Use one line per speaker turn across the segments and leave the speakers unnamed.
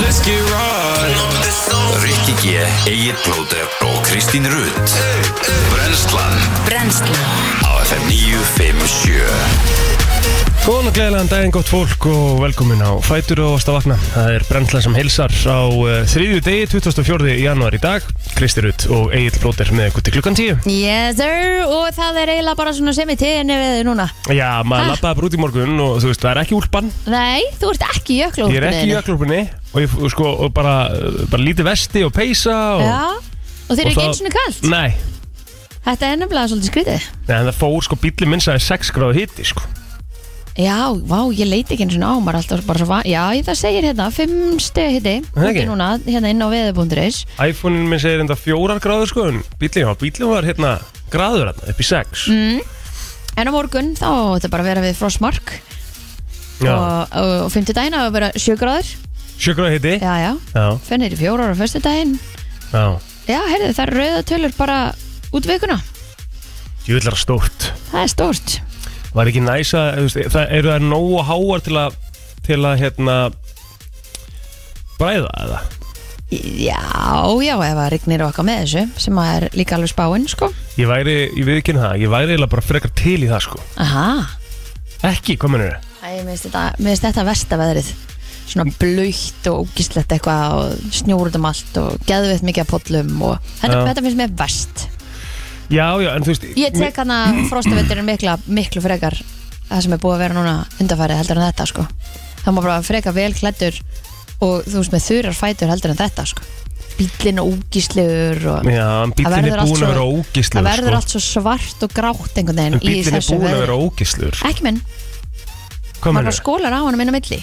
Let's get right
Rikki G, Egil Blóter og Kristín Rutt Brenslan
Brennslan
á FM 957
Góðan og gleðilegan daginn, gott fólk og velkomin á Fætur og Ásta Vakna. Það er brennslan sem hilsar á uh, þriðju degi, 24. januar í dag. Kristi Rutt og Egil Blóter með ykkur til klukkan 10.
Yes sir, og það er eiginlega bara svona sem í tíðinni við þið núna
Já, maður
Ha?
lappaði bara út í morgun og þú veist, það er ekki úlpan.
Nei, þú ert ekki í jöklúkunni
Ég er ekki í öklúpunni og ég og sko og bara, uh, bara lítið vesti og peysa og...
Já, og þeir
og
eru ekki
það- Mm.
eins og kallt
Nei,
Þetta er nefnilega svolítið skrítið
Nei, en það fór sko bíli minnsaði 6 gráðu hitti sko.
Já, vá, ég leiti ekki eins og á, maður er alltaf bara svo van Já, ég- það segir hérna, fimm steg hitti
Það ekki?
Úti núna, hérna inn á veðubunduris
iPhone-in minn segir enda 4 gráðu sko en bílinn var, bílinn var hérna gráður hérna upp í 6.
mm. En á morgun, þá á þetta bara að vera við frostmark
Já,
Og, og, og fimmtudaginn á að vera sjö gráður
7 gráðu hitti.
Já, já,
Já,
fennir í fjórar á föstudaginn
já.
Já, heyrðu, það eru rauða tölur bara út vikuna
Júlar stórt
Það er stórt
Var ekki næs að, þú veist, það eru það nógu háar til að, til að, hérna Bræða eða
Já, já, ef það rignir okkar með þessu sem að er líka alveg spáinn, sko
Ég væri, ég við ekki það, ég væri eiginlega bara frekar til í það sko
Aha,
Ekki, hvað mennur þau?
Æ, mér finnst þetta, mér finnst þetta versta veðrið Svona blöytt og ógislegt eitthvað og snjór út um allt og geðvitt mikið að pollum og þetta,
Já.
þetta finnst mér verst
Já, já, en þú veist
Ég
mér-
tek hana frostavetturinn mikla, miklu frekar það sem er búið að vera núna undarfærið heldur en þetta, sko Það má bara frekar vel klæddur og þú veist með þurrar fætur heldur en þetta, sko Bíllinn og ógislegur og
Já, en
Það
bíllinn
verður
er
allt
búin
svo-
að vera
Það
ógislegur
verður
sko
allt svo svart og grátt einhvern
En
veginn í
bíllinn er
þessu
búin að
veðri.
vera ógislegur sko
Ekki minn,
Hvað
maður
mennur
bara sko.
þau?
skólar á honum inn á milli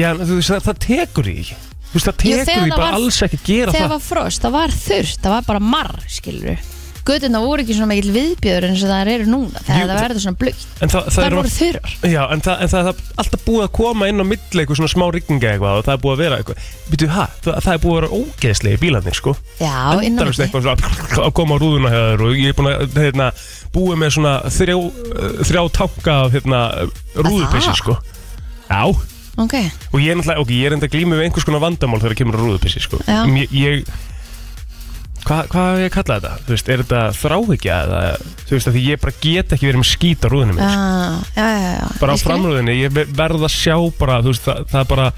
Já, en þú veist, það, það tekur því ekki Þú veist, það
Jú,
tekur
þegar
því
það
bara
var-
alls ekki að gera
Þegar
það
var frost, það var þurrt, það var bara marr skilur Göturna voru ekki svona mikil viðbjöður eins og það eru núna Þegar
Jú,
það
það-
verður svona blökt
En það, það
Það
er
voru þurrar
Já, en það, en það er alltaf búið að koma inn á milli eitthvað svona smá rigninga eitthvað og það er búið að vera eitthvað Býtu, hæ? Það, það er búið að vera ógeðslega í bílarnir, sko
Já, inn á
Endalaust
milli
eitthvað svona að koma á rúðuna hjá þér og ég er búin að hérna, búið með svona þrjá, uh, þrjá tanka af hérna, rúðupissi,
það?
sko Já, og
Ok,
ég er náttúrulega, ok, ég er enda að glíma við einhvers konar vandamál þegar kemur að rúðupissi, sko
Já.
Em, Ég, ég Hva, hvað hef ég að kalla þetta? Þú veist, er þetta þráhyggja eða, þú veist, að því ég bara get ekki verið með skít á rúðunum
já, já, já, já
bara á
Ég skil.
framröðinni, ég ver- verð að sjá bara, þú veist, það, það er bara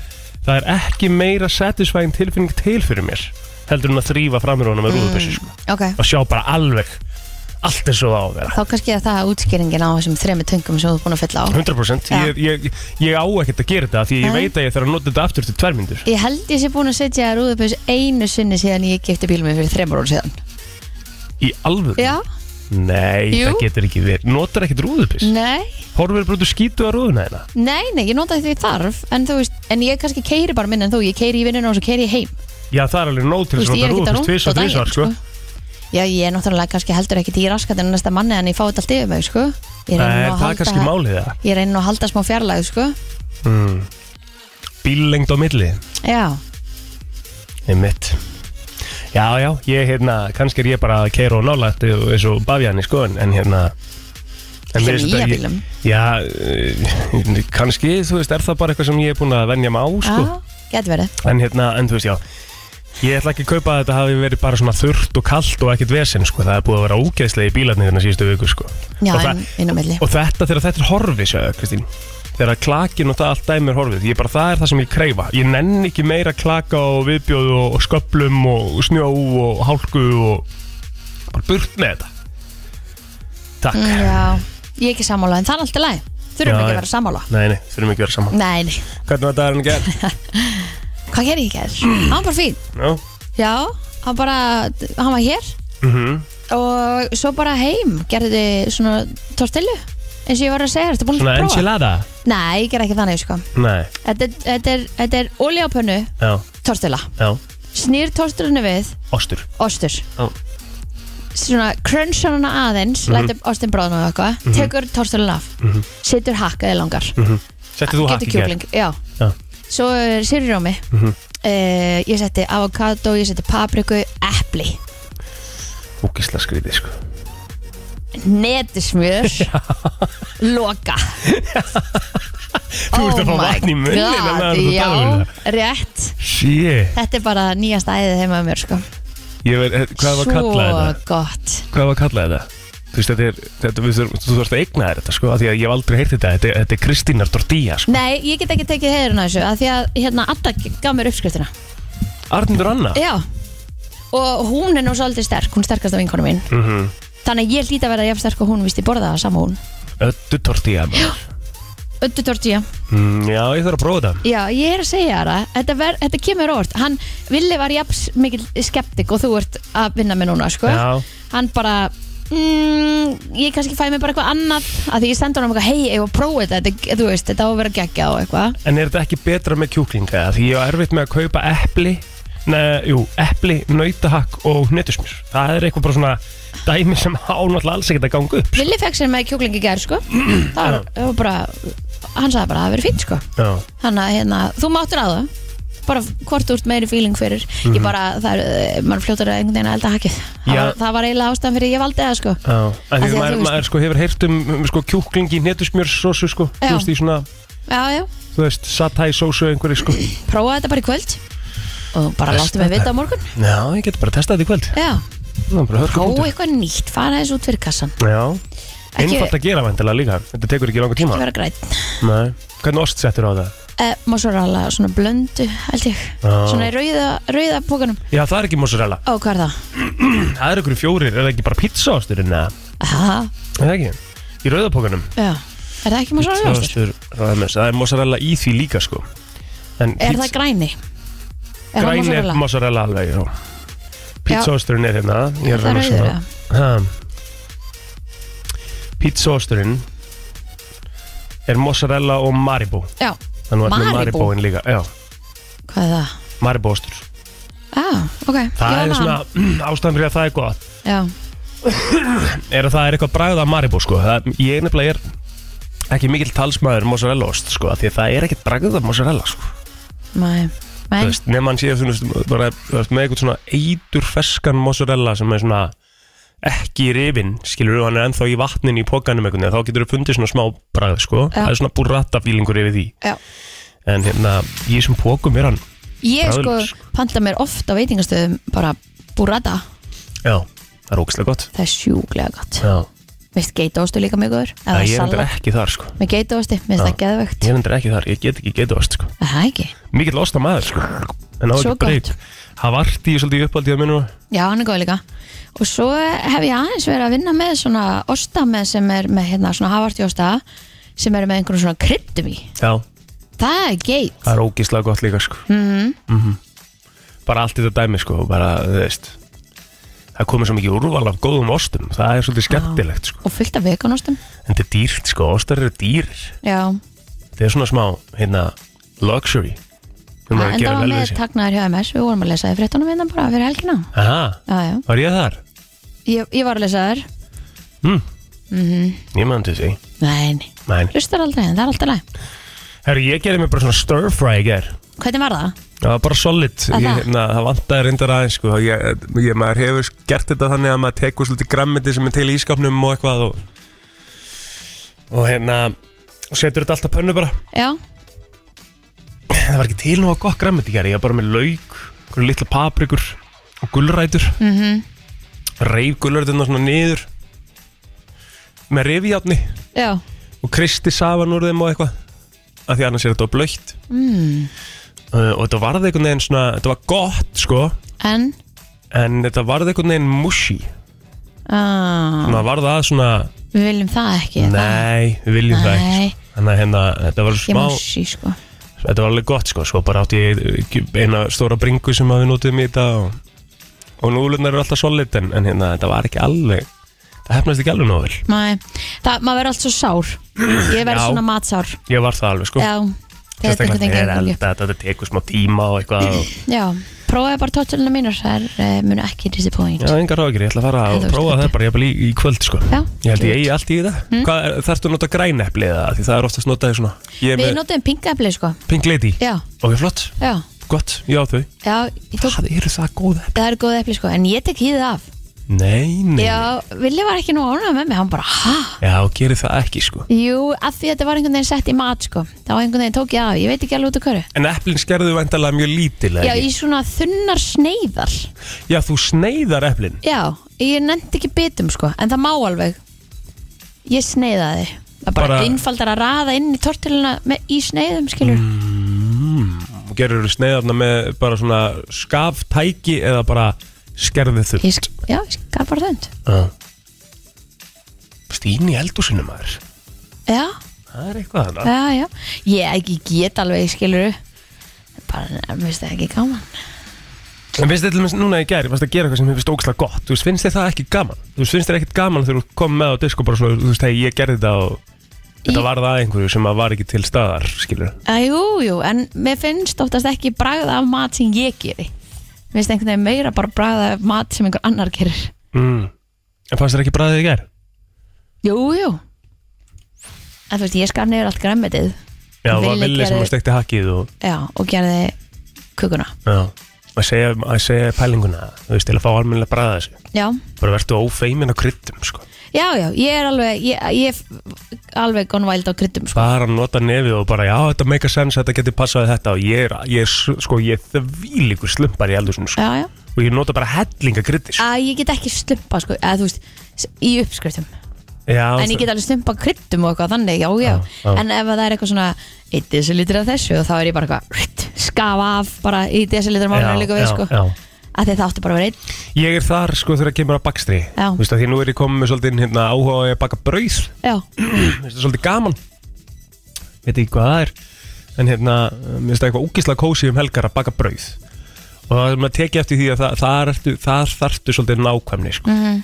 það er ekki meira satisfying tilfinning til fyrir mér, heldur en að þrýfa framröðina með mm. rúðubessi, sko,
Ok,
að sjá bara alveg allt eins og það á að vera
þá kannski er það útskýringin á þessum þremi tungum sem þú ert búin að fylla á
100%, ég, ég, ég á ekkert að gera þetta af því ég
Nei.
veit að ég þarf að nota þetta aftur til tvær myndur
Ég held ég sé búin að setja rúðupus einu sinni síðan ég gifti bílum minn fyrir þremur orð síðan
í alveg,
Já,
nei,
Jú.
það getur ekki verið notar ekkert rúðubess,
nei
horfir bara út og skýtu að rúðuna þeina
Nei, nei, ég nota því þarf En þú veist, en ég kannski keiri bara minna en þú Ég keiri í vinnuna og svo keiri ég heim
já, það er alveg nóg
Þú
til þess
veist,
að
ég er
nota
ekkert að
rúðubess tvis
rúnda
og tvis sko.
Já, ég er náttúrulega kannski heldur ekkert í raskatinn næsta manni en ég fá þetta allt yfir mig, sko Ég
Nei,
reyni nú
það
að
er
halda-
kannski málið það
Ég reyni nú að halda smá fjarlæg, sko
mm. bíllengd á milli
Já,
Einmitt Já, já, ég hérna, kannski er ég bara að keira og nálægt eins og bafjani sko en, en hérna
Sem
mér finnst
í
þetta ekki-
bílum?
Já, eh, kannski, þú veist, er það bara eitthvað sem ég er búin að venja mig á sko
já, getur verið
En hérna, en þú veist, já Ég ætla ekki að kaupa að þetta hafi verið bara svona þurrt og kallt og ekkert vesen sko Það er búið að vera ógeðslega í bílarnir hérna síðustu viku sko
Já,
Og það-
en inn á milli
Og þetta þegar þetta er horfið, sjáðu, Kristín Þegar klakin og það allt dæmi er horfið Ég bara, það er það sem ég kreifa Ég nenn ekki meira klaka og viðbjóð og, og sköplum og snjó og hálku og bara burt með þetta Takk
Mm, Já, ég er ekki sammála, en það er alltaf læg
Já,
Þurfum ekki
já.
að vera sammála
Nei, nei, þurfum ekki að vera saman
Nei, nei,
Hvernig var dagurinn í gerð?
hvað gerir ég gæður? Hann var bara fín
Nú?
Já, hann bara, hann var hér
Mhm
og svo bara heim gerði svona tortillu eins og ég var að segja, þetta er búin
Svona
að prófa
enchilada?
Nei, ég ger ekki þannig sko
Nei,
Þetta er, þetta er, þetta er olja á pönnu
já,
tortilla
já
Snýr tortillunni við
Ostur
ostur
Já.
Svona crunchar hana aðeins
Mhm.
mm -hmm. Lætur ostin bráðna og eitthvað Tekur tortillun af Setur hakk eða langar
Settir Mhm. þú hakk í
Getur
gerð?
kjúkling, já
Já. Mhm.
Svo er sirrjómi mm Ég setti avokado, ég setti papriku, epli
Úkisla skrítið, sko
Netismjör Loka
Þú ert að fá vatn í munnin
Oh já, rétt
Shit
Þetta er bara nýjasta æðið heima um mér sko
Ég veit, eh, hvað var að kalla þetta?
Svo gott
Hvað var að kalla þetta? Þú veist, þetta er, þetta, við þurfum, þú þarfst að eigna þér þetta, sko, af því að ég hef aldrei heyrt þetta, þetta, er- þetta er Kristínar Dordía, sko.
Nei, ég get ekki tekið heiðurinn að þessu að Því að hérna Adda gaf mér uppskriftina
Arnindur Anna?
Já Og hún er nú svolítið sterk, hún sterkast af vinkonu mín
Mm -hmm.
Þannig að ég hlýta að vera jafn sterk og hún Vist ég borða það sama og hún
Öttu Dordía, maður.
Öddu tortilla
Mm, já, ég þarf að prófa þetta.
Já, ég er að segja þér það þetta, ver, þetta kemur orð Hann villi var jafn mikil skeptik Og þú ert að vinna með núna sko.
Já.
Hann bara mm, Ég kannski fæ mér bara eitthvað annað að Því ég sendur hann um eitthvað Hei, ég var að prófa þetta Þetta, þú veist, þetta á að vera geggja og eitthvað
En er þetta ekki betra með kjúklinga? eða? Því ég er erfitt með að kaupa epli, neða, jú, epli, nautahakk og hnetusmjör. Það er eitthvað bara svona dæmi sem á náttúrulega alls ekkert að ganga upp. sko.
Villi fekk sér með kjúklingi gær sko Það var, það var bara Hann sagði bara að það verið fínt sko
Já.
Þannig að hérna, þú máttur að það bara hvort þú ert meiri fíling fyrir ég bara, það er, eh, mann fljótur að einhvern veginn að elda hakið það,
Mhm. Já.
var, það var eiginlega ástæðan fyrir ég valdi það sko
Já. En
Af
því
því að
maður,
þú veist-
maður sko hefur heyrt um, um sko, kjúklingi í hnetusmjörsósu, sko, þú
Já.
veist, í svona,
já, já,
þú veist, satæ sósu einhverju, sko.
prófa þetta bara í kvöld og bara
Testa
láttu mig vita á morgun
Já, ég get bara testað þetta í kvöld.
já,
Nú, bara
prófa
hörkupunktur.
eitthvað nýtt, fara þessu út fyrir kassan
Já.
Ekki-
Einfalt að gera vantilega líka. Þetta tekur ekki langa
ekki
tíma.
vera græn
Nei. Hvernig ost settur á það?
e, mozzarella, svona blöndu held ég,
Já.
svona í rauða, rauða pókanum,
Já, það er ekki mozzarella.
ó hvað er það?
Það er ykkur fjórir, er það ekki bara pizzaosturinn eða?
Aha,
Er það ekki? Í rauðapókanum
já, er það ekki mozzarella ástur?
Pizzaostur Rames Það er mozzarella í því líka sko En
er það græni? Er það
græn er
mozzarella?
mozzarella alveg já. Pizzaosturinn er hérna Ég
Er
er
það
raunar
rauður,
svona
já?
Ha. Pizzaosturinn Er mozzarella og maribú
Já,
Þannig að við
Maribú?
maribúin líka Já,
hvað er það?
maribúostur
Já, ok
Það
Ég
er
var
svona
hann.
ástæðan fyrir að það er gott
Já,
Er að það er eitthvað bragð af maribú sko það, Ég nefnilega er ekki mikill talsmaður mozzarella ost sko af Því að það er ekkert bragð af mozzarella sko
mæ, mæ
Þú veist, nefn hann sé þú veist, bara, þú veist, með eitthvað svona eitur ferskan mozzarella sem er svona ekki í rifin, skilur þú, hann er ennþá í vatnin í pokanum einhvern veginn, þá getur þú fundið svona smá bragð, sko,
Já.
það er svona burrata fílingur yfir því,
Já.
en hérna í þessum pokum er hann,
Ég sko
Bragðlaus.
panta mér oft á veitingastöðum bara burrata,
já, það er ógæslega gott
það er sjúklega gott
já,
Veist geitaostu líka mjög góður eða
það ég er endur
salat
ekki þar, sko
með geitaosti, minnst
Já.
það geðvögt
ég er endur ekki þar, ég get ekki getið ost, sko
Er Það ekki,
mikill osta maður, sko, en á
Svo
ekki
gott.
breyk það vart í svolítið uppaldið að minna
já hann er góð líka Og svo hef ég aðeins verið að vinna með svona osta með sem er með hérna svona havartjósta sem eru með einhverjum svona kryddum í
já,
Það er geit
það er ógíslega gott líka sko. mm -hmm.
Mhm.
bara allt þetta dæmi sko, bara, þú veist það komið svo mikið úrval af góðum ostum það er svolítið skemmtilegt sko.
og fullt af veganostum
en þetta er dýrt, sko, ostar eru dýrir
Já,
þetta er svona smá, hérna, luxury þú maður að
enda
gera
var
vel
með
við sig
tagnaður hjá MS Við vorum að lesa í fréttunum innan bara fyrir helgina
aha,
Já, já
var ég þar?
Ég, ég var að lesa þær
Mm. ég man til því
Nei, nei,
Nein.
hlustar aldrei en það er alltaf læg
herru, ég gerði mér bara svona stir fry í ger
Hvernig var það?
Það var bara solid,
Að
ég,
það?
hérna, það vantaði reyndar aðeins sko. ég, ég, maður hefur gert þetta þannig að maður tekur svolítið grammiti sem er til í ískapnum og eitthvað og, og hérna og setur þetta alltaf pönnu bara
Já,
það var ekki til nú að gott grammiti hér ég var bara með lauk, einhverju litla paprikur og gulrætur mm
Mhm.
-hmm. reif gulræturna svona niður með rifjáttni
já,
og kristi safan úr þeim og eitthvað af því annars er þetta blöytt
mm.
uh, og þetta varði einhvern veginn svona þetta var gott sko
en
En þetta varði einhvern veginn mushi
á,
Þannig að varði að svona
ah, Við viljum það ekki er það?
Nei, við viljum það ekki
Nei.
sko. Þannig að hérna, þetta var
Ég
smá
má sí, sko
Þetta var alveg gott sko Svo bara átti ég eh, eina stóra bringu sem að við notum í þetta Og, og núlunar eru alltaf solid en, en hérna, þetta var ekki alveg Það hefnast ekki alveg nóg vel
Nei, það, maður verður allt svo sár Ég verður
Já.
svona matsár
Ég var það alveg sko
Já, þetta er
Sérstaklega
einhvern
þegar
veginn
er
gangi
elda, Þetta tekur smá tíma og eitthvað og,
Já, prófaði bara tóttalina mínar Það uh, munu ekki disappoint
Já, engar ráðgjur, ég ætla að fara
Nei, þú
að
veist
prófa
þetta.
það bara jafnvel í, í kvöld sko
Já, Hmm?
Ég held ég eigi allt í það mm? Þarftu að nota grænepli eða Því það er oftast notaði svona Ég er
Við
með
notum pinkaefli, sko
Pink Lady
Já,
Ok, flott
já,
Gott, já þau
já ég tók,
eru það góð
Það eru góð efli, sko En ég tek hýðið af
Nei, nei
Já, Vili var ekki nú ánægð með mig, hann bara, ha?
Já, gerir það ekki sko
Jú, af því að þetta var einhvern veginn sett í mat, sko Það var einhvern veginn tók ég af, ég veit ekki alveg út af hverju
En eplin skerðu væntalega mjög lítil eða
Já,
ekki?
í svona þunnar sneiðar
Já, þú sneiðar eplin
Já, ég nefndi ekki bitum, sko En það má alveg Ég sneiðaði Það er bara,
Bara-
einfaldar að raða inn í tortiluna með, í sneiðum, skilur
og gerur sneiðarna Hmm, með bara svona skaftæki eða bara skerðu þurr
ég, sk- Já, ég skar bara þönd
Stín í eldúsinu maður
Já,
Það er eitthvað hana
já, já Ég ekki get alveg, skilur Bara, mér finnst það ekki gaman
En finnst þið til dæmis núna í gær, varst að gera eitthvað sem þið finnst ógslag gott Þú veist, finnst þið það ekki gaman? Þú veist, finnst þið ekkert gaman þegar þú kom með á disk og bara svona, þú veist, hei, ég gerði þetta og þetta
Í-
var það einhverju sem að var ekki til staðar, skilur
Að Jú, jú, en mér finnst oftast ekki bragða af mat sem ég geri Mér finnst einhvern veginn meira bara bragða af mat sem einhver annar gerir
mm. En fannst þið ekki bræðið í gær?
Jú, jú En þú veist, ég skar niður allt græmmetið
Já, það var
Villi
Villi sem
gerði-
að stekti hakið og
Já, og gerði kukuna
Já, að segja, að segja pælinguna þú veist, til að fá almennilega að bræða þessu
Já,
bara verðtu ófeimin á kryddum sko.
já, já, ég er alveg Ég, ég er alveg gone wild á kryddum sko.
bara nota nefið og bara já, þetta make a sense, þetta getur passaði þetta og ég er, ég er s- sko, ég er þvílíkur slumpar í eldhúsinu, sko.
Já, já,
og ég nota bara hellinga kryddi, sko.
að ég get ekki slumpa sko, eða þú veist, s- í uppskriftum
já,
En ég get alveg slumpa kryddum og eitthvað þannig, já, já,
Já, já.
En ef það er eitthvað svona Eitt desilítur af þessu og þá er ég bara eitthvað rutt, Skafa af bara í desilítur
Já,
málunum líka við
já,
sko
já.
að því það átti bara að vera einn
ég er þar, sko, þegar kemur að bakstri
Já.
þú veist, að því nú er ég komið með svolítið hérna, áhuga á að baka brauð,
Já,
Mér finnst það svolítið gaman veit ekki hvað það er en hérna, mér finnst það eitthvað úkislega kósi um helgar að baka brauð og það er maður tekið eftir því að það, þar, ertu, þar þarftu svolítið nákvæmni sko.
Mhm.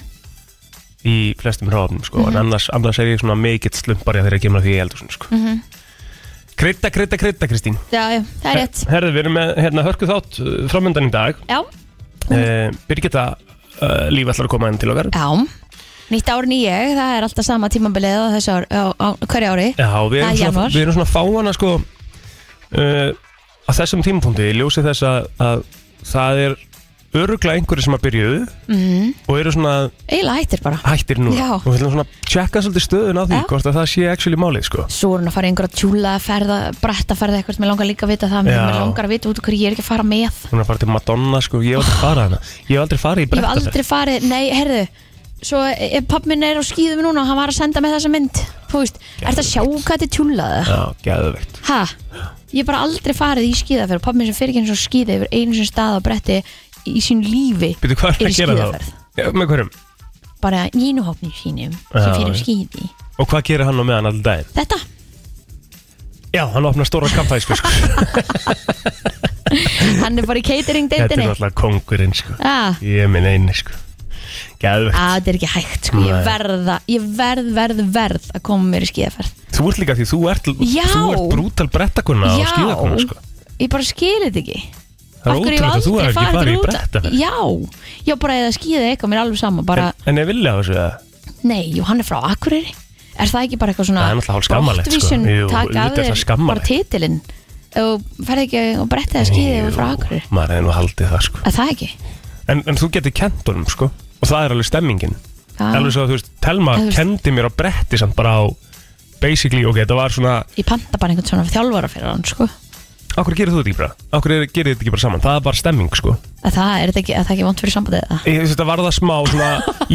í flestum hrófnum sko. en annars, annars er ég svona mikill slumpari þegar ég kemur að því í eldur sko. mm -hmm. Krydda, krydda, krydda Kristín
já, já, Mhm. það er rétt
Herðu, við erum með hérna, hörku þátt framöndan í dag
Já, Mhm.
eh, Birgitta uh, líf ætlar að koma inn til okkar
já, nýtt ár nýjeg Það er alltaf sama tímabilið á þessu ár, á, á hverju ári
Já, við erum,
Það er
svona,
janúar.
við erum svona fáana sko uh, að þessum tímapunkti ég ljósi þess að, að það er öruglega einhverju sem að byrjuðu -hmm. og eru svona
Eiginlega hættir bara
hættir núna
Mhm. Já.
og við ætlum svona að tjekka svolítið stöðun á því
Já.
hvort að það sé actually málið sko
Svo er hann að fara í einhverja tjúla ferða, bretta ferða eitthvað Mér langar líka að vita það, mér
Já.
mér langar að vita út af hverju ég er ekki að fara með
hún er að fara til Madonna sko, ég hef aldrei farað hana ég hef aldrei farið í
Ég hef
brettaferð
aldrei farið, nei, herðu Svo e, pappi minn er á skýðum núna og hann var að senda með þessa mynd Þú veist, ert að sjá hvað þetta er tjúlaði
Já, geðveikt
Hæ? Ég hef bara aldrei farið í skýðaferð Pappi minn sem fyrir ekki eins og skýði yfir einu sem stað á bretti í sín lífi
Býtu, hvað er
er í
að gera þá?
skíðaferð.
Já, með hverjum?
Bara nínuhóknir sínum
Já,
sem fyrir
já.
skýði
Og hvað gerir hann á meðan allir daginn?
Þetta?
Já, hann opnar stóra kampæsku sko
Hann er bara í catering
Þetta er
deitinni
náttúrulega kongurinn sko
Ah.
Ég minn eini sko Geðveikt
að þetta er ekki hægt sko.
Nei.
ég, verða, ég verð, verð, verð að koma mér í skíðaferð
Þú ert líka því þú ert,
Já.
þú ert brútal brettakonna og skíðakonna sko.
ég bara skil þetta ekki
Það er
Af hverju hef ég
ótrúlega að þú
aldrei
er ekki farið í
til útlanda?
brettaferð
Já, já bara eða skíða eitthvað mér er alveg sama bara,
En, en ég vilja á þessu það
nei, jú, hann er frá Akureyri Er það ekki bara eitthvað svona
Það er náttúrulega hálf skammarlegt, sko.
brottvísun,
Jú,
taka af
auðvitað er það
þér
skammarlegt.
bara titilinn og ferði ekki og brettið að skíða yfir frá Akureyri
Jú, Maður er nú haldið það sko
Er það ekki?
En, en þú getur kent honum sko Og það er alveg stemmingin
Já.
Alveg svo að þú veist, Telma
En þú veist-
kendi mér á bretti samt bara á Basically, ok, þetta var svona
Ég panta bara einhvern svona þjálfara fyrir hann sko.
Akkur gerir þú þetta ekki bara? Akkur gerir þetta ekki bara saman? Það er bara stemming sko
Er það, er þetta ekki, er það ekki vant fyrir sambandið eða?
Ég- Þetta var það smá svona,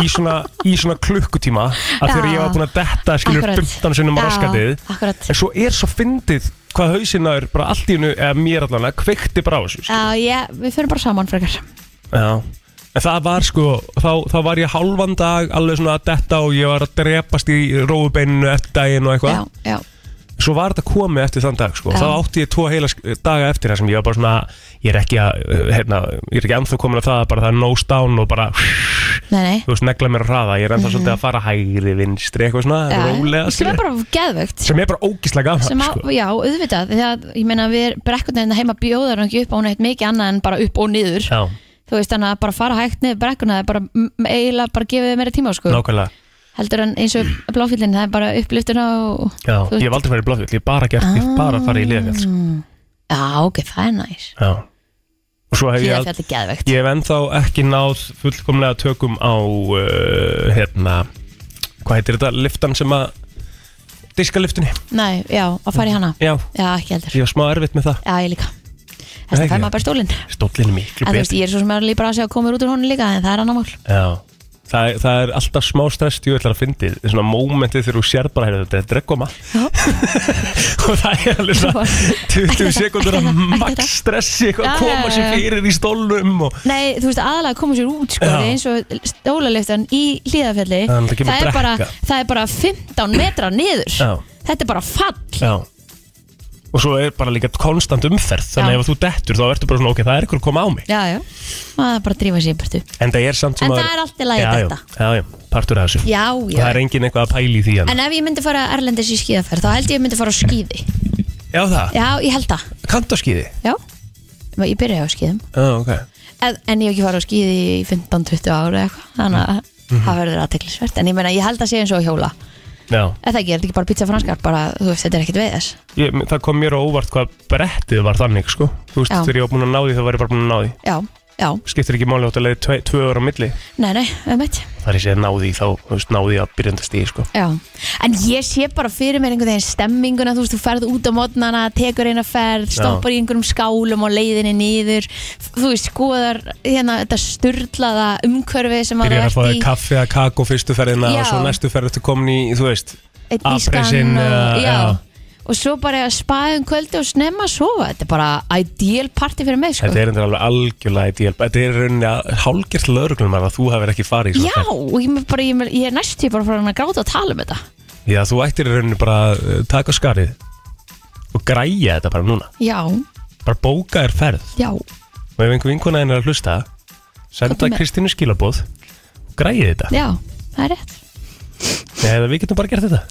í, svona, í svona klukkutíma að þegar
Já.
ég var búin að detta skilur
Akkurat.
15 sinnum
Já,
raskatið
akkurat.
en svo er svo fyndið hvað hausina er bara allt í hennu eða mér allan að kveikti bara á þessu sko.
Já, já, við fyrir bara saman frekar
Já. en það var sko þá, þá var ég hálfan dag alveg svona að detta og ég var að drepast í rófubeininu eftir daginn og eitthvað
Já, já
svo var þetta komið eftir þann dag sko.
Já.
þá átti ég tvo heila sk- daga eftir það sem ég var bara svona ég er ekki að hérna, ég er ekki ennþá komin að það að bara það er nose down og bara
Nei, nei
þú veist, negla mér að hraða, ég er ennþá svolítið að fara hægri, vinstri, eitthvað svona,
Já,
rólega
sem er
skilur.
bara geðvögt
sem er bara ógíslega
sem
gaman,
á,
sko.
já, auðvitað því að, ég meina við brekkunarinn heima bjóðar hann ekki upp á hún eitt mikið annað en bara upp og niður
Já,
þú veist þannig að bara fara hægt niður brekkuna það er bara m- eiginlega bara gefið meira tíma sko.
nákvæmlega
heldur en eins og bláfílinn það er bara uppliftuna og
já.
Þú- Ah.
Ég hef aldrei farið í sko. blóðfjöld, ég hef bara gert, ég hef bara farið í liðfjöld sko.
já ok, það er næs
Já og svo hef ég
Hlýða
aldrei
fjall er geðvegt
Ég hef ennþá ekki náð fullkomlega tökum á uh, hérna hvað heitir þetta, liftan sem að diska liftinni,
Nei, já, að fara í hana
já,
Já, ekki heldur
ég var smá erfitt með það
Já, ég líka
Nei,
Þess að
ekki.
fær maður bara stólinn
stólinn er miklu
En þú veist,
betur
ég er svo sem er líka bara að segja að koma út úr honum líka En það er annar mál
Já, það, er- það er alltaf smá stress ég ætlar að fyndi, svona mómentið þegar þú sér bara hérna, þetta er dreggoma og það er alveg svona
Svo-
20
Ekki þetta,
sekundur
ekki
að
þetta, ekki
max
þetta.
stressi eitthvað
Já,
að
já,
koma
já,
sér
já.
fyrir í stólnum og
Nei, þú veist, aðalega að koma sér út sko,
Já.
það er eins og stólaliftan í hlíðafjalli
Já, en það kemur
er bara,
brekka.
það er bara 15 metra niður
Já.
Þetta er bara fall
Já Og svo er bara líka konstant umferð Þannig
Já.
ef þú dettur þá ertu bara svona ok, það er ykkur að koma á mig
Já, já, maður bara að drífa sér í burtu
En það er samt sem
En
maður-
það er allt í lagi að
Já, já,
detta.
Já, já, partur af þessu
Já,
Og
já
Það er engin eitthvað að pæli í því hérna. en
En ef ég myndi fara erlendis í skíðaferð, þá held ég að ég myndi fara á skíði
Já það,
Já, ég held það,
kantaskýði
já Ég byrjaði á skíðum
Já, Ah, ok
en, en ég hef ekki farið á skíði í 15-20 ára eitthvað, þannig að
Mhm.
það verður aðteklisvert en ég meina, ég held að sé eins og að hjóla
Já,
eða ekki, er þetta ekki bara pizza franskar bara, þú veist, þetta er ekkit veið þess
ég, það kom mér á óvart hvað brettið var þannig sko Þú veist,
Já.
þegar ég var búin að ná því þá var ég bara búin að ná því
já, já,
Skiptir ekki máli átt að leiði tve, tvö ára á milli
nei, nei, ömmit
Þar ég sé að ná því þá, þú veist, ná því að byrjandi stíði sko
já, en ég sé bara fyrir mér einhvern veginn stemminguna, þú veist, þú ferð út á mótnana tekur eina ferð, stoppar í einhverjum skálum á leiðinni niður þú veist, skoðar hérna þetta styrlaða umhverfi sem að
Byrjar að fá
þú
þér
ert í
kaffi að kakó fyrstu ferðina
Já.
og svo næstu ferð ertu komin í, þú veist,
einn ískan
Apresinn,
og,
eða-
já.
já.
og svo bara að spaða um kvöldi og snemma að sofa þetta er bara ideal party fyrir mig sko.
Þetta er endur alveg algjörlega ideal Þetta er í rauninni að hálgjert lögreglum að þú hefur ekki farið í svona
já, og ég, er bara, ég, er- ég er næstu bara frá að gráta að tala um þetta
ferð. Já, þú ættir í rauninni bara að eh, taka skarið og græja þetta bara núna
já,
bara bóka þér ferð
já,
og ef einhver vinkona henni er að hlusta
Komdu
senda
með.
Kristínu skilabóð og græja þetta
já, það er rétt
eða við getum bara gert þetta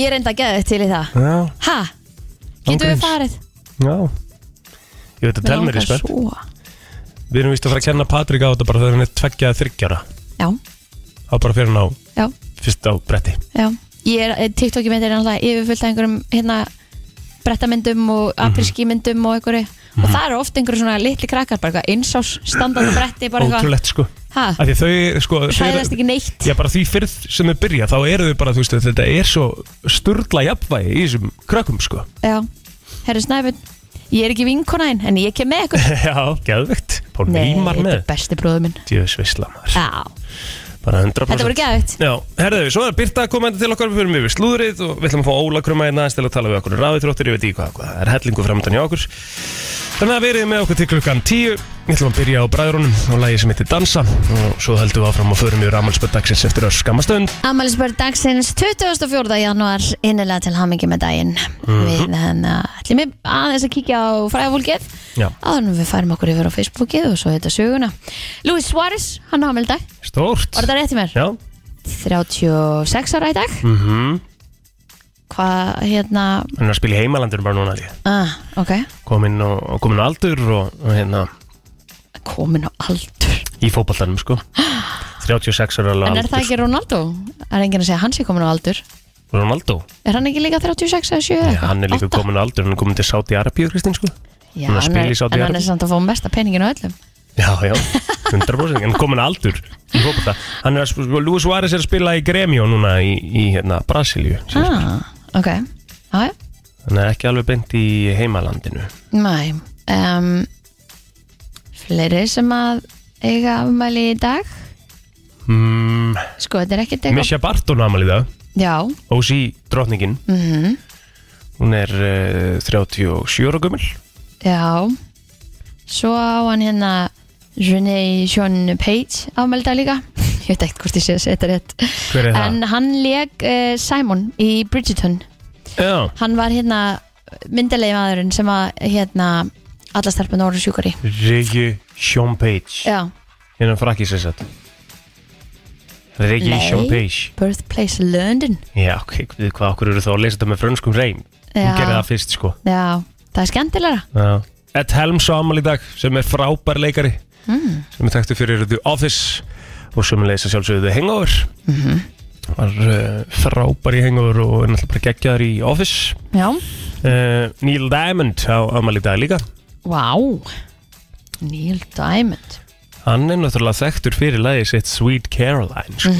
ég er enda að geða þetta til í það
Já,
ha, getum
Ángríns.
við farið
já Ég veit að
Mig
tel mér í
langar
spenn
svo.
Við erum vist að fara að kenna Patrik á þetta bara þegar hann er tveggja að þryggjara
já,
þá bara fyrir hann á
já,
fyrst á bretti
já ég er, eh, TikTok myndir er alltaf yfirfullt af einhverjum hérna brettamyndum og
Mhm.
apriskimyndum og einhverju og það eru oft einhverju svona litli krakkar bara eitthvað einsás standandi bretti bara eitthvað
Ótrúlegt sko
Ha?
Af því þau sko þau eru-
hræðast ekki neitt
Já, bara því fyrr sem þau byrja, þá eru þau bara, þú veist, þetta er svo sturla jafnvægi í þessum krökkum, sko.
Já, herri Snæfinn Ég er ekki vinkona einn, en ég kem með ykkur
Já, geðvegt. Pál
Nei,
Neymar
þetta er Ah.
með.
besti bróður minn
Djöðs veisla maður.
Já,
Bara 100%.
þetta voru geðvægt
Já, herðu, svo er Birta að koma enda til okkar, við fyrir mjög við slúðrið og við ætlum að fá Óla kröma hérna aðeins til að tala við okkur um ráðið þróttir, ég veit ekki hvað, hvað, það er hellingu framöndan hjá okkur. Þannig að verið með okkur til klukkan 10, við ætlum að byrja á bræðrunum og lægi sem heitir Dansa og svo höldum við áfram og förum yfir amalspöldagsins eftir öll skammastönd.
Amalisbörð dagsins 24. janúar innilega til hamingi með daginn
Mhm.
Við þannig ætlum við aðeins að kíkja á fræðafólkið
Já.
Áður en við færum okkur yfir á Facebookið og svo þetta söguna Luis Suárez, hann á hamaldag
Stórt.
Var þetta rétt í mér?
Já.
36 ára í dag
Mm
Hvað, hérna,
Hann er að spila í heimalandur bara núna, held ég.
ah, ok
komin og komin á aldur og, og hérna
Komin á aldur
í fótballtanum sko 36 ára alveg
En er
aldur
það ekki Ronaldo? Er enginn að segja að hann sé komin á aldur?
Ronaldo,
Er hann ekki líka 36 eða 7
Já,
eða
hann er líka
Átta?
komin á aldur hann er komin til Saudi Arabíu Kristín sko
Já,
hann er að
hann
spila
er,
í Saudi
en hann
Arabíu.
er samt að fá mesta peningin á öllum
já já 100% en komin á aldur í fótballta hann er að sko Luis Suárez er að spila í Gremio núna í, í hérna Brasilíu sem-
ah, Ok, já, já
hann er ekki alveg beint í heimalandinu
Næ um, Fleiri sem að eiga afmæli í dag
mm,
Sko, þetta er ekkert eitthvað
Misha Barton ámali það
Já,
Ósi drottningin
mm
hún er uh, 37 ára gömul
já Svo á hann hérna René Sean Page afmæli í dag líka Ég veit ekkert hvort ég sé að segja þetta rétt
hver er
En hann leg uh, Simon í Bridgerton
það? já
Hann var hérna myndilegi maðurinn sem að hérna allastarpun orðu sjúkar í
Regi Sean Page
Já,
Hérna frakki sér satt Reggie
Nei.
Champage
Birthplace London
Já, ok, við hvað okkur eru þá að lesa þetta með frönskum reym Hún
Já.
gerði það fyrst sko
Já, það er skemmtilegra
Já. Ed Helms á amal í dag sem er frábær leikari mm. sem er tektu fyrir The Office og sem er leysa sjálfsögðu The Hangover mm -hmm. var uh, frábær í Hangover og er náttúrulega bara geggjaður í Office
Já,
uh, Neil Diamond á amal í dag líka
vá Neil Diamond
Hann er náttúrulega þekktur fyrir lagi sitt Sweet Caroline sko,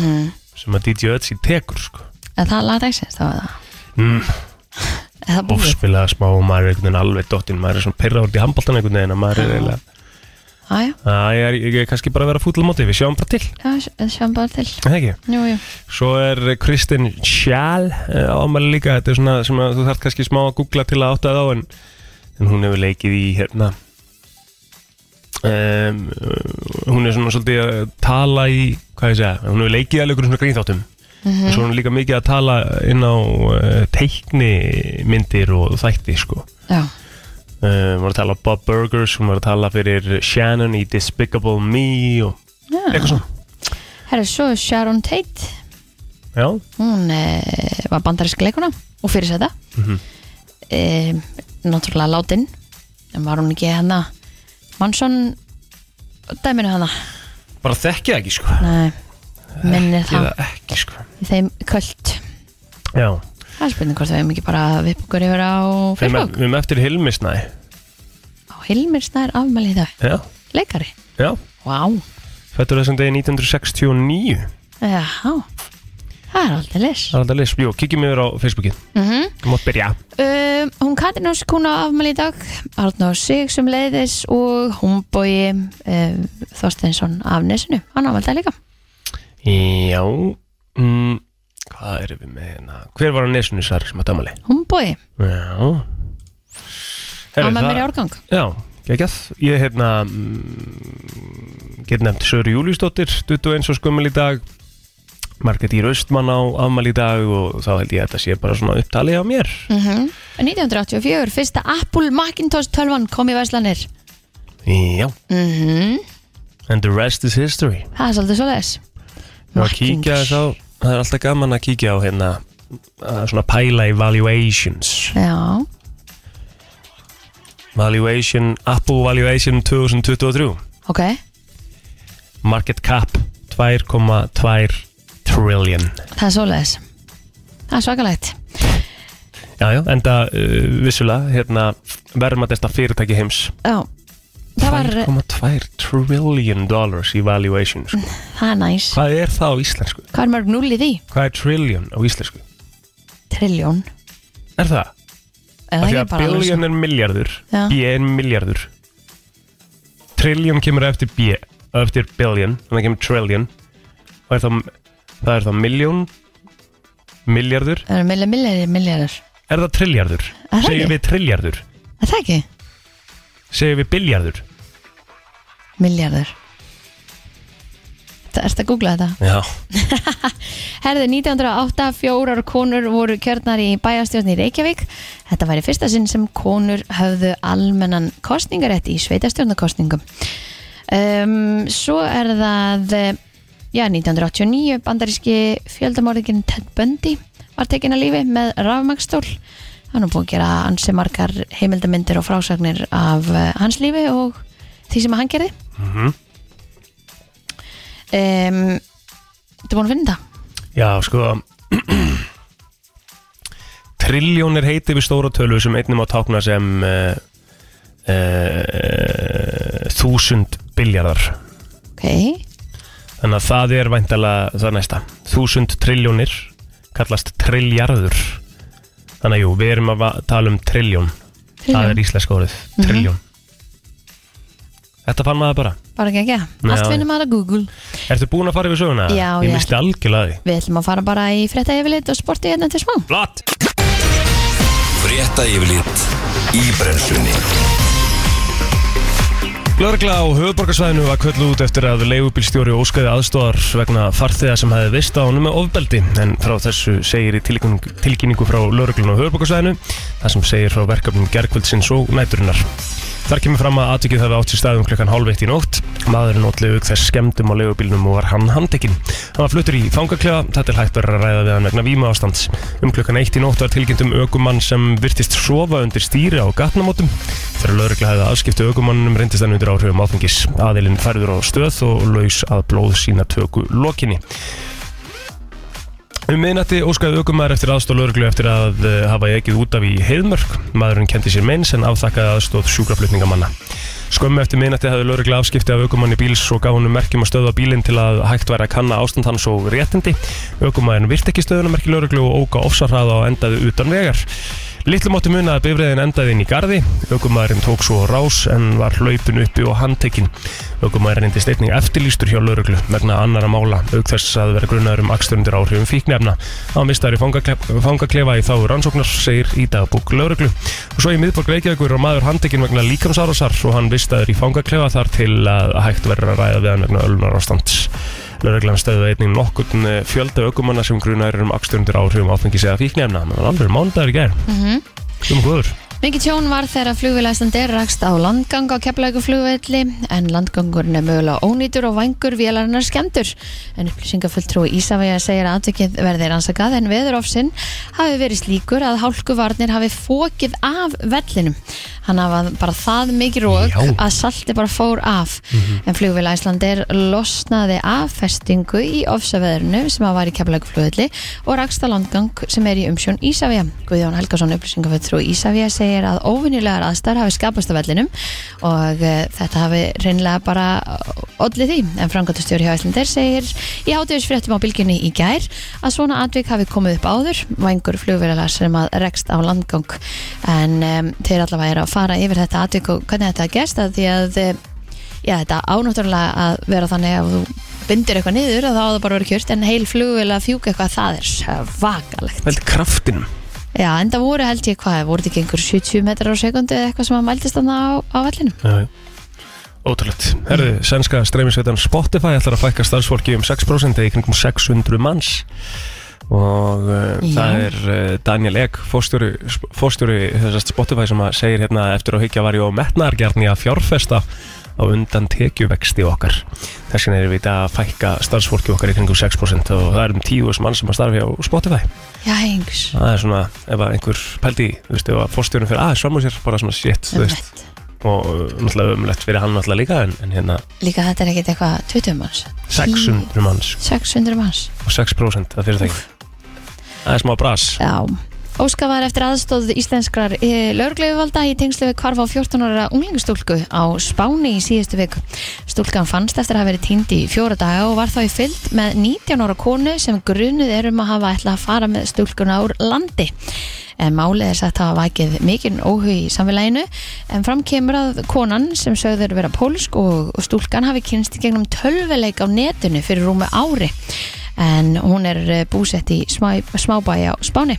sem að DJ Ötzi tekur sko.
En það er lagdagsins, þá er það
mm,
Er það búið?
Bófspilaða Mm, smá og maður er einhvern veginn alveg dottinn maður er svona pyrra út í handboltan einhvern veginn að maður er eiginlega
Æja,
að ég er, ég er kannski bara að vera fútla móti við sjáum bara til
já, sjá- sjáum bara til
er það ekki?
Jú, jú
Svo er Kristinn Schall ámæli líka, þetta er svona sem að þú þarf kannski smá að googla til að átta þá en, en hún hefur leikið í hérna um, hún er svona svolítið að tala í, hvað ég segja hún hefur leikið alveg einhverjum svona grínþáttum og svo er hún líka mikið að tala inn á uh, teiknimyndir og þætti sko
Já,
Uh, hún var að tala á Bob Burgers, hún var að tala fyrir Shannon í Despicable Me og
já
eitthvað svona
Herru, svo er Sharon Tate
Já,
Hún e, var bandarísk leikuna og fyrir þetta mm Náttúrulega látin En var hún ekki hana Manson Dæminu hana
bara þekki það ekki sko
Nei, minni
Þekki
það
það ekki sko
í Þeim kvöld
Já,
Það er spurning hvort við hefum ekki bara vipp okkur yfir á
við
Facebook
erum eftir Hilmisnæ
Á Hilmir Snær afmæli í dag
Já,
Leikari
já,
Vá
fættur þessum degi 1969
Já Það er aldrei lis
Það er alltaf leys, jú, kíkjum yfir á Facebookið
mm
Þú mátt byrja
um, Hún Katrin Óskún á afmæli í dag Arnór Sig sem leiðis og Húmbói um, Þorsteinsson af Nesinu Hann á afmæli í dag líka
Já, mm, hvað erum við með hérna Hver var á nesunu sær sem að damali?
Húmbói,
Já Herru,
amma
það-
mér í árgang
Já, geggjað Ég hérna mm, get nefnt Söru Júlíusdóttir 21 og skömmul í dag Margrét Ír Östmann á afmæli í dag og þá held ég að þetta sé bara svona upptalið á mér
mm 1984, fyrsta Apple Macintosh 12 kom í Væslanir
Já,
mm
and the rest is history
Það er svolítið svoleiðis
Ná að kíkja þess á Það er alltaf gaman að kíkja á hérna að svona pæla í valuations
Já,
Valuation, Apple Valuation 2023
ok
Market Cap 2,2 trillion
Það er svoleiðis Það er svakalegt
Já, já, enda uh, vissulega hérna, verðmatesta fyrirtæki heims
Já, það var,
2,2 trillion dollars í valuation sko.
það er næs
Hvað er það á íslensku?
Hvað er mörg núl í því?
Hvað er trillion á íslensku?
Trilljón
Er það? Af
Eða
því
það ekki
að
bara alveg sko-
billion
svona-
er miljardur
Já.
B er miljardur Trillion kemur eftir B eftir billion, þannig að kemur trillion og er það, það er það miljón miljardur,
Það eru millir, millir, millir
er það trilljardur?
Er það
Segjum
ekki?
við trilljardur?
Er það ekki?
Segjum við biljardur?
Miljardur Það ert að googla þetta
Já,
Herði 1908 fjórar konur voru kjörnar í bæjastjórn í Reykjavík Þetta var í fyrsta sinn sem konur höfðu almennan kostningarétt í sveitastjórnarkostningum um, Svo er það eh, já, 1989 bandaríski fjöldamorðingin Ted Bundy var tekin að lífi með rafmagstól Hann er búin að gera ansi margar heimildamindir og frásagnir af eh, hans lífi og því sem hann gerði
Mhm.
um, Þú búin að finna þetta?
Já, sko Trilljón er heiti við stóra tölu sem einnig má tákna sem uh, uh, þúsund biljardar
Ok,
þannig að það er væntalega það næsta þúsund trilljónir kallast trilljarður þannig að jú, við erum að va- tala um trilljón það
Trilljón. Mhm.
er íslenska orðið, trilljón Þetta fann maður bara
bara ekki ekki,
Nei,
allt
já.
finnum maður að Google
Ertu búin að fara yfir söguna?
Já,
Ég
já.
misti algjörlega því
Við ætlum að fara bara í frétta yfirlit og sporti hérna til smá
Blatt!
Frétta yfirlit í brennslunni
Lörgla á höfuborgarsvæðinu var köllu út eftir að leigubílstjóri óskaði aðstóðar vegna farþega sem hefði vist á honum með ofbeldi en frá þessu segir í tilkynningu, tilkynningu frá lörglun á höfuborgarsvæðinu þar sem segir frá verkefnum gerkvöldsins og næturinnar. Þar kemur fram að atvikið hefði átt sér stað um klukkan hálfveitt í nótt. Maðurinn ótlegu auk þess skemmdum á leigubílnum og var hann handtekinn. Hann var fluttur í fangaklefa, þetta er hægt verið að ræða við hann vegna víma ástands. Um klukkan eitt í nótt var tilkynnt um ökumann sem virtist sofa undir stýri á gatnamótum. Þegar lögregla hefði afskipti ökumannum reyndist hann undir áhrifum áfengis. Aðilinn færður á stöð og laus að blóð sína töku lokinni. Um miðnætti óskaði aukumæður eftir aðstóð lauruglu eftir að eh, hafa ekið út af í heiðmörk. Maðurinn kendi sér meins en afþakkaði aðstóð sjúkraflutningamanna. Skömmu eftir miðnætti hafði lauruglu afskipti af aukumanni bíls og gaf honum merkjum að stöða bílinn til að hægt væri að kanna ástand hans og réttindi. Aukumæðurinn virt ekki stöðunamerki lauruglu og óka ofsarhraða og endaði utan vegar. Littlum átti muna að bifræðin endaði inn í garði. Ökumæðurinn tók svo á rás en var hlaupin uppi og handtekinn. Ökumæðurinn reyndist einnig eftirlýstur hjá lauruglu vegna annara mála, auk þess að vera grunnaður um aksturundir áhrifum fíknefna. Hann mistar í fangaklefa, fangaklefa í þá rannsóknar, segir í dagbúk lauruglu. Og svo í miðborg Reykjavíkur var maður handtekinn vegna líkamsárásar og hann vistaður í fangaklefa þar til að hægt verður að ræða við hann vegna ölunar ástands. Lörglann stöðu einnig nokkurn eh, fjölda ökumanna sem grunar um aksturundir áhrifum áfengis eða fíknefna. Það var alveg mánudagur í gær. Mm -hmm. Um góður.
Mikið tjón var þegar flugvélæstandir rakst á landgang á Keflavíkurflugvelli en landgangurinn er mögulega ónýtur og vangur vélarinnar skemmtur. En upplýsingafulltrúi Ísafæja segir að atvikið verði rannsakað en veðurofsinn hafi verið slíkur að hálkuvarnir hafi fókið af vellinum. Hann hafa bara það mikið rók
Já.
að salti bara fór af. En flugvélæstandir losnaði af festingu í ofsaveðurinu sem að var í Keflavíkurflugvelli og rakst á landgang sem er í umsjón Ísafæja. Guðjón Helgason upplýsingaföldtrú Ísafja segir að óvinnilegar aðstæður hafi skapast á vellinum og uh, þetta hafi reynlega bara ollið því en frangatustjóri hjá Íslandir segir í hátíðisfréttum á bylginni í gær að svona atvik hafi komið upp áður vængur flugverðalar sem að rekst á landgang en um, þeir allavega eru að fara yfir þetta atvik og hvernig þetta gerst að því að eh, já, þetta ánáttúrulega að vera þannig að þú bindir eitthvað niður að þá á það bara að vera kjört en heil flugvél að fjúka eitthvað það er vakalegt
Veldi kraftinum.
Já, enda voru held ég hvað, voru þetta ekki einhver 70 metrar á sekundu eða eitthvað sem að mæltist þarna á, á vellinu?
Ótrúlegt. Herðu, sænska streymisveitan Spotify ætlar að fækka starfsfólki um 6% eða í kringum 600 manns og uh,
Já.
það er uh, Daniel Egg, fórstjóri, fórstjóri þessast Spotify sem að segir hérna að eftir að higgja var ég á metnaðargjarni að fjárfesta á undan tekjuvexti okkar. Þess vegna erum við í dag að fækka starfsfólki okkar í kringum 6% og það er um 10.000 mann sem að starfi á Spotify.
Já, hengs.
Það er svona, ef að einhver pældi, í, þú veist, ef að fórstjórinn fyrir aðeins fram úr sér, bara svona shit, þú veist, og uh, náttúrulega umlegt fyrir hann náttúrulega líka, en, en hérna
Líka þetta er ekkit eitthvað 20 manns,
600 manns
600 manns.
og 6% það fyrir þeim. Það er smá bras.
Já. Óska var eftir aðstóð íslenskrar lögurleguvalda í tengslu við kvarf á 14 ára unglingstúlku á Spáni í síðustu viku. Stúlkan fannst eftir að hafa verið týnd í fjóra daga og var þá í fyllt með 19 ára konu sem grunuð er um að hafa ætlað að fara með stúlkuna úr landi. En málið er sagt að hafa vakið mikinn óhug í samfélaginu en fram kemur að konan sem sögður vera pólsk og, og stúlkan hafi kynst í gegnum tölvuleik á netinu fyrir rúmi ári en hún er eh, búsett í smá, smábæja á Spáni.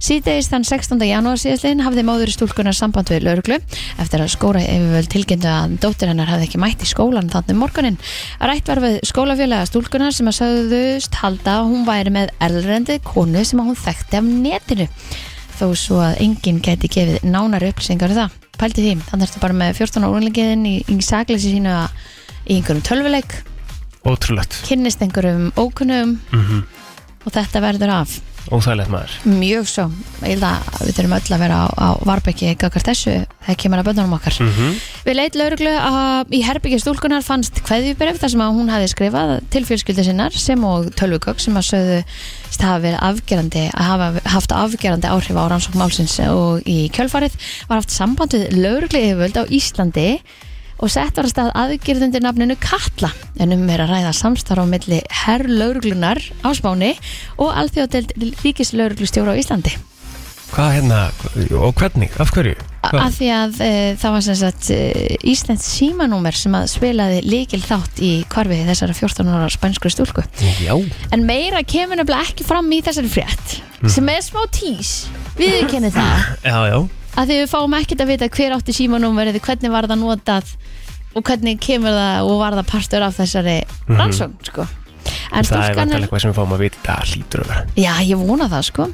Síðdeis þann 16. janúar síðastlegin hafði móður stúlkunar samband við lauruglu eftir að skóra yfirvöld tilkynntu að dóttir hennar hafði ekki mætt í skólan þannig morgunin. Rætt var við skólafélaga stúlkunar sem að sagðust halda að hún væri með erlendi konu sem að hún þekkti af netinu þó svo að enginn gæti gefið nánar upplýsingar um það. Pælti því, þannig ertu bara með 14 ára úrlingiðin í, í sakleysi sínu að- í einhverjum tölvuleik
Ótrúlegt.
kynnist einhverjum ókunnum og þetta verður af
Mhm. Óþægilegt maður.
mjög svo, ég held að við þurfum öll að vera á, á varbeki gagart þessu það kemur að bönnum okkar
Mhm.
Við leit lauruglu að í herbyggja stúlkunar fannst kveðjubref þar sem að hún hafi skrifað til fjölskyldu sinnar sem og tölvugögg sem að sögðu hafa verið afgerandi að hafa haft afgerandi áhrif á rannsókn málsins og í kjölfarið var haft samband við lauruglu yfirvöld á Íslandi og sett var að stað aðgerð undir nafninu Katla en um er að ræða samstarf á milli herrlauruglunar á Spáni og alþjóðdelt ríkislauruglustjóra á Íslandi
Hvað hérna, og hvernig, af hverju? Hvað?
af því að e, það var sem sagt e, Íslands símanúmer sem að spilaði líkil þátt í korfið þessara 14 ára spænsku stúlku
Já.
en meira kemur nefnilega ekki fram í þessari frétt
Mm.
sem er smá tís við kennum það
Já, já.
að því við fáum ekkert að vita hver átti símanúmerið, hvernig var það notað og hvernig kemur það og var það partur af þessari rannsókn sko. en
Mhm. það er
stúlkan
vantilega
er
eitthvað sem við fáum að vita. Það hlýtur að vera.
Já, ég vona það sko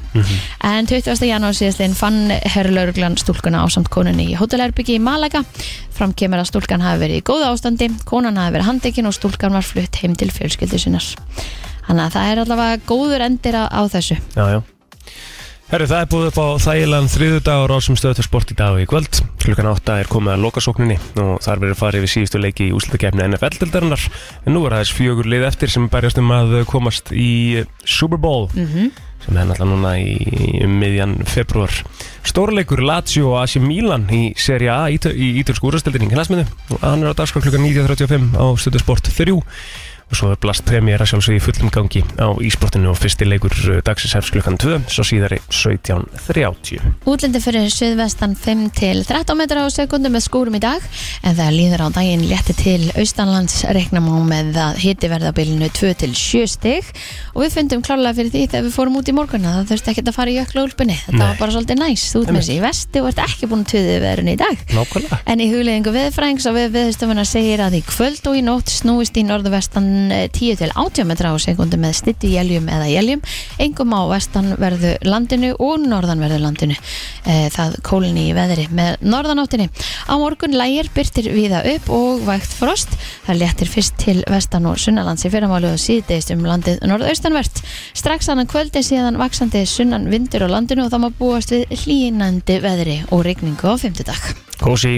En 20. janúar síðastliðin fann herrlauruglan stúlkuna á samt konunni í hótelherbyggi í Malaga Fram kemur að stúlkan hafi verið í góða ástandi Konan hafi verið handekinn og stúlkan var flutt heim til fjölskyldu sinnar Þannig að það er allavega góður endir á, á þessu
Já, já. Herru, það er búið upp á þægilegan þriðudagur á sem stöðtur sport í dag og í kvöld. Klukkan 8 er komið að lokasókninni og þar verður farið við síðustu leiki í úslutakefni NFL-dildarinnar. En nú er aðeins fjögur lið eftir sem berjast um að komast í Super Bowl sem er náttúrulega núna í um miðjan februar. Stórleikur Lazio og Asi Milan í Serie A í Ítölsku úrastildinni í knasmiðu og hann er á dagskráð klukkan 19.35 á stöðtur sport 3 og svo er Blast Premiera sjálfsög í fullum gangi á ísportinu og fyrsti leikur uh, dagsins hefst klukkan 2, svo síðari 17.30.
Útlindi fyrir suðvestan 5 til 13 metra á sekundu með skúrum í dag en það líður á daginn létti til austanlands reiknum á með að hiti verða á bilinu 2 til 7 stig og við fundum klárlega fyrir því þegar við fórum út í morgunna það þurfti ekkert að fara í jökla úlpunni þetta
Nei.
var bara svolítið næs, þú ert með þessi í vesti og ert ekki búin að tuðið verðinu í dag
Nákvæmlega.
En í hugleðingu viðfrængs og við viðstofuna segir að í kvöld og í nótt snúist í norðvestan eh, 10 til 80 metra á sekundu með stytti jæljum eða jæljum, engum á vestanverðu landinu og norðanverðu landinu. Eh, Það kólni í veðri með norðanáttinni. Á morgun lægir byrtir viða upp og vægt frost. Það léttir fyrst til vestan og sunnalands í fyrramálu og síðdeist um landið norðaustanvert. Strax annan kvöldi síðan vaksandi sunnan vindur á landinu og það má búast við hlínandi veðri og rigningu á fymtudag.
Kósi.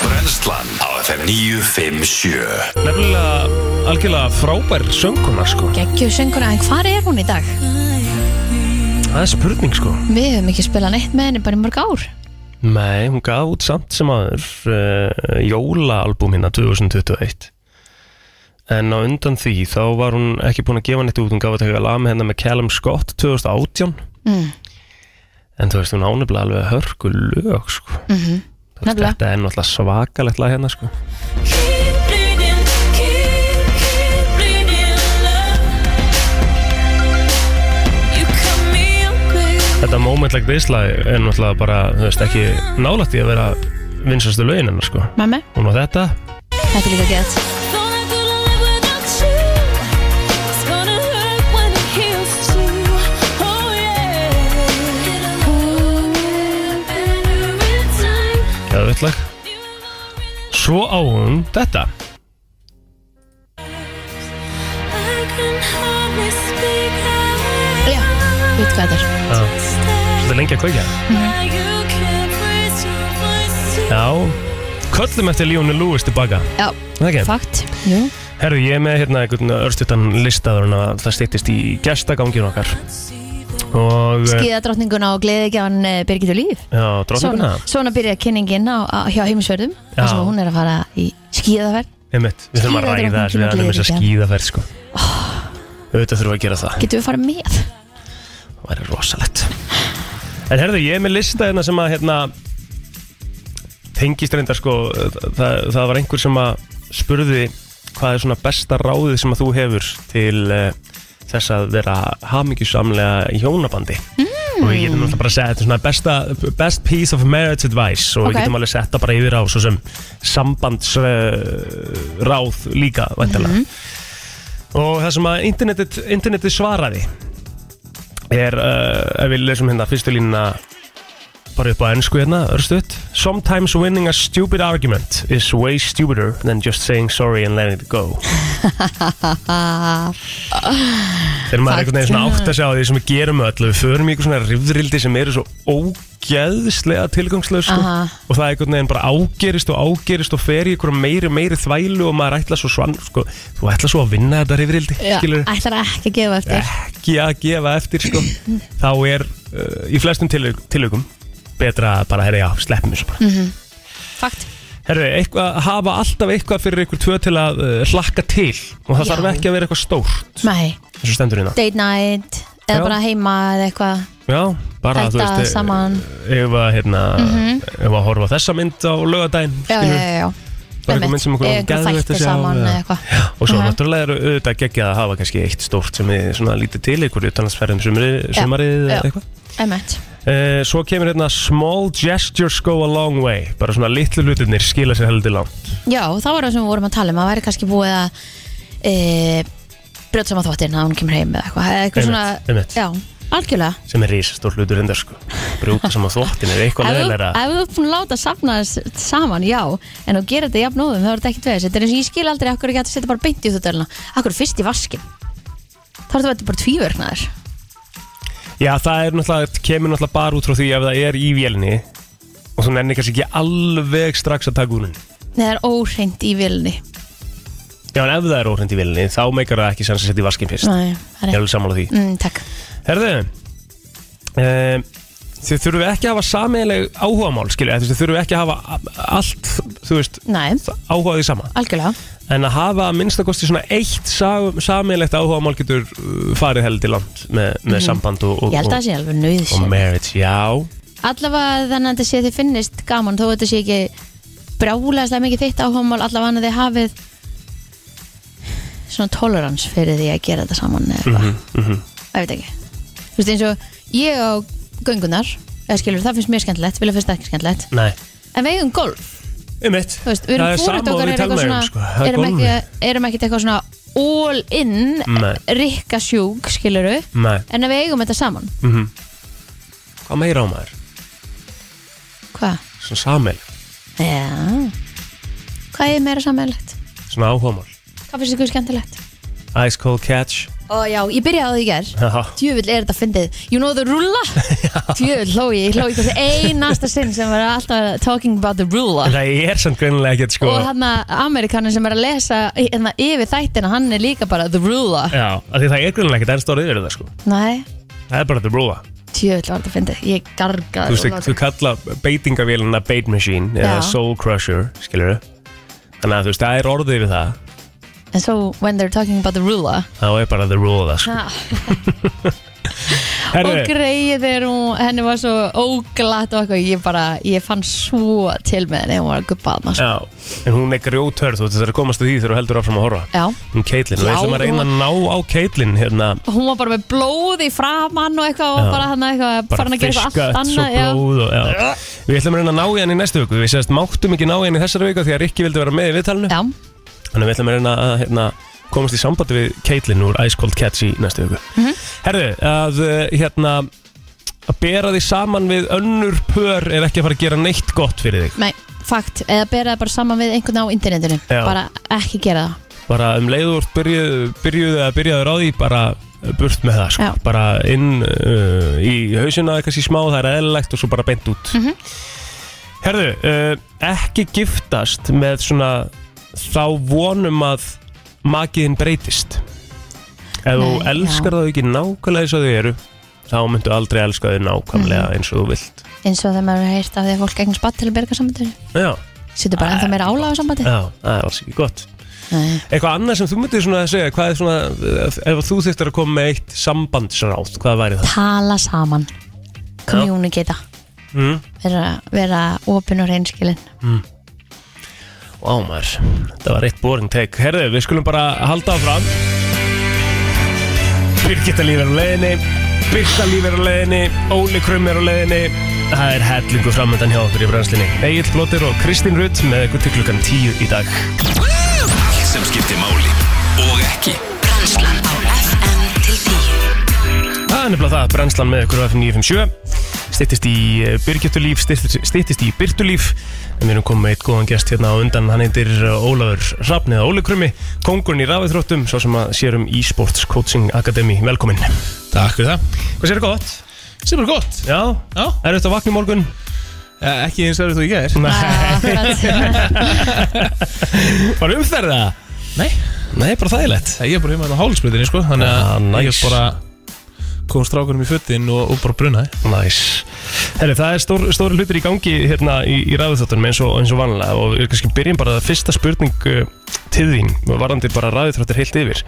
Brennslan á FM 957
Nefnilega algjörlega frábær sönguna sko.
Gekkjur sönguna, en hvar er hún í dag?
Það er spurning sko.
Við höfum ekki spilað neitt með henni bara í mörg ár
Nei, hún gaf út samt sem aður uh, jólaalbum hérna 2021 En á undan því þá var hún ekki búin að gefa neitt út Hún gaf að taka lag með hérna með Callum Scott 2018
mm.
En þú veist, hún ánefnilega alveg hörku lög sko.
Mm -hmm.
Þú veist,
Nefnilega.
Þetta er náttúrulega svakalegt lag hérna sko.
Keep bleeding, keep, keep bleeding love. You cut me open.
Þetta moment like this lag er náttúrulega bara, þú veist, ekki nálægt í að vera vinsastu lögin hennar sko.
Mamma,
Hún á þetta
þetta er líka gett
Thought I couldn't live without you. It's gonna hurt when it heals too. Oh yeah. Ooh. Better in time.
Geðveikt lag
You love me
Svo á hún þetta
I can hardly speak out loud.
Já, veit hvað þetta er
Já. Þetta er lengi að kveikja
Now you can't raise your voice to
Já Köllum eftir Líónu Lewis tilbaka
Já,
Það ekki?
fakt, jú
Herru, ég er með hérna einhvern örstutan listaður en að það stýttist í gestagangin okkar og eh,
Skíðadrottninguna og gleðikján Birgitur Líf
já,
Svona,
dróninguna
svona byrja kynningin á, á, hjá heimisverðum
Já.
þar sem hún er að fara í skíðaferð
einmitt, við þurfum að ræða
Skíðadrottningin
þess við erum þess að
og gleðiríkja.
skýða þær sko auðvitað þurfum við að gera það
Getum við farið með?
það væri rosalegt en herru, ég er með lista hérna sem að hérna tengist reyndar sko það, það var einhver sem að spurði hvað er svona besta ráðið sem að þú hefur til eh, þess að vera hamingjusamlega í hjónabandi og við getum náttúrulega bara að segja þetta er svona besta, best piece of marriage advice og
Ok.
við getum alveg setta bara yfir á svo sem sambandsráð líka vantilega og það sem að internetið, internetið svaraði er uh, ef við lesum hérna fyrstu línuna bara upp á ennsku hérna, örstuðt Sometimes winning a stupid argument is way stupider than just saying sorry and letting it go Þegar maður einhvern veginn svona
Fakt.
átt að sjá því sem við gerum öll við förum í eitthvað svona rifrildi sem eru svo ógeðslega tilgangslöð sko.
Aha.
og það einhvern veginn bara ágerist og ágerist og fer í einhverja meiri meiri þvælu og maður ætla svo svann sko, þú ætla svo að vinna þetta rifrildi skilurðu?
Ætlar ekki að gefa eftir
ekki að gefa eftir sko. þá er uh, í flestum tilug- tilugum betra að bara, herri, já, sleppum þessu bara
Mhm. Fakt,
herri, eitthvað, hafa alltaf eitthvað fyrir ykkur tvö til að uh, hlakka til og það
Já.
þarf ekki að vera eitthvað stórt
nei,
eins og stendur hérna
date night eða
Já.
bara heima eða eitthvað
já, bara, þú
Elda
veist, eh,
saman. Mhm.
ef að, hérna, ef að horfa á þessa mynd á lögadaginn
Já, já,
skilur,
já, já
bara einhver mynd sem okkur
Einmitt, einhver
geðveikt að
þætti
sjá,
saman
eða-
eða eitthvað
og svo
Mhm.
náttúrulega eru auðvitað geggjað að hafa kannski eitt stórt sem er svona lítið til ykkur utanlandsferðum sumarið,
Já.
sumarið eða
Já.
eitthvað
Emmett
Eh, svo kemur hérna small gestures go a long way bara svona litlu hlutirnir skila sér heldur langt
Já, það var það sem við vorum að tala um að væri kannski búið að e, brjóta saman þvottinn að hún kemur heim eða eitthvað eða eitthvað svona,
Einmitt, einmitt.
já, algjörlega
sem er risastór hlutur enda sko brúta saman þvottin er eitthvað
Ef þú-
leðilega
ef þú ert búin að láta safna þess saman, já en þú gerir þetta jafn óðum, þá er þetta ekkert veðis þetta er eins og ég skil aldrei, akkur ekki hægt að setja bara beint í þvottalina akkur fyrst í vaskin þá er þetta bara tvíverknaður
Já, það er náttúrulega, kemur náttúrulega bara út frá því ef það er í vélinni og þú nennir kannski ekki alveg strax að taka úr henni.
Nei, það er óhreint í vilni
Já, en ef það er óhrind í vélinni, þá meikar það ekki sens að setja í vaskinn fyrst.
Nei, það
Ég er
er
alveg sammála því.
mm, Takk
Herðu, um, þið þurfum ekki að hafa sameigileg áhugamál, skilju, eða þú veist, þið þurfum ekki að hafa a- allt, þú veist,
Nei,
áhuga á því sama.
algjörlega
En að hafa að minnstakosti svona eitt sam, sameigilegt áhugamál getur uh, farið heldi langt með, með samband og, og,
Mhm. Ég held að það
og,
sé alveg
og
nöðsyn
marriage, já.
Allavega þannig að þetta sé þið finnist gaman þó að þetta sé ekki brjálæðislega mikið þitt áhómál allavega hann að þið hafið svona tolerans fyrir því að gera þetta saman eða eitthvað,
Mhm.
ég veit ekki Þú veist eins og ég á göngunar eða skilur, það finnst mér skemmtilegt, vilja finnst það ekki skemmtilegt
Nei.
en við eigum golf,
Um eitt.
þú veist, við erum fúrið okkar er eitthvað
um,
svona,
sko.
erum, ekki, erum ekkert eitthvað svona all in
Nei.
rikka sjúk, skiluru
Nei.
en ef við eigum þetta saman,
Mm Hvað meira á maður?
hvað?
Svona samel,
Já Hvað er meira sammeðlegt?
svona áhugamál.
Hvað finnst ykkur skemmtilegt?
Ice cold catch.
Ó já, ég byrjaði á því í ger
Haha.
Djöfull er þetta fyndið You know the rulla? Djöfull hló ég, ég hló ykkur einasta sinn sem var alltaf talking about the rulla
En það er samt greinilega ekkert sko.
Og hann að Amerikanin sem er að lesa hérna, yfir þættina, hann er líka bara the rulla
Já, af því það er greinilega ekkert ennst orðið yfir það sko.
Nei,
Það er bara the rúa.
djöfull var þetta fyndið Ég
Þú veist,
gargaði
þú- þú kalla beitingavélina bait machine
Já.
eða soul crusher, skilur Þannig að þú veist, það er orðið yfir það.
And so when they're talking about the rulla
Það er bara the rúa það sko.
ha, Og
Herru,
greið þegar hún, henni var svo óglatt og eitthvað Ég bara, ég fann svo til með henni Hún var að guppa að maður sko.
já, en hún er grjóthörð, þú veist, það er að komast að því þegar þú heldur áfram að horfa.
Já,
Um Caitlyn, þú
Já,
veist að maður reyna að ná á Caitlyn hérna,
og hún var bara með blóð í framann og eitthvað og
Já.
bara hann eitthvað farin að gera eitthvað allt annað
já.
já.
Og, já. Við ætlum að reyna að ná í hann í næstu viku Við sérst máttum ekki ná í hann í þessari viku Því að Rikki vildi vera með í viðtalinu
já,
Þannig að við ætlum að reyna að hérna, komast í sambandi við Caitlyn úr Ice Cold Cats í næstu viku
Mhm.
Herðu, að uh, hérna að bera því saman við önnur pör er ekki að fara að gera neitt gott fyrir þig
nei, fakt eða bera það bara saman við einhvern á internetinu
Já.
bara ekki gera það
bara um leiður byrjuð, byrjuð að byrjaður á því bara burt með það sko.
Já.
bara inn uh, í hausina kannski smá, það er eðlilegt og svo bara beint út
Mhm.
Herðu, uh, ekki giftast með svona þá vonum að makiðin breytist ef þú
Nei,
elskar
já.
þá ekki nákvæmlega eins og þau eru þá myndu aldrei elska þau nákvæmlega
Mhm.
eins og þú vilt
eins og þegar maður er heyrt af því að fólk eignar spatt til að berga sambandinu
Já,
setur bara ennþá meira álag á sambandi
já, það er alls ekki gott
Nei.
Eitthvað annað sem þú myndir svona að segja, hvað er svona, ef þú þurftir að koma með eitt sambandsráð, hvað væri það?
tala saman kommunikita
Mm.
vera, vera opin og reynskilin
Vá maður, þetta var eitt boring take. Herðu, við skulum bara halda áfram. Birgitta líf er á leiðinni, Birta líf er á leiðinni, Óli Krum er á leiðinni. Það er hellingu framöndan hjá okkur í brænslinni. Egil Blóttir og Kristín Rutt með ykkur til klukkan tíu í dag.
Allt sem skiptir máli og ekki
Brænslan á FM til 10
Það er nefnilega það, brennslan með ykkur á FM 957 Styttist í Byrgjutulíf, styttist í Byrtulíf En við erum komið með eitt góðan gest hérna á undan Hann heitir Ólafur Hrafn eða Óli Krummi Kongurinn í rafiðþróttum, svo sem að sérum e-sports coaching academy Velkomin Hvað
Takk fyrir það
sér gott?
Sem er gott
Já,
Já.
er þetta vakna í morgun?
eh, Ekki eins og þú ég er
Var umferða?
Nei
Nei, bara þægilegt
Ég er bara um að hálsbreytinni sko Þannig að
Ah,
ég
nice.
bara kom strákunum í fötin og, og bara brunaði
Næs Herri, það er stór, stóri hlutir í gangi hérna í, í ræðuþáttunum eins og, eins og vanlega og við kannski byrjum bara að fyrsta spurning uh, til þín, varðandi bara ræðuþáttur heilt yfir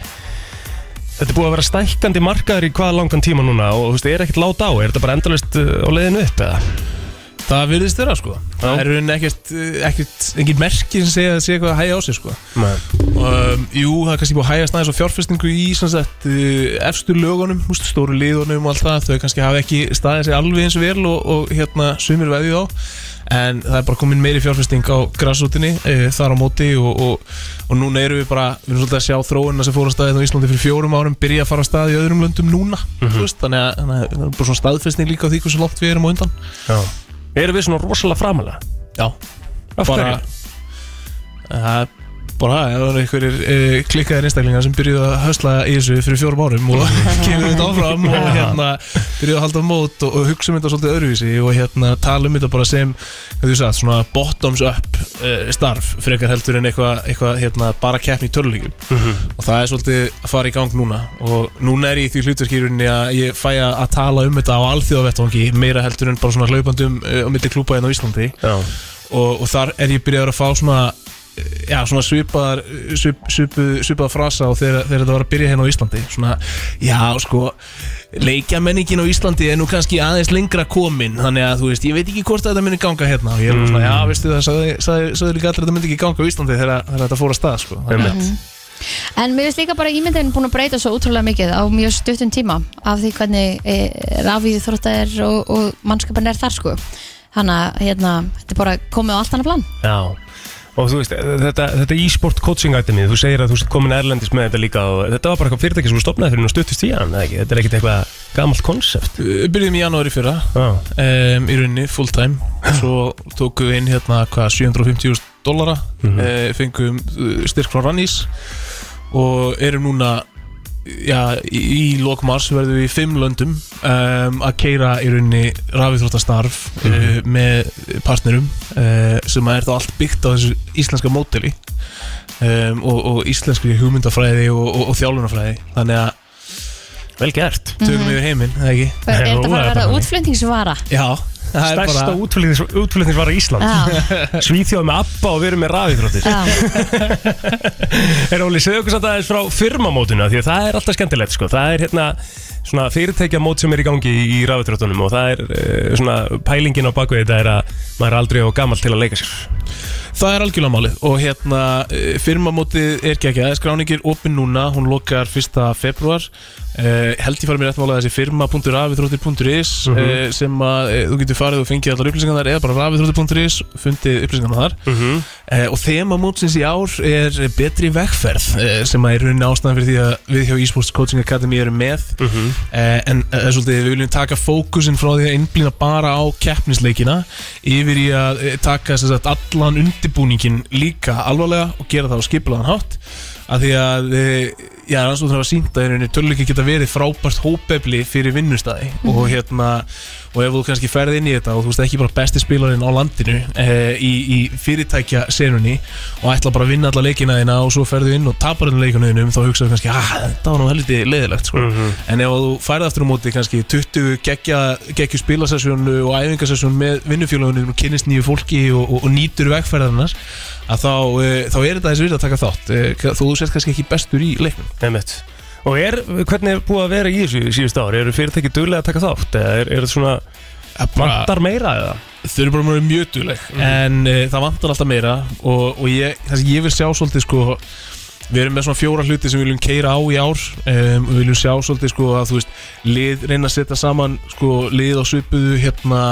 Þetta er búið að vera stækkandi markaður í hvað langan tíma núna og þú veist, er ekkert lát á, er þetta bara endalist á leiðinu upp eða?
Það virðist þeirra sko Það er raunin ekkert, eh, ekkert Engin merki sem segja að segja eitthvað að hæja á sig sko
Nei.
um, Jú, það er kannski búið að hæja snæðis og fjárfestingu í sem sagt, eh, efstu lögunum úst, Stóru liðunum og allt það Þau kannski hafa ekki staðið sig alveg eins vel og, og hérna sumir veðið á en það er bara komin meiri fjárfesting á grassútinni e, þar á móti og, og, og núna erum við bara, við erum svolítið að sjá þróunina sem fór á staðið á Íslandi fyrir fjórum árum byrja að fara á staðið í öðrum löndum núna mm veist, þannig að þannig að það er bara svona staðfesting líka á því hversu langt við erum á undan
Já Erum við svona rosalega framalega?
Já,
Af
bara
hverju?
það er bara ef það eru einhverjir uh, klikkaðir einstaklingar sem byrjuðu að hösla í þessu fyrir fjórum árum og kemur þetta áfram og hérna byrjuðu að halda mót og, og hugsa um þetta svolítið öðruvísi og hérna tala um þetta bara sem hvað þú sagði, svona bottoms up uh, starf frekar heldur en eitthvað eitthva, hérna, bara keppni í töluleikum og það er svolítið að fara í gang núna og núna er ég í því hlutverkýrunni að ég fæ að að tala um þetta á alþjóðavettvangi meira heldur en bara svona hlaupandum uh, á milli klúpa hérna á Íslandi
Já,
og, og þar er ég byrjaður að fá svona já, svona svipaðar svip, svipu, svipaðar frasa og þegar, þegar þetta var að byrja hérna á Íslandi svona, já, sko leikjamenningin á Íslandi er nú kannski aðeins lengra komin, þannig að þú veist ég veit ekki hvort þetta myndi ganga hérna og ég er mm. svona, já, veistu það, sagði, sagði, sagði líka allir að þetta myndi ekki ganga á Íslandi þegar, þegar þetta fór að stað sko. Þannig að-
einmitt
En mér finnst líka bara ímyndin búin að breyta svo útrúlega mikið á mjög stuttum tíma af því hvernig e, rafið þrótta er og, og mannskapin er þar sko. Hanna, hérna, þetta er bara komið á allt annað plan.
Já Og þú veist, þetta, þetta e-sport coaching itemið, þú segir að þú ert komin erlendis með þetta líka og þetta var bara eitthvað fyrirtæki sem þú stopnaði fyrir og stuttist í hann, eða ekki? Þetta er ekkert eitthvað gamalt konsept.
Við byrjum í janúari fyrra
Já,
um, í rauninni full time svo tókum við inn hérna hvað 750.000 dollara mm fengum uh, styrk frá Rannís og erum núna já, í, í lokmars verðum við í fimm löndum um, að keira í rauninni rafiðróttastarf uh, með partnerum uh, sem er þá allt byggt á þessu íslenska móteli um, og, og íslenskri hugmyndafræði og, og, og þjálfunafræði þannig að
vel gert.
tökum yfir heiminn, eða ekki?
Er
Nei,
þetta bara
rólega
að verða
bara.
útflutningsvara?
Já, það er
Stærsta
bara
útflutnings- útflutningsvara í Ísland.
Já,
Svíþjóð með ABBA og við erum með rafíþróttir.
já.
Er Óli, segðu okkur samt aðeins frá firmamótinu, af því að það er alltaf skemmtilegt, sko. Það er hérna svona fyrirtækjamót sem er í gangi í, í rafíþróttunum og það er eh, svona pælingin á bakvið þetta er að maður er aldrei á gammal til að leika sér.
Það er algjörlega málið og hérna eh, firmamótið er ekki ekki aðeins skráningir opinn núna, hún lokar 1. februar uh, held ég farið mér rétt mála þessi firma.rafithróttir.is mm sem að uh, þú getur farið og fengið allar upplýsingarnar eða bara rafithróttir.is fundið upplýsingarnar þar mm -hmm. og þema mótsins í ár er betri vegferð uh, sem að er raunin ástæðan fyrir því að við hjá eSports Coaching Academy erum með Eh, en eh, svolítið, við viljum taka fókusin frá því að innblýna bara á keppnisleikina yfir í að eh, taka sem sagt, allan undirbúningin líka alvarlega og gera það á skiplaðan hátt af því að eh, já, rannsóknir hafa sínt að í rauninni töluleiki geta verið frábært hópefli fyrir vinnustæði og hérna og ef þú kannski ferð inn í þetta og þú veist ekki bara besti spilarinn á landinu eh, í, í fyrirtækja senunni og ætla bara að vinna alla leikina þína og svo ferðu inn og tapar þennan leikunuðinum þá hugsaðu kannski að þetta var nú helviti leiðilegt sko. en ef þú færð aftur á móti kannski 20 geggja, geggju spilasessjónu og æfingasessjón með vinnufjölugunum og kynnist nýju fólki og, og, og nýtur vegferðarnar að þá, eh, þá er þetta þessi virð að taka þátt eh, þó þú sért kannski ekki bestur í leiknum
Nefnett. Og er, hvernig er búið að vera í þessu síðust ári? Eru fyrirtæki duglega að taka þátt? Eða er, er þetta svona, vantar meira eða?
þau eru bara mjög mjög dugleg
Mhm.
en uh, það vantar alltaf meira og, og ég, það sem ég vil sjá svolítið sko við erum með svona fjóra hluti sem við viljum keira á í ár um, við viljum sjá svolítið sko að þú veist lið, reyna að setja saman sko lið á svipuðu hérna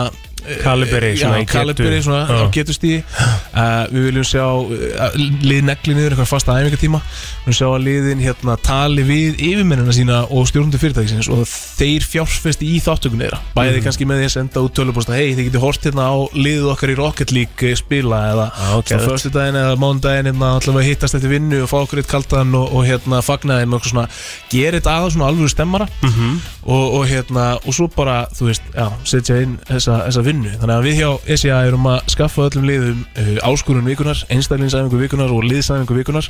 eh,
Kaliberi,
já,
svona í getu.
kaliberi svona
Já.
á getustíði uh, við viljum sjá uh, lið negli niður eitthvað fasta æfingatíma við viljum sjá að liðin hérna tali við yfirmennina sína og stjórnundu fyrirtækisins og þeir fjárfesti í þáttökunni þeirra bæði kannski með því að senda út tölupósta hei þið getur hort hérna á liðið okkar í Rocket League eh, spila eða
Já, ok.
okay, fyrstu daginn eða mándaginn hérna alltaf að hittast eftir vinnu og fá okkur eitt kaldan og, og hérna fagna þeim og eitthvað svona gera þetta aðeins svona alvöru stemmara -hmm. og, og hérna og svo bara þú veist já, setja inn þessa, þessa vinnu þannig að við hjá SIA erum að skaffa öllum liðum uh, áskurun vikunar einstaklingsæfingu vikunar og liðsæfingu vikunar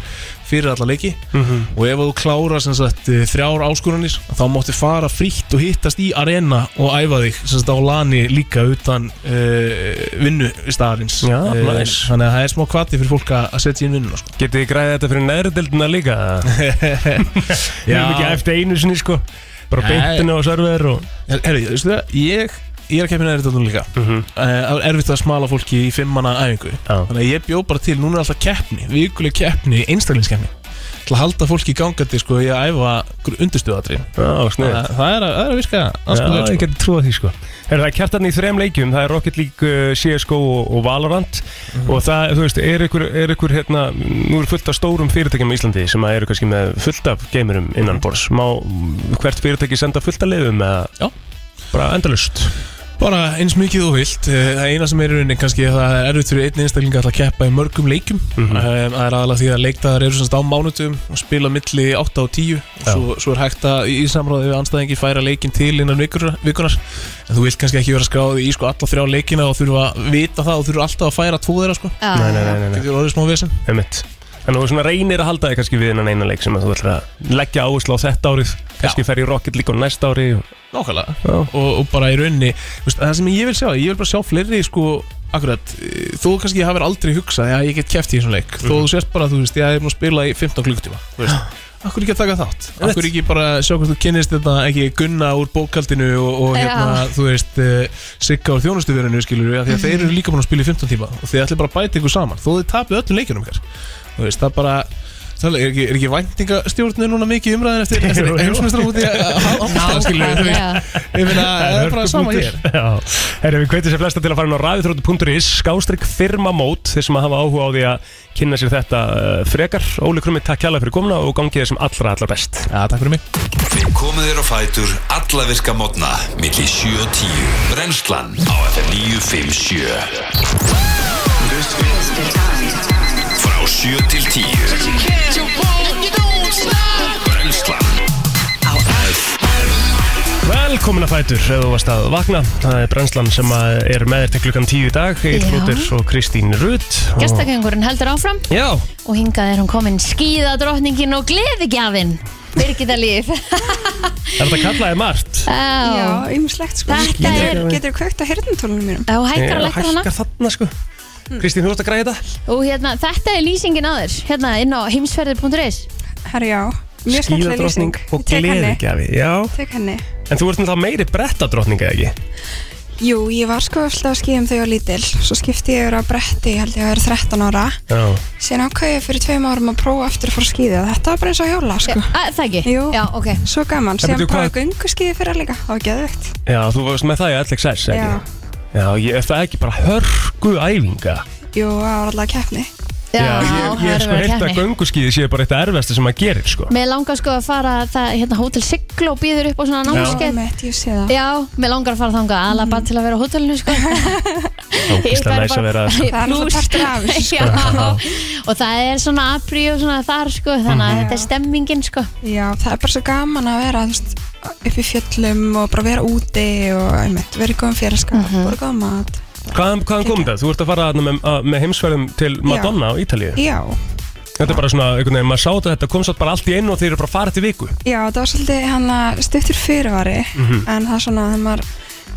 fyrir alla leiki
Mhm.
-hmm. og ef þú klárar sem sagt eh, þrjár áskurunir þá máttu fara frítt og hittast í arena og æfa þig sem sagt á lani líka utan uh, vinnu starins
Já,
Eh,
nice.
Þannig að það er smá kvati fyrir fólk að að setja inn vinnuna sko.
Getið þið græðið þetta fyrir nærdildina líka? Við erum ekki eftir einu sinni sko Bara
Nei.
beintinu og server og
Her- Herri, þú veistu það, ég, ég er að kemja næri þetta líka mm -hmm. Það er erfitt að smala fólki í fimm manna æfingu
Já.
Þannig að ég bjó bara til, núna er alltaf keppni, vikuleg keppni, einstaklingskeppni Til að halda fólki gangandi sko í að æfa undirstöðatri
Já,
það,
snið Já,
það, er að- það er að virka anskoð vel,
ég
sko.
geti trúið því sko Er það kjartan í þrem leikjum, það er Rocket League, uh, CSGO og, og Valorant Og það, þú veist, er ykkur, er ykkur hérna Nú er fullt af stórum fyrirtækjum í Íslandi sem að eru kannski með fullt af geimurum innan bors Má hvert fyrirtæki senda fullt af liðum eða
Já.
Bara endalust
Bara eins mikið og vilt Eh, Það eina sem er í rauninni kannski að það er erfitt fyrir einn einstakling að ætla að keppa í mörgum leikum mm
Mhm.
Það er aðalega því að leikdagar eru semst á mánutum og spila milli 8 og 10 og svo, svo er hægt að í í samráði við anstæðingi færa leikin til innan vikur, vikunar en þú vilt kannski ekki vera skráði í sko alla þrjá leikina og þurfa að vita það og þurfa alltaf að færa tvo þeirra sko
Já,
Nei, nei, nei,
já.
nei, nei.
Þetta er orðið smá vesen
Einmitt. Þannig að þú svona reynir að halda þig kannski við innan eina leik sem að þú ætlar að leggja áherslu á þetta árið kannski fer í Rocket League á næsta ári og...
Nákvæmlega
Já.
og, og bara í rauninni veist, það sem ég vil sjá, ég vil bara sjá fleiri sko, akkurat, eh, þú kannski hafir aldrei hugsað að ég get kæft í þessum leik þó
Mhm.
þú sérst bara, þú veist, ég er búin að spila í 15 klukktíma þú veist, akkur ekki að taka þátt akkur ekki bara sjá hvort þú kynnist þetta ekki gunna úr bókaldinu og, og
Já.
hérna, þú veist, uh, sigga úr þjónustuverinu skilur við, af því að þeir eru líka búin að spila í 15 tíma og þeir ætli bara að bæta ykkur saman þó þið tapið öllum leikunum ykkar þú veist, það bara Það er ekki, er ekki væntingastjórnir núna mikið umræðin eftir, eftir
Jú, jú.
heimsmeistra út í handbóltan, skilur við, þú veist,
Nákvæmlega.
Ég finna, það er bara sama hér
Herra, við kveitum sér flesta til að fara inn á ræðutrótu.is skástrygg firmamót þeir sem að hafa áhuga á því að kynna sér þetta eh, frekar. Óli Krummi, takk kjærlega fyrir komna og gangi þér sem allra, allra best.
Já, takk fyrir mig
Við komum þér á fætur alla virka mótna milli 7 og 10 Brennslan á FM 957 Frá 7 til 10 Brennslan
á
Velkomin að fætur ef þú varst að vakna. Það er brennslan sem að er með þér til klukkan 10 í dag. Egil
Já.
Flóter og Kristín Rutt. Og-
Gestakengurinn heldur áfram
Já,
og hingað er hún komin skíðadrottningin og gleðigjafinn Birgitta Líf
er þetta kallaði margt?
Já,
Já, ymslegt sko
Þetta
Getur,
er-
getur kvögt á herðintólunum mínum
og hækkar að
Já,
lækkar hana
Eh, hækkar þarna sko.
Hmm.
Kristín, þú ert að græða þetta?
og hérna, þetta er lýsingin á þér hérna inn á heimsferðir.is
Herra já, mjög skemmtileg
Skíðadrottning
lýsing
og
Ég tek henni,
gleðigjafi Já,
Tek henni
en þú ert náttúrulega meiri brettadrottning eða ekki?
Jú, ég var sko alltaf að skíðum þegar ég var lítil Svo skipti ég yfir á bretti, ég held ég að vera 13 ára
Já
Síðan ákvæði ég fyrir tveim árum að prófa aftur að fara að skíða Þetta var bara eins og að hjóla sko
Að, Það ekki?
Jú.
Já, ok
Svo gaman, síðan
betur, hvað-
prófaði göngu skíði fyrir líka Það var geðvegt
Já, þú varst með það í LXS, ekki?
Já.
Já, ég, er það ekki bara hörgu æfinga?
Jú, það var alltaf keppni
Já,
ég, ég
það
er
er
sko
verið
heilt að
keppni.
gönguskíði séu bara eitt af erfiðasta sem maður gerir, sko.
Mér langar sko að fara að það, hérna, Hotel Siglo býður upp á svona námskeið
Ómett, ég sé það
Já, mér langar að fara þangað alveg
Mhm.
bara til að vera á hótelinu sko. Ég
Ógislega
færi
næs að vera
Það er
Plús.
alltaf partur af þessu, sko.
Já, og það er svona apri og svona þar sko, þannig
Mhm.
að þetta er stemmingin sko.
Já, það er bara svo gaman að vera þú veist, upp í fjöllum og bara vera úti og einmitt, vera í góðum félagskap mm -hmm. bara góðum mat
Hvaðan, hvaðan kom þetta? Þú ert að fara þarna með, að- með heimsverðum til Madonna á Ítalíu.
Já,
Þetta er bara svona, einhvern veginn, maður sá þetta, þetta kom satt bara allt í einu og þeir eru bara að fara til viku.
já, það var svolítið hann að stuttur fyrirvari en það er svona að maður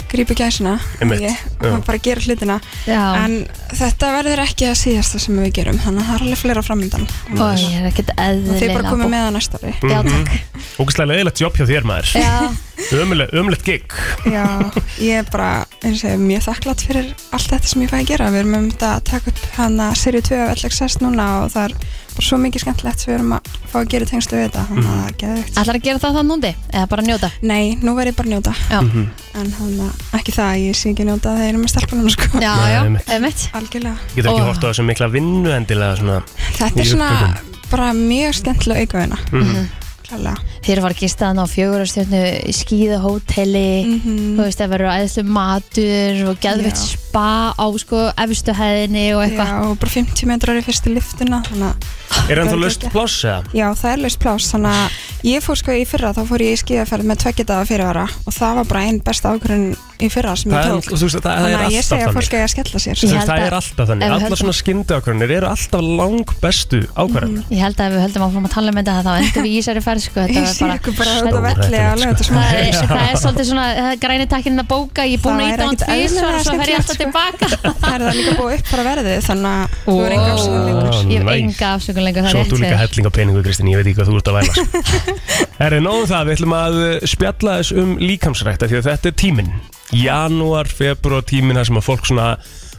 grípi gæsina
Mhm. Einmitt,
ég,
já.
og maður bara gera hlutina
Já.
en þetta verður ekki að síðasta sem við gerum þannig að það er alveg fleira framöndan
og ég er ekkert
og þið
eðlilega
bara komið með það næsta ári
bú- Já, takk
Mhm. Ógislega leðilegt jobb hjá þér, maður.
Já,
Ömulegt, ömulegt gig.
Já, ég er bara eins og ég er mjög þakklátt fyrir allt þetta sem ég fæ að gera við erum um þetta að taka upp hann að serið 2 af LXS núna og það er bara svo mikið skemmtilegt sem við erum að fá að gera í tengslu við þetta þannig að það er geðvikt
ætlar að gera það þann núndi eða bara njóta
Nei, nú verð ég bara að njóta
Já,
Mhm.
en hann að ekki það, ég sé ekki að njóta þegar ég er með stelpunum sko.
já,
Nei,
já,
einmitt.
emitt
Algjörlega,
Getur ekki
Ó.
oh. hort á þessum mikla vinnu endilega svona.
þetta
Í
er svona
upptökum.
bara mjög skemmtilega aukaðina mm -hmm. Klálega,
Þér var gistaðan á fjögurastjörnu
Mhm.
skíðahóteli þú veist, það verður æðislu matur og geðveitt
Já.
spa á sko efstu hæðinni og eitthvað
já, og bara 50 metrar í fyrstu liftuna þannig að
Er hann þá
Það er
löst
geggjað.
pláss eða?
Já, það er laust pláss, þannig að ég fór sko í fyrra, þá fór ég í skíðaferð með tveggjadaða fyrirvara og það var bara einn besta ákvörðun í fyrra sem
Það
ég
er-
tók.
þú veist, það- það er
að ég
alltaf
segja
þannig.
að fólk eigi að skella sér.
Ég
Þú veist,
sko.
held
það
að-
er alltaf þannig,
ef við
allar
höldum-
svona skyndaakvörðunir eru alltaf lang bestu ákvörðunir
Ég held að ef við höldum áfram að tala um þetta þá endur við í Ísari ferð sko, þetta
Ég
var
sé ykkur bara út
Stór
á velli
hættulegt,
að lögða þetta smá.
Það er, það er svolítið svona það er græni takkinn að bóka, ég er búin að
Það
íta
er
á hann
ekkert
tvísvar og svo fer ég alltaf
eðlilega
tilbaka
Það er það líka búið upp bara verðið, þannig að þú er enga ásöðan
lengur.
Ó, Ég hef
Nice.
enga afsökun lengur, það
Svo
er
áttu
rétt
líka
hjá þér.
helling á peningu, Kristinn, ég veit ekki hvað þú ert að væla sko. Herri, nóðum það, við ætlum að uh, spjalla þess um líkamsrækta Því að þetta er tíminn Janúar, februar tíminn þar sem að fólk svona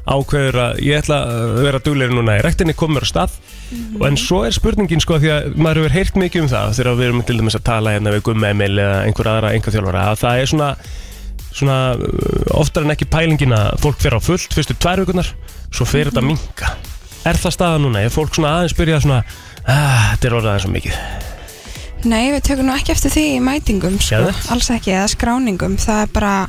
ákveður að ég ætla að vera dugleiri núna í rektinni komur á stað
Mhm.
og en svo er spurningin sko því að maður hefur heyrt mikið um það þegar við erum til dæmis að tala hérna við Gumma Emil eða einhver aðra einhver þjálfara að það er svona svona uh, oftar en ekki pælingin að fólk fer á fullt fyrstu tvær vikunar, svo fer
Mhm.
þetta minka er það staða núna, er fólk svona aðeins byrjað svona, ah, þetta er orðið aðeins svo mikið
Nei, við tökum nú ekki eftir því í mætingum, sko.
Geðveikt.
alls ekki, eða skráningum. Það er bara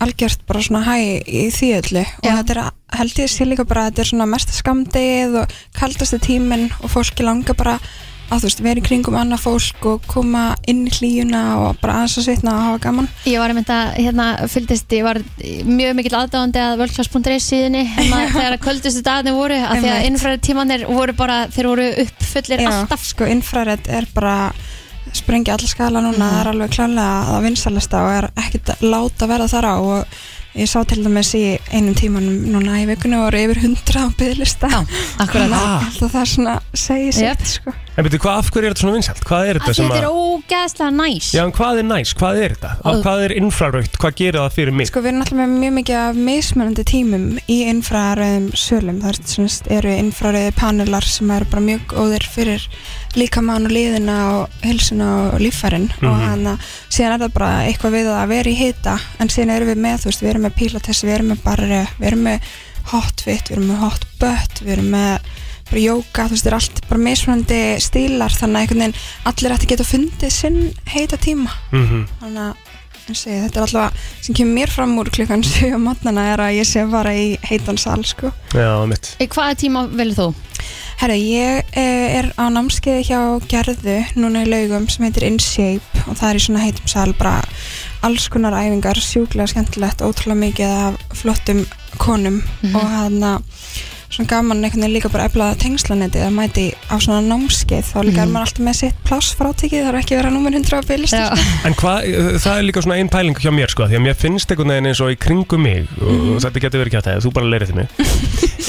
algjört bara svona hæ í því öllu og
Já.
þetta er að- held ég sé líka bara að þetta er svona mesta skamdegið og kaldasti tíminn og fólki langar bara að þú veist vera í kringum annað fólk og koma inn í hlýjuna og bara aðeins að svitna og hafa gaman
Ég var einmitt að, hérna, fylgdist, ég var mjög mikill aðdáðandi að worldclass.is síðinni um að þegar að kvöldustu dagarnir voru að því að
Einmitt.
innfræði tímanir voru bara, þeir voru uppfullir alltaf
sko infrared er bara sprengi alla skala núna,
Mm.
það er alveg klálega að það vinsalasta og er ekkit láta verða þar á og ég sá til dæmis í einum tímanum núna í vikunni voru yfir hundra á byggðlista
Já, akkurat.
Ah.
alltaf það svona segi sér
Jöp.
sko.
En betur, hvað, af hverju er þetta svona vinsælt? Hvað er
að
þetta
því
sem
þetta er
að...
ógeðslega næs
Já, en hvað er næs? Hvað er þetta? Af
Ó.
hvað er infraraugt? Hvað gerir það fyrir mig?
sko við erum alltaf með mjög mikið af mismunandi tímum í infraröðum sölum það er, semst, eru infraröði panelar sem eru bara mjög góðir fyrir líkamann og liðina og hilsuna og líffærin og
Mhm.
hann að síðan er það bara eitthvað við að vera í hita en síðan erum við með, þú veist, við erum með pilates við erum með barri, við erum með hotfit, við erum með hotbutt, við erum með bara jóka, þú veist, það er allt bara mismunandi stílar, þannig að einhvern veginn allir ætti að geta fundið sinn heita tíma
Mm
þannig að ég segi, þetta er alltaf sem kemur mér fram úr klukkan 7 á matnana er að ég sé bara í heitan sal sko.
Já, mitt.
Í hvaða tíma velur þú?
Herra, ég eh, er á námskeiði hjá Gerðu núna í laugum sem heitir InShape og það er í svona heitum sal bara alls konar æfingar, sjúklega skemmtilegt ótrúlega mikið af flottum konum
Mhm.
og hann að svona gaman einhvern veginn líka bara eflaða tengslanetið að mæti á svona námskeið þá líka er
Mhm.
maður alltaf með sitt plássfrátikið það er ekki að vera númer 100 á sko. bylist
Já,
En hvað, uh, það er líka svona einn pæling hjá mér sko, því að mér finnst einhvern veginn eins og í kringum mig og
Mhm.
þetta getur verið kjátt að þú bara leirið þið mig.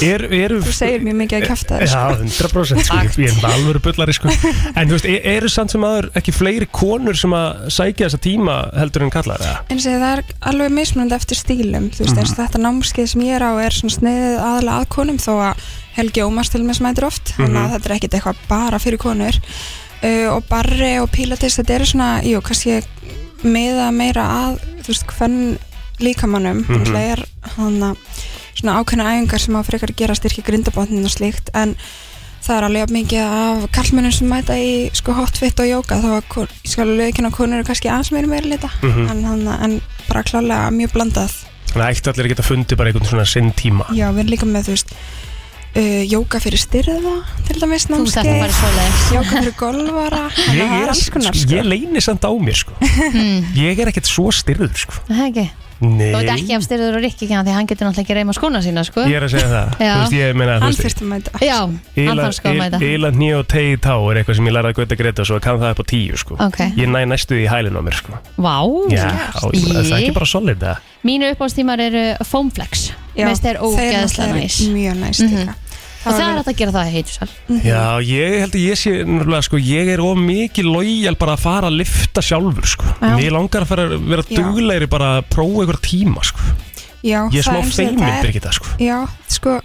Er, eru...
þú segir mjög mikið að kæfta þér sko.
Já, 100% sko, ég- ég er með alvöru bullari sko. En þú veist, e- eru samt sem aður ekki fleiri konur sem að sækja þessa tíma heldur en kallar það?
eins og það er alveg mismunandi eftir stílum þú veist eins og þetta námskeið sem ég er á er svona sniðið aðalega að konum þó að Helgi Ómars til með smætir oft þannig að þetta er ekkit eitthvað bara fyrir konur uh, og barri og pilates þetta er svona, jú, kannski meða meira að, þú veist, hvern líkamannum,
Mhm.
þannig að er hann að svona ákveðna æfingar sem á frekar að gera styrki grindabotnin og slíkt en það er alveg jafn mikið af kallmennum sem mæta í sko hotfit og jóka þá að kon- ég skal alveg ekki ná konur eru kannski aðeins meira meira lita
Mhm.
en, en, en bara klálega mjög blandað
Þannig að ættu allir að geta fundið bara einhvern svona sinn tíma.
já, við erum líka með, þú veist uh, jóka fyrir styrða, til dæmis
þú þarf að
námskeið,
fara svoleiðis
jóka fyrir golvara
Ég,
þannig að það er
er,
alls
sko,
konar sko.
ég leini samt á mér sko. Ég er ekkert svo styrður sko.
Það er ekki
Nei.
Hmm. Þú veit ekki af styrður og rikki ekki því hann getur náttúrulega ekki reyma skóna sína sko
Ég er að segja það.
Já.
Þú veist, ég meina, þú
hann
veist,
þurfti að mæta
Já, hann þarf sko að mæta
Íla hný og tegi tá er eitthvað sem ég lærði að gauta greita svo kann það upp á tíu sko.
Ok.
Ég næ næstu því í hælinn á mér sko.
Vá
Já, á, ég, meina, það er ekki bara solid það.
Mínu uppástímar eru foamflex
Já,
Mest er ógeðslega
náttúrulega
næs
mjög næs
Mhm.
líka
Og það
var-
er hægt að gera það í heitusal
Já, ég held að ég sé náttúrulega sko, ég er of mikið lojal bara að fara að lifta sjálfur sko.
Já.
Mér langar að fara að vera
Já.
duglegri bara að prófa einhver tíma sko.
já,
Ég er
það
smá
eins og
feimin
þetta er-
fyrir ekki það sko.
Já, sko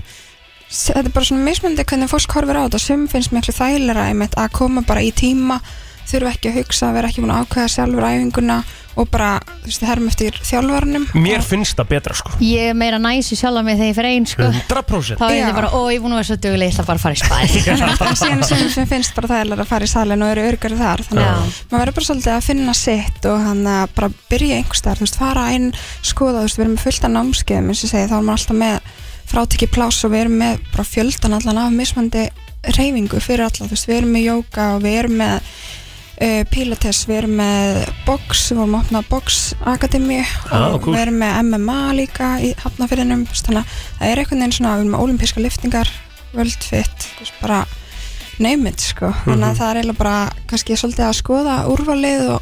s- þetta er bara svona mismundi hvernig fólk horfir á þetta sum finnst miklu þægilega einmitt að koma bara í tíma þurfa ekki að hugsa, vera ekki búin að ákveða sjálfur æfinguna og bara, þú veist, herrum eftir þjálfarnum
Mér finnst það betra sko.
Ég er meira næs í sjálfa mig þegar ég fer einn sko
100%
Þá er þetta
Já.
bara, ó, ég er búin að vera svo dugleg, ég ætla bara að fara í spæð
og síðan sem, sem finnst bara þægilega að fara í salin og eru örgari þar þannig
Já.
að maður verður bara svolítið að finna sitt og hann að bara byrja einhverstaðar þú veist, fara inn, skoða, þú veist, við erum með fullta námskeiðum eins og ég segi, þá erum við alltaf með frátiki pláss og við erum með bara fjöldan allan af mismandi reyfingu fyrir alla, þú veist, við erum með jóka og við erum með uh, pilates, við erum með box, við vorum að opna box akademi
Ah,
og
cool.
við erum með MMA líka í hafnafyrinum þannig að það er einhvern veginn svona, við erum með olimpíska liftingar, world fit þú veist, bara neymit sko þannig
Mhm.
að það er eiginlega bara kannski svolítið að skoða úrvalið og,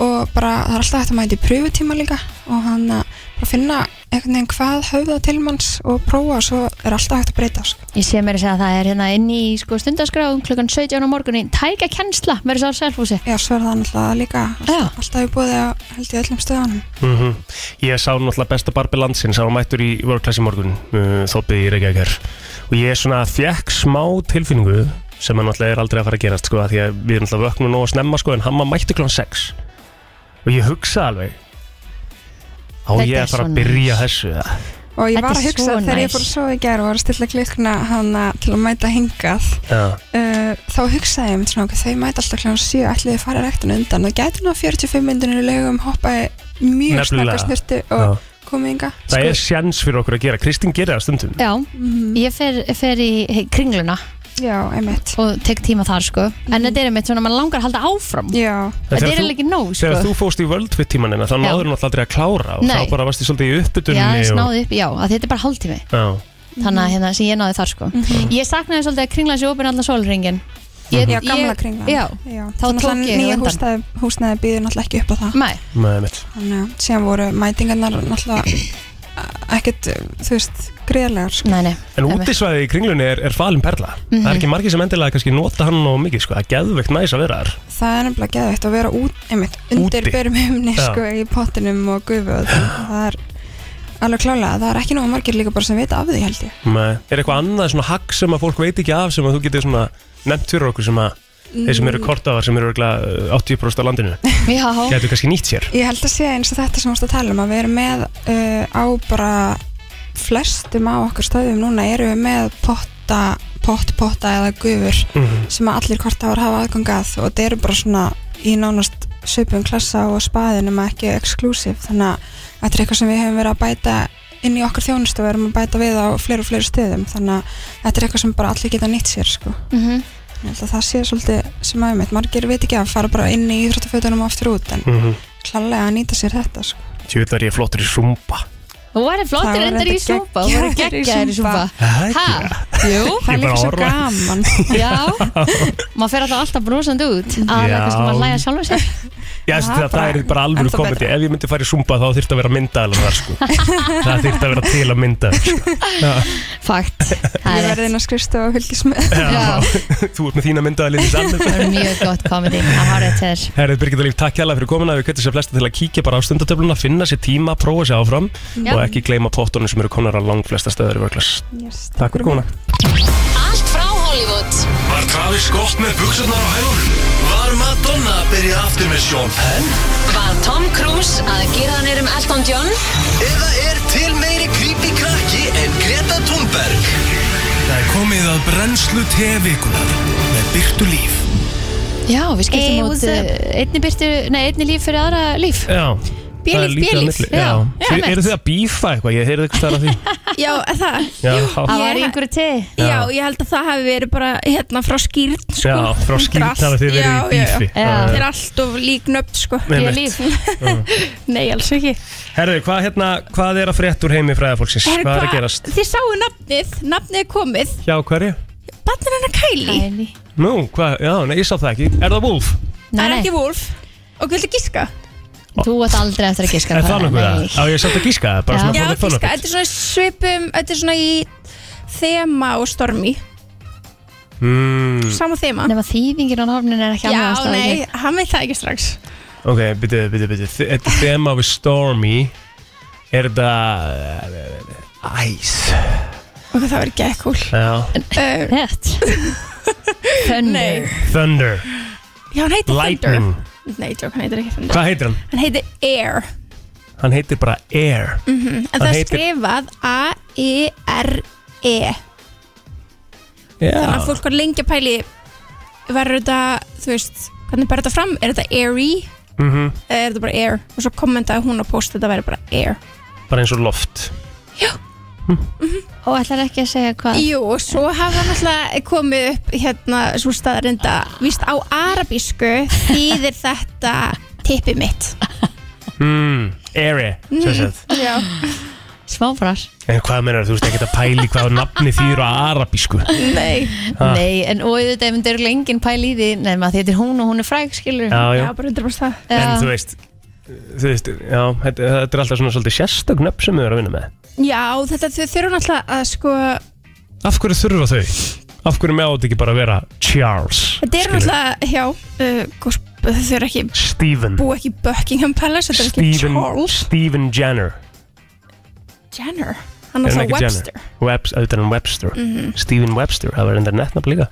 og bara það er alltaf hægt að mæta í pröfutíma líka og hann að bara finna einhvern veginn hvað höfða til manns og prófa og svo er alltaf hægt að breyta sko.
Ég sé mér að segja að það er hérna inn í sko, stundasgráðum klukkan 17 á morgunni Tækja kennsla, mér er svo á selfhúsi
Já, svo er það náttúrulega líka
Já.
alltaf, alltaf við búið að held ég öllum stöðanum
mm Ég sá náttúrulega besta barbi landsins hann var mættur í vörklassi morgun uh, þópið í Reykjavík her og ég svona fekk smá tilfinningu sem hann náttúrulega er aldrei að fara að gerast sko af því að við erum náttúrulega vöknum nóg að snemma sko en hann var mættur klán 6 og ég hugsa alveg á
Þetta
ég
er
að fara
svo
að byrja
nice.
þessu eða?
og ég
Þetta
var
er
að hugsa
svo
þegar ég
næs.
fór að sofa í gær og var að stilla klukkuna hana til að mæta hingað
Já,
uh, þá hugsaði ég mitt svona okkur þau mæta alltaf kláðan 7 ætliði að fara rektan undan og gæti ná 45 myndunir í legum hoppaði mjög snakka
Nefnilega.
snurtu og Sko,
já.
komið ynga
sko-
Það er sjans fyrir okkur að gera Kristín gerir það stundum
Já, ég fer, fer í kringluna
mhm. Já, einmitt
og tek tíma þar sko En þetta er einmitt svona, mann langar að halda áfram
Mhm. Já,
Þetta er
þegar
eiginlega ekki nóg sko
Þegar þú fóst í völdfitt tímanina hérna, þá
Já.
náður hún alltaf aldrei að klára og
Nei.
þá bara varst í svolítið í
Já,
uppbytunni
ég
og...
náði upp, já, að þetta er bara hálftími
Já,
Þannig
Mhm.
að hérna, sem ég náði þar sko Ég saknaði svolítið að kringla sér opinn allan sólringin
já gamla kringla
Já,
já.
Þá
Það er
tók
náttúrulega
ég
Nýja
undan.
húsnæði, húsnæði býður náttúrulega ekki upp á það
mæ,
með mitt
Þannig að síðan voru mætingarnar náttúrulega ekkert, þú veist, greiðlegar sko.
næ, nei
En
Einmitt.
útisvæði í kringlunni er, er falin perla
Mhm.
Það er ekki margir sem endilega kannski nota hann og mikið sko. Það er geðveikt næs að vera þar
Það er nefnilega geðvægt að vera út, einmitt, undir
Úti.
berum heimni
Já.
sko, í pottinum og gufu og það, það er alveg klálega, það er ekki nógu margir líka bara sem vita af því held ég
Nei. Er eitthvað annað svona hagg sem að fólk veit ekki af sem að þú getur svona nefnt fyrir okkur sem að þeir sem eru
Mm.
kortafar sem eru örugglega, uh, 80% á landinu
Já,
getur kannski nýtt sér
Ég held að sé eins og þetta sem þú ert að tala um að við erum með uh, á bara flestum á okkar stöðum núna erum við með potta pott, potta eða gufur
Mhm.
sem að allir kortáður hafa aðgangað og þetta eru bara svona í nánast söpum klassa og spaðinum að ekki exklusiv þannig að þetta er eitthvað sem við hefum verið að bæta inn í okkar þjónustu og erum að bæta við á fleiri og fleiri stöðum þannig að þetta er eitthvað sem bara allir geta nýtt sér sko.
mm
ég held að það sé svolítið sem aðeins margir veit ekki að fara bara inn í íþróttafötunum og aftur út en
mm -hmm.
klálega að nýta sér þetta sko.
Tjóð er ég flottur í súmba
Þú væri flottir
Það var
endur í
reyndar
súpa Þú væri
geggjaður í
geggjaður í súpa
súpa.
Ha? Jú,
það
Ég bara
er líka svo
horfa.
gaman
já Maður fer alltaf alltaf brosandi út Aðlega
Já.
kannski maður hlæja sjálfur sér
Já, þessi,
Það
það, það
bara-
er bara alvöru
ennþá
komedi
betra.
Ef ég myndi fara í Zumba þá þyrfti að vera myndaðalega þar sko. Það þyrfti að vera til að mynda sko.
Fakt, það
ég
er
verði
rétt
inn að skrifstu og fylgjast með
Já,
Þú ert með þína myndaðalega í
það
salnum
er mjög gott komedi Það har rétt þér
Herrið Birgitta Líf, takk hérlega fyrir komuna Við kvittum sér flesta til að kíkja bara á stundatöfluna Finna sér tíma, prófa sér áfram
Já.
Og ekki gleyma pottunum sem eru konar á langflesta stöður í vörglas
yes,
Takk fyrir komuna
Allt frá Hollywood
Var Travis gott með buksunar á hælunum? Var Madonna að byrja aftur með Sean Penn?
Var Tom Cruise að gera hann erum Elton John
Eða er til meiri creepy krakki en Greta Thunberg? Það er komið að brennslu tevikunar með Byrtu Líf.
Já,
Hey,
við skiptum út
what's
uh, einni, byrtu, nei, einni líf fyrir aðra líf
Já
Bélíf,
Það er lítið á
bélíf.
milli.
Já.
Já.
Já,
Þið-
einmitt.
Eru þið að bífa eitthvað? Ég heyrði eitthvað stæðan að því
Já, það,
Já, há-
Það var í einhverju te
já, ég held að það hafi verið bara hérna frá skýrn sko.
Já, frá skýrt
Drast-
hafa þið verið í
já, já, já.
bífi
Já.
Það er allt of lík nöfn sko
Einmitt. Mm.
Bélíf
Nei, alls ekki
Herðu, hvað, hérna, hvað er að frétt úr heimi fræðafólksins?
Herru,
Hvað er að
hva-
gerast?
Þið sáu nafnið, nafnið er komið
Já, hverju?
Bannan hennar Kylie,
Nú, hvað, já, nei, ég sá það ekki Er það Wolf?
það er
Nei,
ekki
nei,
Wolf Og viltu giska?
þú átt aldrei eftir að giska
Er það nokkuð það?
Nei.
Á, ég satt að gíska það, bara
Já.
svona
Já,
for the fun of
giska,
it.
þetta er svona svipum Þetta er svona í þema og stormi
Mm,
Sama þema
Nefna þýfingin á náfnin er ekki
Já,
alveg aðstæða
nei, hann veit það ekki strax
ok, byrju, byrju, byrju Þi- Þetta er þema við eh, Stormy Er eh, þetta Æs
Og það verður ekki ekki cool
Já.
uh,
Rétt Thunder
Nei,
Thunder,
já, hann heitir Thunder
Lightning
Nei, tjók, hann heitir ekki
Mm.
Thunder
Hvað heitir hann?
Hann heitir Air
Hann heitir bara Air
En það
Hann
er
heitir-
skrifað A-I-R-E Þannig að
Já,
fólk var lengi að pæli Verður þetta, þú veist Hvernig ber þetta fram? Er þetta Airy?
Mhm.
Eða er þetta bara Air? Og svo kommentaði hún á post Þetta væri bara Air
bara eins og loft
Og ætlar ekki að segja hvað
Jú, og svo hafa náttúrulega komið upp hérna svo staðarinda Víst á arabísku þýðir þetta tippi mitt
mm, Airi, svo sett
Já,
Smáfrar
En hvað meinar, þú veist ekki að pæli hvað nafni þýr á arabísku Ah.
nei
Ha.
Nei, en og þetta ef þetta eru lengin pæl í því Nefna því þetta er hún og hún er fræg, skilur
Já, já,
Já, bara 100% það
en þú veist þú veist, já, þetta, þetta er alltaf svona svolítið sérstök nöfn sem þau eru að vinna með
Já, þetta þau þurfa náttúrulega að sko
af hverju þurfa þau? af hverju með átt ekki bara að vera Charles
Þetta er
skilur?
náttúrulega, já uh, hvort- Þau eru ekki
Stephen
búa ekki í Buckingham Palace Þetta er ekki
Stephen,
Charles
Stephen Jenner
Jenner Hann
Er hann
er það
ekki
Webster Mhm.
Webs, auðvitað en Webster Stephen Webster, það var enda netnafn líka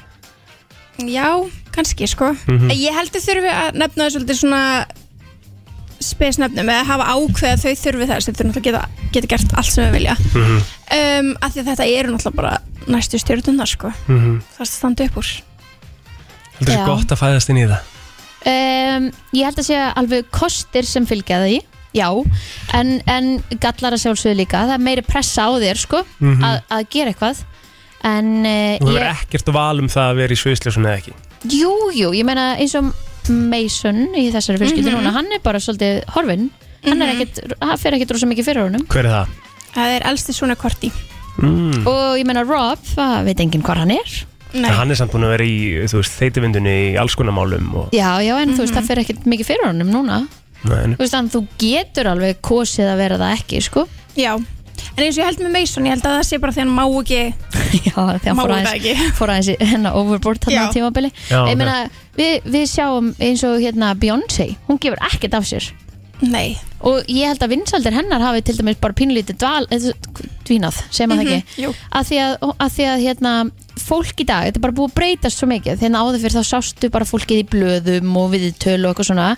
Mhm.
Já, kannski sko
Mm.
Ég held þau þurfi að nefna það svolítið svona spesnefnum eða hafa ákveð að þau þurfi þess þau þurfi náttúrulega að geta, geta gert allt sem þau vilja um, af því að þetta eru náttúrulega bara næstu stjórnundar sko
mm -hmm.
það er að standa upp úr
heldur
Já.
þessi gott að fæðast inn í það
um, Ég held að segja alveg kostir sem fylgja því já en, en gallar að sjálfsögðu líka það er meiri pressa á þér sko
Mhm.
að, að gera eitthvað en eh,
Þú hefur
ég,
ekkert val um það að vera í sviðsljósun eða ekki
jú, jú, ég meina eins og Mason í þessari fyrskildi
Mhm.
núna hann er bara svolítið horfinn hann
Mhm.
er ekkit, hann fer ekkit rosa mikið fyrir honum
Hver er það?
Það er elsti svona korti
Mm.
og ég meina Rob, það veit enginn hvar hann er
Nei,
En hann er samt búin að vera í, þú veist, þeitivindunni í alls konar málum og,
já, já, en þú veist, það fer ekkit mikið fyrir honum núna
Nei,
þú veist, þannig þú getur alveg kosið að vera það ekki, sko
já En eins og ég held með Mason, ég held að það sé bara því hann má ekki
já, þegar hann
Má
fór
það
aðeins
ekki
fór aðeins í hennar overboard hann
Já.
á tímabili
Já,
ég
ok.
meina, við, við sjáum eins og hérna Beyoncé, hún gefur ekkert af sér
Nei,
og ég held að vinsaldir hennar hafi til dæmis bara pínlítið dval, eða dvínað, segir maður það ekki
jú
að því að, að, því að hérna, fólk í dag, þetta er bara búið að breytast svo mikið þegar áður fyrir þá sástu bara fólkið í blöðum og viðtöl og eitthvað svona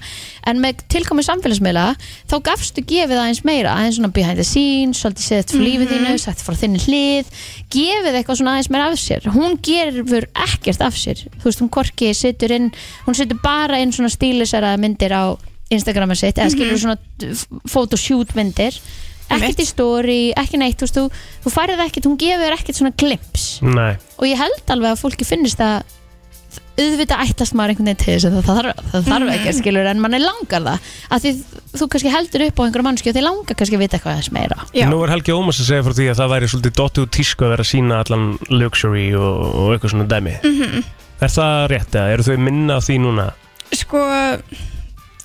en með tilkomið samfélagsmiðla þá gafstu gefið aðeins meira aðeins svona behind the scenes, svolítið séðt frá lífið þínu sagt frá þinni hlið, gefið eitthvað svona aðeins meira af sér, hún gerur ekkert af sér, þú veist hún korki situr inn, hún situr bara inn svona stílisera myndir á Instagrama sitt eða skilur svona photoshoot myndir ekkert í stóri, ekki neitt þú, veist, þú, þú færið ekkert, hún gefur ekkert svona glimps
nei
og ég held alveg að fólki finnist að auðvitað ætlast maður einhvern veginn til þess að það þarf, það þarf ekki að
Mhm.
skilur en manni langar það að því þú kannski heldur upp á einhverju mannski og þið langar kannski að vita eitthvað aðeins meira
Já.
Nú er Helgi Ómas að segja frá því að það væri svolítið dottið út tísku að vera að sína allan luxury og, og eitthvað svona dæmi
Mhm.
Er það rétt eða eru þau minna af því núna?
Sko,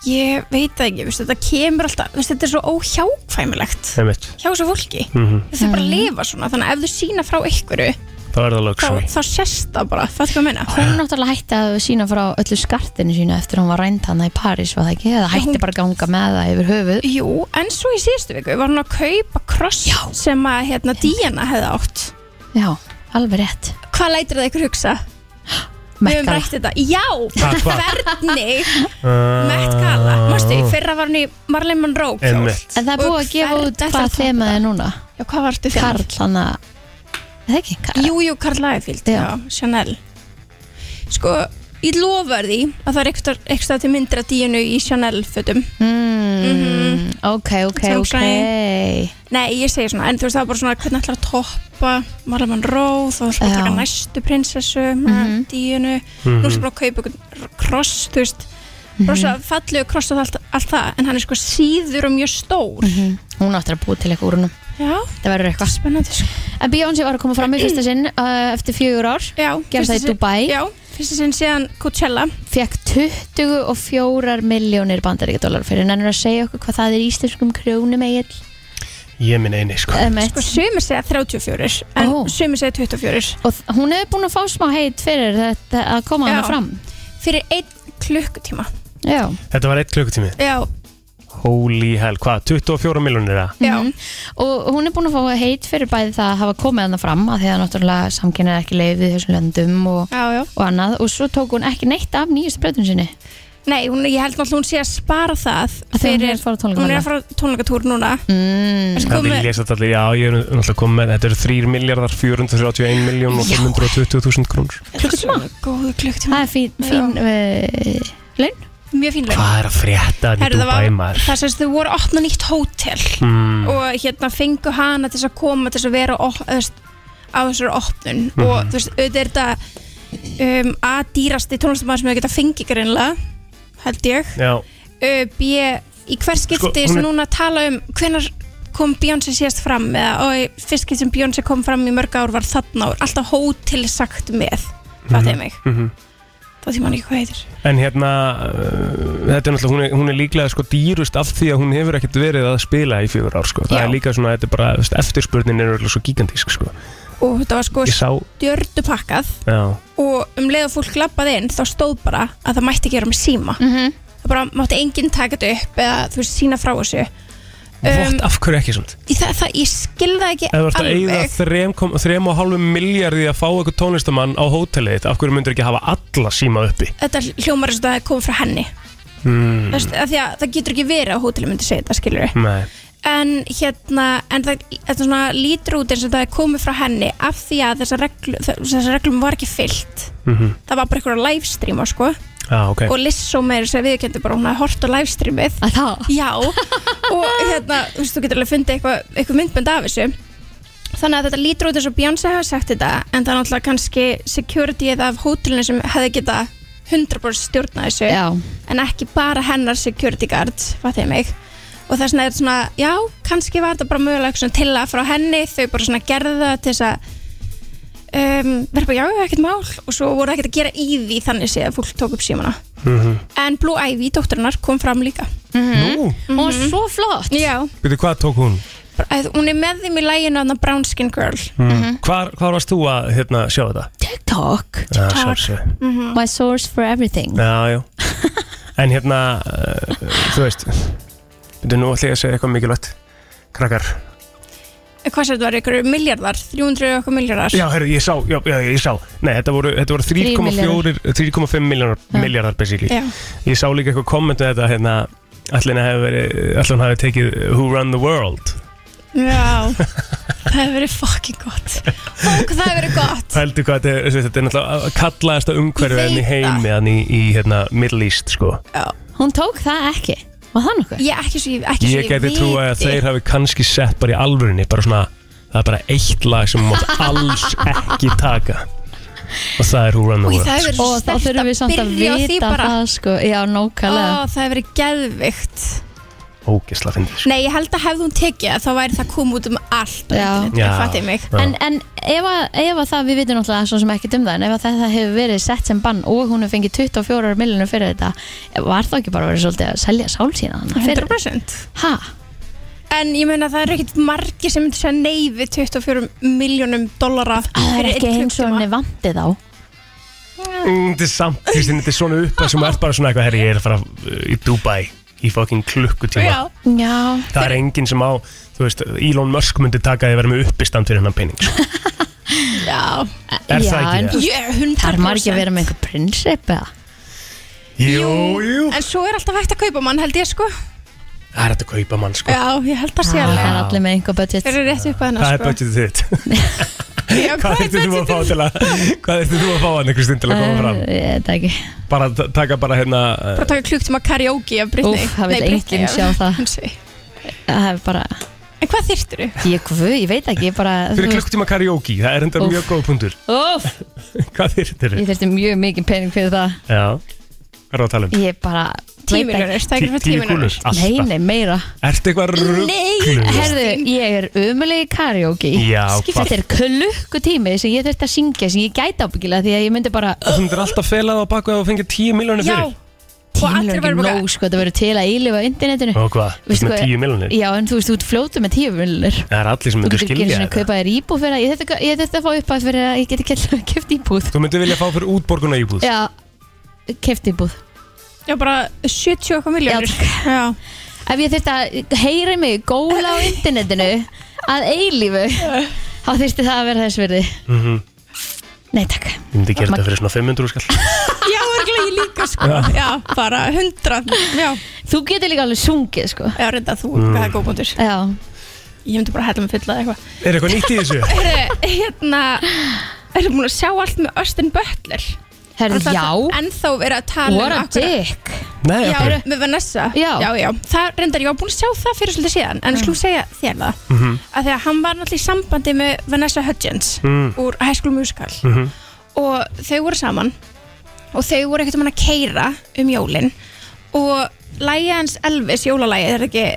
ég veit það ekki, veistu, þetta kemur alltaf veistu, Þetta er svo óhjákvæmilegt
Einmitt.
hjá þessu fólki
Mm
Þau bara lifa svona, þannig að ef þau sína frá einhverju
Það er það
þá,
luxury
þá sést það bara, það er hvað að meina
hún náttúrulega hætti að sína frá öllu skartinu sína eftir að hún var rænd hana í París var það ekki, eða hætti
hún-
bara að ganga með það yfir höfuð
Jú, en svo í síðustu viku var hún að kaupa kross sem að hérna Díana hefði átt
já, alveg rétt
Hvað lætir það ykkur hugsa? Við höfum
Mekkala.
rætt þetta Já,
Hvað, hvað?
hvernig
Ah,
Met Gala, mástu, fyrra var hún í Marley Monroe kjól
Einmitt.
en það er
Og
búið að gefa
hvern-
út
þetta er
hvað
alltaf-
þemað er núna
Já, hvað vartu fyrir?
Karl hann að Er það ekki, Karl
Jú, jú, Karl Lagerfeld,
Já.
já, Chanel Sko, ég lofa því að það er eitthvað, eitthvað til myndra díunu í Chanel fötum
Mm,
Mhm.
ok, ok,
Sounds
ok
right. Nei, ég segi svona, en þú veist það var bara svona hvernig ætlar að toppa Marley Monroe þá ætlar að
Já.
taka næstu prinsessu mm
Mhm.
díunu, nú ætlar bara að kaupa einhvern kross, þú veist
Mhm.
rosa fallegu kross og allt, allt það en hann er sko síður og mjög stór
Mhm. Hún áttur að búa til eitthvað úr húnum
Já,
Það verður eitthvað
spennandi sko
En Beyoncé var að koma fram í fyrsta sinn uh, eftir fjögur ár
Já,
Gerði það í
fyrsta sinn-
Dubai
Já, fyrsta sinn síðan Coachella
Fekk 24 miljónir bandaríkja dólar fyrir Nennir að segja okkur hvað það er í íslenskum krjónum eigin
Ég minn eini sko
Eh.
Sko, sumir segja 34 en
Ó.
sumir segja 24
Og þ- hún hefur búin að fá smá heit fyrir þetta að koma hana
Já.
fram
fyrir einn klukkutíma
Já,
Þetta var eitt klukkutími
já,
Holy hell, hvað? 24 miljonir það?
já,
Mhm. og hún er búin að fá heit fyrir bæði það að hafa komið hana fram að því að náttúrulega samkynna ekki leið í þessum löndum og,
já, já
og annað og svo tók hún ekki neitt af nýjustu breytun sinni
nei, hún, ég held náttúrulega hún sé að spara það
Af því að hún er að um fara á tónleika
hún er
núna.
að fara á tónleikatúr núna
mm.
Þessi
Það
komu-
vil ég satt allir, já ég er náttúrulega komið með Þetta eru 3 miljardar 431 miljón og 520 þúsund krónur
klukkutíma góðu klukkutíma
Það er fín, fín uh, laun
mjög fínlega
Hvað er að frétta þetta í
Herðu, það var-
Dubai maður?
það sést þau voru að opna nýtt hótel
Mm,
og hérna fengu hana til þess að koma til þess að vera op- þú veist, á þessari opnun og þú veist, auðvitað er þetta um, að dýrasti tónlistamæður sem þau geta fengið greinlega held ég
Já,
uh, B, í hver skipti
Sko, hún
sem
er-
núna tala um hvenar kom Beyoncé síðast fram eða og í fyrst skipti sem Beyoncé kom fram í mörg ár var þarna ár, alltaf hótel sagt með fattu ég mig,
mhm
þá því mann ekki hvað heitir
En hérna, uh, þetta er náttúrulega, hún er, hún er líklega sko dýrust af því að hún hefur ekkert verið að spila í fjögur ár sko. Það
Já.
er líka svona, þetta er bara, veist, eftirspurnin er öll svo gigantísk sko.
og þetta var sko
Ég sá,
stjördu pakkað
já,
og um leið að fólk labbaði inn þá stóð bara að það mætti gera með síma
Mhm.
það bara mátti enginn taka þetta upp eða þú veist sína frá þessu
vott af hverju ekki svona?
ég, það, það, ég skilða ekki
Ef þú ert að eyða
um, alveg
þrem kom- þrem og hálfum miljardi að fá eitthvað tónlistamann á hótelið þitt, af hverju myndur ekki hafa alla síma uppi?
þetta hljómar eins og það kom frá henni
Mm,
mm. að því að það getur ekki verið að hótelum myndi segja þetta skilur
nei,
en hérna en það, þetta svona lítur út eins og það er komið frá henni af því að þessar reglu, þessar reglum var ekki fyllt
mhm,
það var bara einhverja livestreama sko
ah, ok
og Lissó meir sem viðkendi bara hún hafði hort á livestreamið
að það
já og hérna, þú veist, þú getur alveg fundið eitthvað eitthva myndbönd af þessu þannig að þetta lítur út eins og Beyonce hafi sagt þetta en það er náttúrulega kannski security eða af hótelinu sem hefði geta 100% stjórnað þessu
já,
en ekki bara hennar security guard hvað þeim mig og þess vegna er þetta svona, já, kannski var þetta bara mögulega svona til að frá henni, þau bara svona gerðu það til þess að um, vera bara, já, já, ekkert mál og svo voru ekkert að gera í því þannig séð að fólk tók upp símana
Mhm.
en Blue Ivy, dótturinnar, kom fram líka Mm.
Nú,
og Mhm. svo flott
já,
byrju hvað tók hún?
að hún er með þeim í læginu að Brown Skin Girl
Mhm. Hvar, hvar varst þú að hérna, sjá þetta?
TikTok,
Já, sjálfsög
my source for everything
Já, já En hérna, uh, þú veist Þetta nú ætla ég að segja eitthvað mikilvægt Krakkar
Eh, hvað sér þetta var, ykkur miljardar 300 og okkur miljardar
Já, herru, ég sá, já, já, ég sá Nei, þetta voru, þetta voru 3,4 3,5 milljónar
Já.
miljardar basically
Já.
Ég sá líka eitthvað kommentu þetta hérna Ætlun hafi verið, ætlun hafi tekið Who Run The World
Já, það hefur verið fucking gott Fólk, það hefur verið gott
Pældu hvað þetta er, þú veist, þetta er náttúrulega kallaðasta umhverfi
Ég
enn í
veit
heimi, enn í, í hérna, Middle East, sko
hún tók það ekki, var það nokkuð?
Ég ekki svo, ég- ekki svo
Ég geti trú að
viti.
þeir hafi kannski sett bara í alvörinni bara svona, það er bara eitt lag sem mátt alls ekki taka og það er Who Run The
Og
World
það hefur
sko.
verið
og þá
sterkt
þurfum við samt að
byrja á því
vita
bara.
það sko, já,
Ó,
nákvæmlega
það hefur verið geðvikt
Ógeðslega fyndið sko.
Nei, ég held að hefði hún tekið það, þá væri það kom út um allt
Já.
Já.
Það fatti mig
Já.
En, en ef, að, ef að það, við vitum náttúrulega svo sem ekki um það, en ef að þetta hefur verið sett sem bann og hún hefur fengið 24 miljonur fyrir þetta, var það ekki bara verið svolítið að selja sál sína þannig fyrir?
100%
Ha?
En ég meina það eru ekkert margir sem myndi segja nei við 24 miljónum dollara
Að það er
fyrir
ekki
einn
eins og
klukkutíma.
Mm,
henni vandi þá.
Þetta er samt, Kristín, þetta er svona upp sem er bara svona eitthvað, herri, ég er að fara uh, í Dubai í fucking klukkutíma
Já,
Já,
Það er enginn sem á, þú veist, Elon Musk myndi taka því að vera með uppistand fyrir hennan pening sko.
já
Er
já,
það ekki
en
það?
Ég er 100%
þarf maður ekki að vera með einhver prinsip eða?
Jú, jú
En svo er alltaf hægt að kaupa mann held ég sko
Það er þetta að kaupa mann, sko
Já, ég held að sé
Það
alveg
er allir með einhver budget.
Þeir eru rétt upp að hennar
Hvað er
sko
budgetið þitt?
Já,
Hvað
er
þurftu þú að
budgetið?
fá til að Hvað þurftu þú að fá hann, Kristín, til að koma fram?
Æ, Eh, Ég veit það ekki.
Bara t- taka bara hérna uh,
bara taka klukkutíma karaoke af Britney
Úff, það vill
Nei, Britney,
enginn
já.
sjá það.
Hún segi.
Það er bara,
En hvað þyrftir þú?
ég, guð, ég veit ekki, ég bara,
Fyrir klukkutíma karaoke, það er enda
Úff.
mjög góð punktur
Úff,
Hvað þyrftir
ég
þau?
þurfti mjög mikið pening fyrir það.
Já Hvað er það að tala um?
Ég bara, veit ekki.
Tíminunir, það er ekki fyrir
Tíu kúlur,
tíminunir
Nei,
alltaf
nei, meira.
Ertu eitthvað rugglu?
Herðu, ég er umulegi karaoke.
Já, hvað?
Þetta er klukkutími sem ég þurfti að syngja sem ég gæti ábyggilega því að ég myndi bara
Þú myndir alltaf felað á baku að þú fengið 10 miljonir
Já,
fyrir
og
tímilur
allir
ekki
verður bara
nóg sko, það verður til að eilifa á internetinu
Og hvað? Þú
Veistu
ert með
hvað-
10 miljonir?
Já, en þú veist, þú ert fljótu með tíu miljonir
Það er allir sem
Þú
myndir
getur ekki
skilja
að
þetta
kaupa þér íbúð fyrir að ég þurfti að- ég þurfti að fá upp að fyrir að ég geti keft- keft íbúð
Þú myndir vilja fá fyrir útborguna íbúð
Já, keft íbúð
Já, bara 70 okkar miljónir Já,
Ef ég þurfti að heyra mig góla á internetinu að eilifu þá þurfti það að vera þess verði
Mhm.
Nei, takk
Ég myndi gera þetta fyrir svona 500 skall
já örgulega ég líka sko Já, bara 100 Já,
Þú getur líka alveg sungið sko
já reynda þú,
Mm.
hvað er góð búndur
Já,
Ég myndi bara að hella mig fulla eða eitthvað
Er eitthvað nýtt í þessu?
Heyrðu, Hérna, ertu búin að sjá allt með Austin Butler?
herðu,
Það er
já
Ennþá verið að tala
What a
akkurat-
dick
Nei,
Já,
ok
með Vanessa
Já.
já, Það reyndar, ég var búin að sjá það fyrir svolítið síðan En ég slú segja þér það mm -hmm.
Mhm.
Því að hann var náttúrulega í sambandi með Vanessa Hudgens
Mm.
Úr High School Musical
Mhm.
Og þau voru saman Og þau voru ekkert um hann að keira um jólin Og lægi hans Elvis, jólalægi Er það ekki,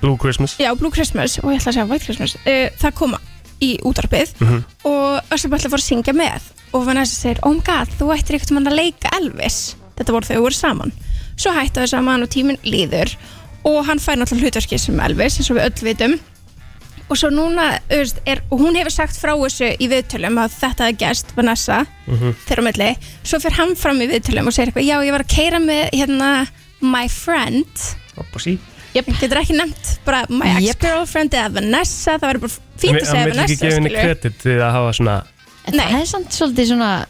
Blue Christmas
já, Blue Christmas Og ég ætla að segja White Christmas uh, Það kom í útarpið Og Össum ætla að fór að syngja með Og Vanessa segir, oh my god, þú ættir ekkert um hann að leika Elvis Þetta voru þau voru saman svo hætta þau saman og tíminn líður og hann fær náttúrulega hlutverki sem Elvis eins og við öll vitum og svo núna, þú veist, er, og hún hefur sagt frá þessu í viðtölum að þetta er gæst Vanessa,
Mhm.
þeirra á milli svo fer hann fram í viðtölum og segir eitthvað já, ég var að keira með hérna my friend yep. getur ekki nefnt, bara
Yep.
my ex-girlfriend eða Vanessa, það væri bara fínt að segja
Hann vil
Vanessa,
ekki gefa henni
skilurðu.
kredit við að hafa svona
En
Nei.
það er samt svolítið svona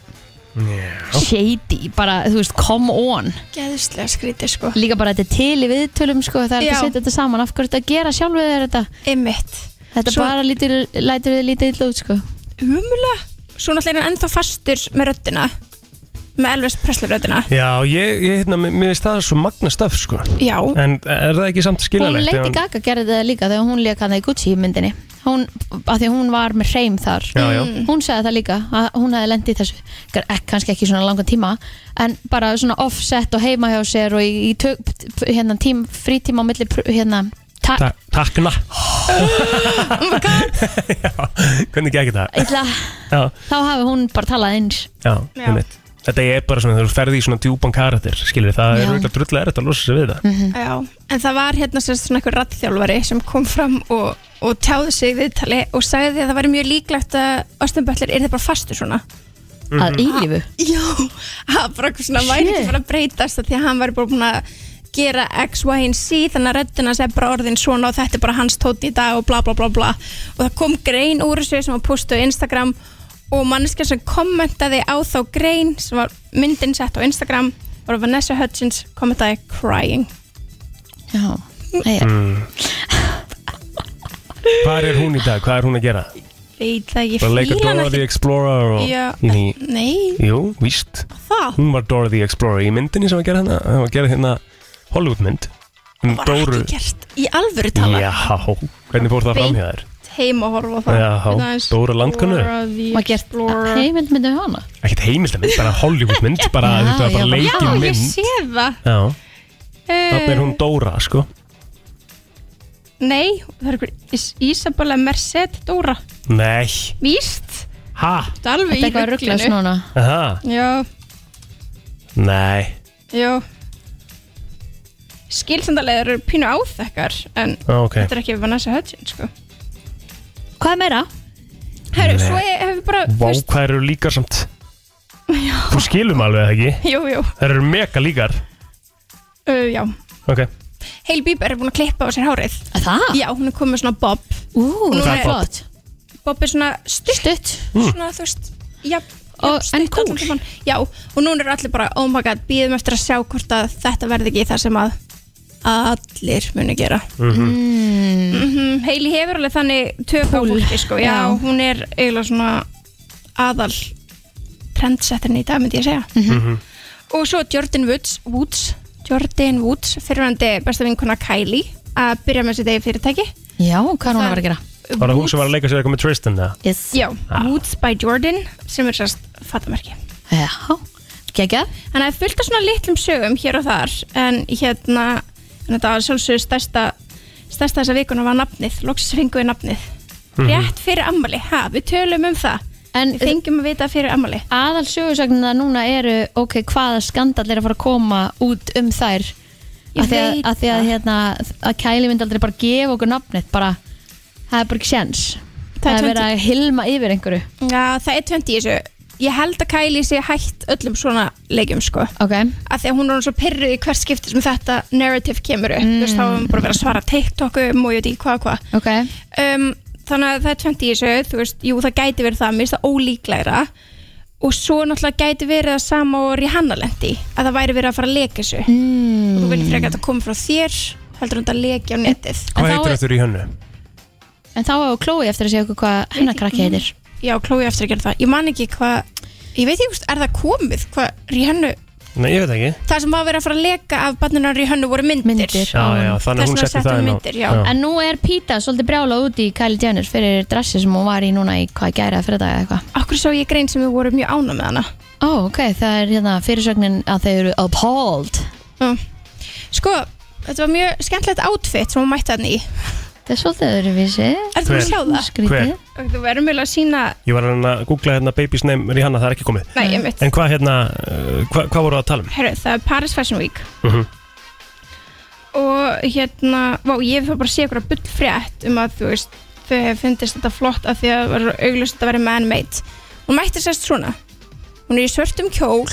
Já.
shady, bara, þú veist, come on
geðslega skrítið sko,
Líka bara þetta er til í viðtölum, sko, það er ekki
Já.
að setja þetta saman Af hverju þetta að gera sjálfið þér þetta
ymmit
Þetta
Svo-
bara lítur, lætur þið lítið illa út, sko
umulega, svo náttúrulega er hann ennþá fastur með röddina með Elvis Presley-röðina
Já, ég, ég hérna, mér mér finnst það svo magna stöf, sko
Já,
En er það ekki samt
Hún
skiljanlegt?
Lady
ef hann-
Gaga gerði það líka þegar hún leik hann í Gucci í myndinni hún, að því að hún var með hreim þar
Já, já.
Mm.
hún sagði það líka að hún hefði lendið þessu Gar- ek- kannski ekki svona langan tíma en bara svona offset og heima hjá sér og í, í tök, hérna, tím, frítíma á milli pr- hérna, ta
Ta Takna,
oh my god
hvernig ekki það?
illa,
Já,
þá hafi hún bara talað eins
já,
Já.
einmitt Þetta er bara svona, þegar þú ferði í svona djúpan karatir, skilur það
Já.
er auðvitað drullega erfitt að losa sig við það
Já, en það var hérna sem sagt svona einhver rattþjálfari sem kom fram og, og tjáði sig í viðtali og sagði að það væri mjög líklegt að Austin Butler yrði bara fastur svona
að ílífu
Já, að bara eitthvað svona væri
Shit.
ekki bara að breytast af því að hann væri bara búin að gera X, Y and Z þannig að röddina segi bara orðin svona og þetta er bara hans tótt í dag og bla bla bla bla og það kom grein úr þessu sem var postuð á Instagram og manneskja sem kommentaði á þá grein sem var myndin sett á Instagram var Vanessa Hudgens kommentaði crying
já, Nei,
Mm. Hvar er hún í dag? Hvað er hún að gera?
veit það ekki,
Bara að leika
fíla hana
Dora the Explorer og
Já,
inn í
nei,
Jú, víst,
það
hún var Dora the Explorer í myndinni sem var að gera hérna, hún var að gera hérna Hollywoodmynd um
var
Dóru
ekki gert í alvöru tala
Já, hvernig fór það fram hjá þér?
heim og horfa á það
Já,
Hérna aðeins.
Dóra Landkönnu.
Dora the
maður gert
Explorer.
heimild myndið hana
Ekkert heimildamynd, bara Hollywoodmynd bara,
Já,
þetta var
já,
bara
bara-
Já,
leikin
ég
mynd
sé það
Já,
uh,
þannig er hún Dóra, sko
Nei, það er ykkur Is- Isabella Merced Dóra
Nei,
Víst,
ha,
þetta er alveg
þetta er eitthvað
í
ruggla
rugglinu
svona
aha,
Já,
nei
já Skilsendalegar eru pínu áþekkar En
Ok,
þetta er ekki Vanessa Hudgens sko.
hvað er meira?
Herru,
Nei.
svo ég hef bara þú
vá
veist-
hvað eru líkar samt Þú skilum alveg það ekki
Jú, jú,
Það eru mega líkar
uh, já
Ok,
Heil Bieber er búin að klippa á sér hárið
Að það?
Já, hún er komið svona bob
ú,
Hún
það
er-
er flott
Bob er svona stutt,
stutt
Hmm.
svona þú veist já,
Og- en cool.
Já, og núna eru allir bara, oh my god, býðum eftir að sjá hvort að þetta verði ekki það sem að allir muni gera
Mhm,
mm Heili hefur alveg þannig tök á
Púl.
fólki sko, já,
Já.
hún er eiginlega svona aðal trendsettin í dag, myndi ég segja
mhm.
og svo Jordan Woods, Woods Jordan Woods, fyrirvændi besta vinkona Kylie að byrja með sér degi fyrirtæki
já, hvað er hún að vera að gera?
var það hún sem var að leika sér eitthvað með Tristan það?
Yes.
Já, Woods by Jordan sem er sérst fattamerki
Já, geggjað
En það er fullt af svona litlum sögum hér og þar en hérna, en þetta var sjálfsögur stærsta stærsta þessa vikuna var nafnið, loksins fengum við nafnið Rétt fyrir ammali, ha, við tölum um það
En
Við fengjum að vita fyrir ammali
aðal sögursögnina núna eru ok, hvaða skandall er að fara að koma út um þær
Ég
að því að,
veit
að, því að,
það.
hérna, að Kæli myndi aldrei bara gefa okkur nafnið bara, það er bara ekki séns það er verið að hilma yfir einhverju
Já, það er 20 í þessu Ég held að Kylie sé hætt öllum svona leikjum sko
ok,
að því að hún er orðin svo pyrruð í hvert skipti sem þetta narrative kemur upp þú veist þá er hún bara að vera að svara TikTokum og ég veit ekki hvað og hvað
ok
um, þannig að það er 20 í þessu þú veist, jú það gæti verið það, mér finnst það ólíklegra og svo náttúrulega gæti verið það sama og Rihanna lendi að það væri verið að fara að leka þessu
mm.
og þú vilt frekar að þetta komi frá þér heldur hún þetta að leki á netið
En
Hvað
þá
heitir
er-
þetta í hönnu?
en þá hefur Chloe eftir að segja okkur hvað hennar krakki heitir
já, Chloe á eftir að gera það, ég man ekki hvað ég veit ekki, hvort- er það komið hvað Rihanna,
Nei, ég veit ekki
það sem var verið að fara að leka af barninu Rihanna voru myndir,
Myndir.
Já, já, þannig að hún
Þess vegna
setti
setti
það
hún
inn á
myndir, já.
en nú er Pita svolítið brjála út í Kylie Jenner fyrir dressi sem hún var í núna í hvað gæra fyrir dag eða eitthvað
Akkur sá ég grein sem við vorum mjög ána með hana
ó, ok, það er hérna fyrirsögnin að þau eru appalled
Sko, þetta var mjög skemmtilegt outfit sem hún mætti hann í.
það er svolítið öðruvísi
Er þú að
Hver?
sjá það?
skrítið
Og Þú verður mjög að sína,
Ég var að reyna að googla hérna Baby's Name Rihanna, það er ekki komið
nei, ég mitt.
En hvað hérna, uh, hva, hvað voru að tala um?
Herru, það er Paris Fashion Week
Mhm.
og hérna, vá, ég fyrir bara að sé ykkur að bull frétt um að þú veist, þau hefur fundist þetta flott af því að það var auglust að þetta verið man-made. Hún mætti sérst svona. Hún er í svörtum kjól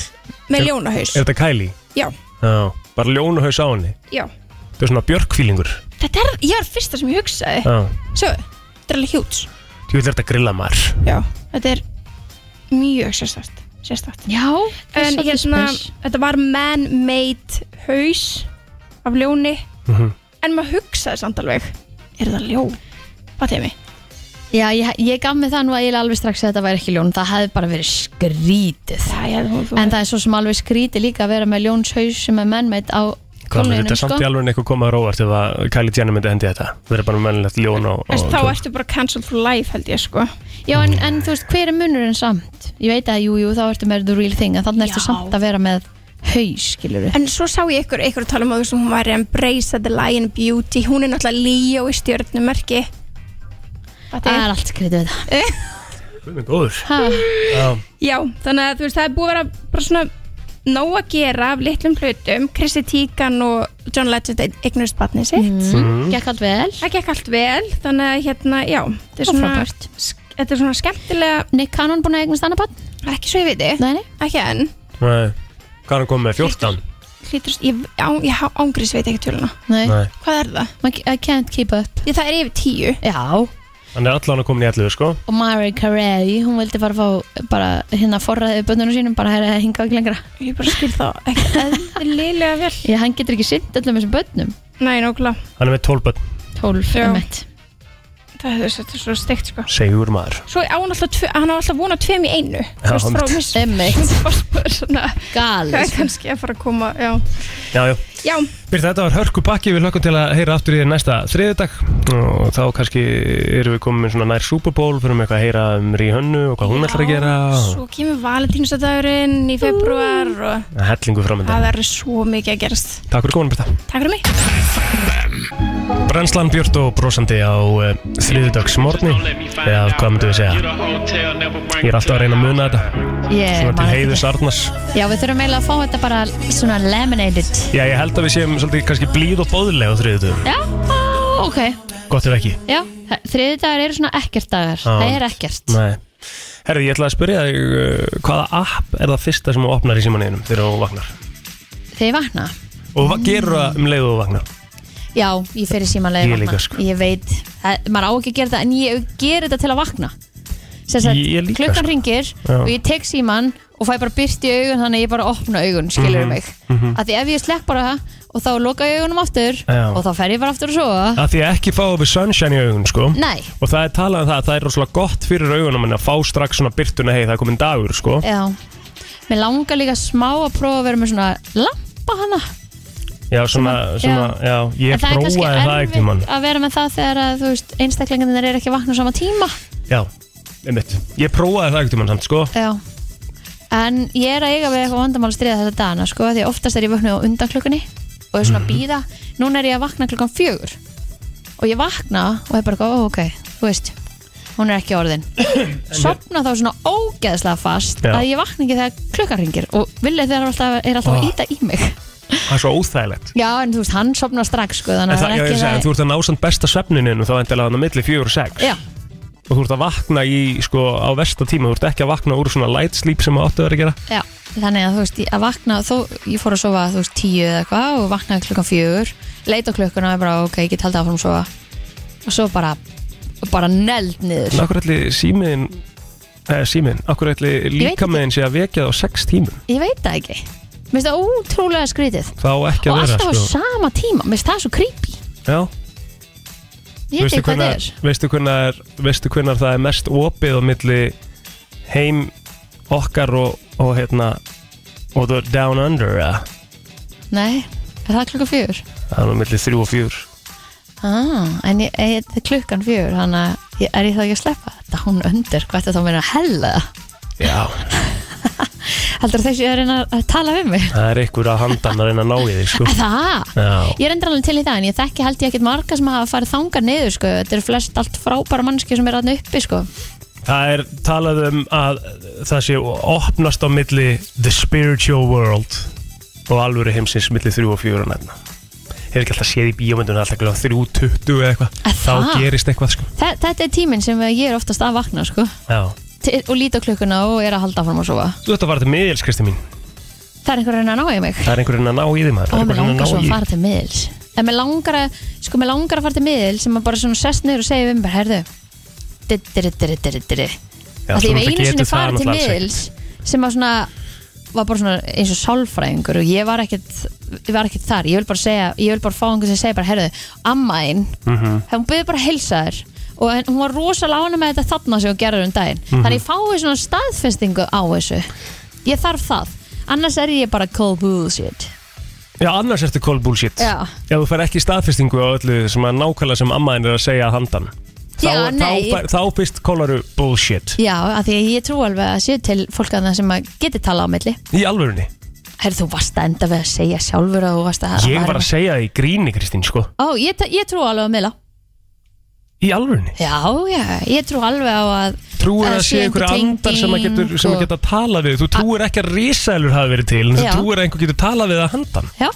með
Er-
ljónahaus.
Er þetta Kylie?
Já.
Já, bara ljónuhaus á henni
Já.
Þetta er svona björkfílingur
Þetta er, ég var fyrsta sem ég hugsaði.
Já,
Svo, þetta er alveg hjúts.
þú vil þetta grilla maður
Já. Þetta er mjög sérstakt, sérstakt.
Já, það er
En
svolítið
hérna,
spes.
þetta var man-made haus af ljóni
Mhm.
En maður hugsaði samt alveg Er það ljón? Hvað tegði mig?
Já, ég, ég gaf mig það nú að ég alveg strax að þetta væri ekki ljón, það hefði bara verið skrítið
Já, já, þú, þú,
En það er svo sem alveg skrítið líka að vera með ljónshaus sem er mennmætt á
Hvað með þetta
kólunum
er samt í
sko.
alveg eitthvað komaður óvart ef að Kylie Jenner myndi hendi þetta Það er bara mennilegt ljón og,
Æst,
og
þá ertu bara cancelled for life held ég sko
Já, en, en þú veist, hver er munurinn samt? Ég veit að jú, jú, þá ertu með the real thing en þannig ertu
Já.
samt að vera með haus, skilur við
En svo sá ég ykkur, ykkur tala um að þú veist, hún var Embrace the Lion Beauty Hún er náttúrulega Leo í stjörnumerki Þetta
Það
er
er allt skrítið við það
Guð minn góður.
Ha,
Já.
Já, þannig að þú veist, það er búið að vera bara svona nóg að gera af litlum hlutum Chrissy Teigan og John Legend eignust batnið sitt
Mhm. Mm.
Mm,
Gekk allt vel
Það gekk allt vel, þannig að hérna, já Þetta er
Og
svona,
frábært.
sk- þetta er svona skemmtilega
Nick Cannon búin að eignast annað bann?
Ekki svo ég viti,
Nei, nei
ekki enn
Nei. Hvað er hann komið með? 14?
Hlýtur, ég, á, ég ángriðs veit ekki töluna
Nei,
Nei.
Hvað er það?
Man- I can't keep up
Ég, það er yfir tíu
Já,
Hann er allan að komin í 11 sko
og Mary Carey hún vildi bara fá bara hérna forraðið bönnunum sínum bara herra hinga ekki lengra
Ég bara skil það ekki eðlilega vel
Já, hann getur ekki sint öllum þessum bönnum
Nei, nákvæmlega
Hann er með 12 bönn
12
Já.
um mitt
Það er þetta er svo steikt sko
Segur maður
Svo á hann alltaf, tve, hann á alltaf vona tveim í einu
Já,
Þú veist, frá
mitt.
miss
Emmett,
Forsmaður, svona,
gali
Það er kannski að fara að koma Já,
Já, já
já
Byrð, þetta var hörku pakki Við hlökkum til að heyra aftur í þér næsta þriðudag Og þá kannski erum við komin svona nær Super Bowl Fyrir með eitthvað að heyra um Ríhönnu Og hvað hún ætlar að gera
Svo kemur valentínusadagurinn í februar og
Það er Hellingu framöndan
það er svo mikið að gerast
Takk fyrir góðan, Byrta
Takk fyrir mig
Brennslan Björn og brosandi á uh, þriðudagsmorni Eða hvað myndum við segja Ég er alltaf að reyna að muna þetta
yeah,
Svona til heiðus Arnars
Já, við þurfum eiginlega að fá þetta bara svona laminated
Já, ég held að við séum svolítið kannski blíð og bóðilega á þriðudagum
Já, ok,
Gott ef ekki
já Þriði dagar eru svona ekkert dagar
Já.
Það er ekkert
Nei Herri, ég ætla að spyrja þig uh, hvaða app er það fyrsta sem þú opnar í símaneginum þegar þú vaknar?
Þegar ég vakna
Og hvað gerur það um leiðu þú vaknar?
Já, ég fer í símanlega
Ég líka, sko.
Ég veit, það, maður á ekki að gera þetta En ég ger þetta til að vakna Sess að
Ég líka,
klukkan
sko.
ringir
Já.
Og ég tek síman og fæ bara byrt í augun Þannig að ég bara opna augun, skilur
Mhm,
mig Af því ef ég slekk bara það Og þá loka ég augunum aftur
Já.
Og þá fer ég bara aftur að sofa
Að því að ekki fá við sunshine í augun, sko
Nei,
Og það er talað um það að það er rosalega gott fyrir augunum en að fá strax svona byrtuna hei, það er komin dagur, sko
já Mér langar líka smá að prófa að vera með svona Lampa hana
Já, svona, svona, já, ég
það er
prófaði
kannski
það
erfitt
ekki mann
að vera með það þegar að, þú veist, einstaklingarnir er ekki að vakna á sama tíma
Já, einmitt Ég prófaði það ekki mann samt, sko
Já. en ég er að eiga við eitthvað vandamál að stríða þessa dana sko, því að oftast er ég vöknuð á undan klukkunni og er
Mhm.
svona að býða, núna er ég að vakna klukkan fjögur og ég vakna og er bara, eitthvað, ó, ok, þú veist hún er ekki orðin sopna þá svona ógeðslega fast
Já.
að ég vakna ekki þegar klukkan ringir og villið þegar alltaf, er alltaf að
Ah.
íta í mig
Það er svo óþægilegt
já, en þú veist, hann sopna strax sko,
En
þannig að
það, já,
er
ég
ekki
segi, en þú ert að ná samt besta svefnininu þá endilega hann að milli 4 og 6
já,
og þú ert að vakna í, sko, á versta tíma þú ert ekki að vakna úr svona light sleep sem að áttu að vera að gera
Já, þannig að þú veist, ég- að vakna þó, ég fór að sofa, þú veist, tíu eða eitthvað og vaknaði klukkan fjögur, leit á klukkuna og ég bara, ok, ég get haldið áfram að sofa og svo bara, bara neld niður
En akkur ætli símiðin eða símiðin, akkur ætli
veit ekki.
líkamiðin sé að vekja það á 6 tímum
ég veit það ekki, mér finnst það ótrúlega skrítið
þá á ekki
og
að vera sko.
alltaf á sama tíma, mér finnst það svo creepy
Já,
ég veit
veistu
ekki hvað það
hvenar,
er
veistu, hvenar, veistu hvenar það er mest opið á milli heim okkar og, og hérna og það er down under eða?
nei, er það klukkan fjögur?
það er á milli 3 og 4
Ah, en ég, ég, þetta er klukkan fjögur þannig að ég, er ég þá ekki að sleppa þetta hún undir, hvað er það þá meina að hella
Já,
heldur þessi að reyna að tala við mig
það er einhver að handan að reyna að ná í þig sko.
það?
Já,
Ég er endur alveg til í það en ég þekki held ég ekkert marga sem hafa farið þangar niður sko. Þetta eru flest allt frábæra mannski sem er aðna uppi sko.
það er talað um að það sé opnast á milli the spiritual world og alvöru heimsins milli 3 og 4 og nefna hefur ekki alltaf séð í bíómyndunum alltaf gljóðan 3.20 eða
Að
eitthvað þá
það?
gerist eitthvað sko
Þe- Þetta er tíminn sem ég er oftast að vakna sko.
Já.
Til- og líti á klukkuna og er að halda fram að sofa
þú ert að fara til miðils Kristi mín
Það er einhver að reyna að ná í mig
það er einhverjum að ná í þig maður
og
Það er
mér
einhver
langar svo
að
að
ná í-
fara til miðils en mér langar að, sko, mér langar að fara til miðils sem að bara svona sest niður og segja við mér herðu dittirittirittirittiri
Já,
Því
svo náttúrulega
ég hef einu sinni
getur það
farið til
náttúrulega alls
miðils sem að svona var bara svona eins og sálfræðingur og ég var ekkert, ég var ekkert
Mhm.
þar ég vil bara segja, ég vil bara fá einhvern sem segja bara herðu, amma einn, mm hún byrði bara að heilsa þér og en, hún var rosa lána með þetta þarna sem hún gerði um daginn
Mhm.
þannig ég fái svona staðfestingu á þessu ég þarf það, annars er ég bara cold bullshit
Já, annars ertu cold bullshit
Já.
Ef þú fær ekki staðfestingu á öllu sem að nákvæmlega sem ammaðin er að segja að handan
Já,
þá,
nei.
þá, fær- þá fyrst kólaru bullshit
já, af því að ég trú alveg að sé til fólk að það sem að geti tala á milli
Í alvörunni
herri þú varst að enda við að segja sjálfur að þú varst að
Ég var að segja það í gríni, Kristín, sko
Ó, ég, t- ég trú alveg á miðla
Í alvörunni
Já, já, ég trú alveg á að
Trúir
Að
að, að
sé
sé einhver
einhver
andar sem að
tenging
getur, sem að
og-
geta tala við Þú trúir ekki að risaðlur hafi verið til en Þú
Já.
trúir að einhver getur tala við að handan
Já,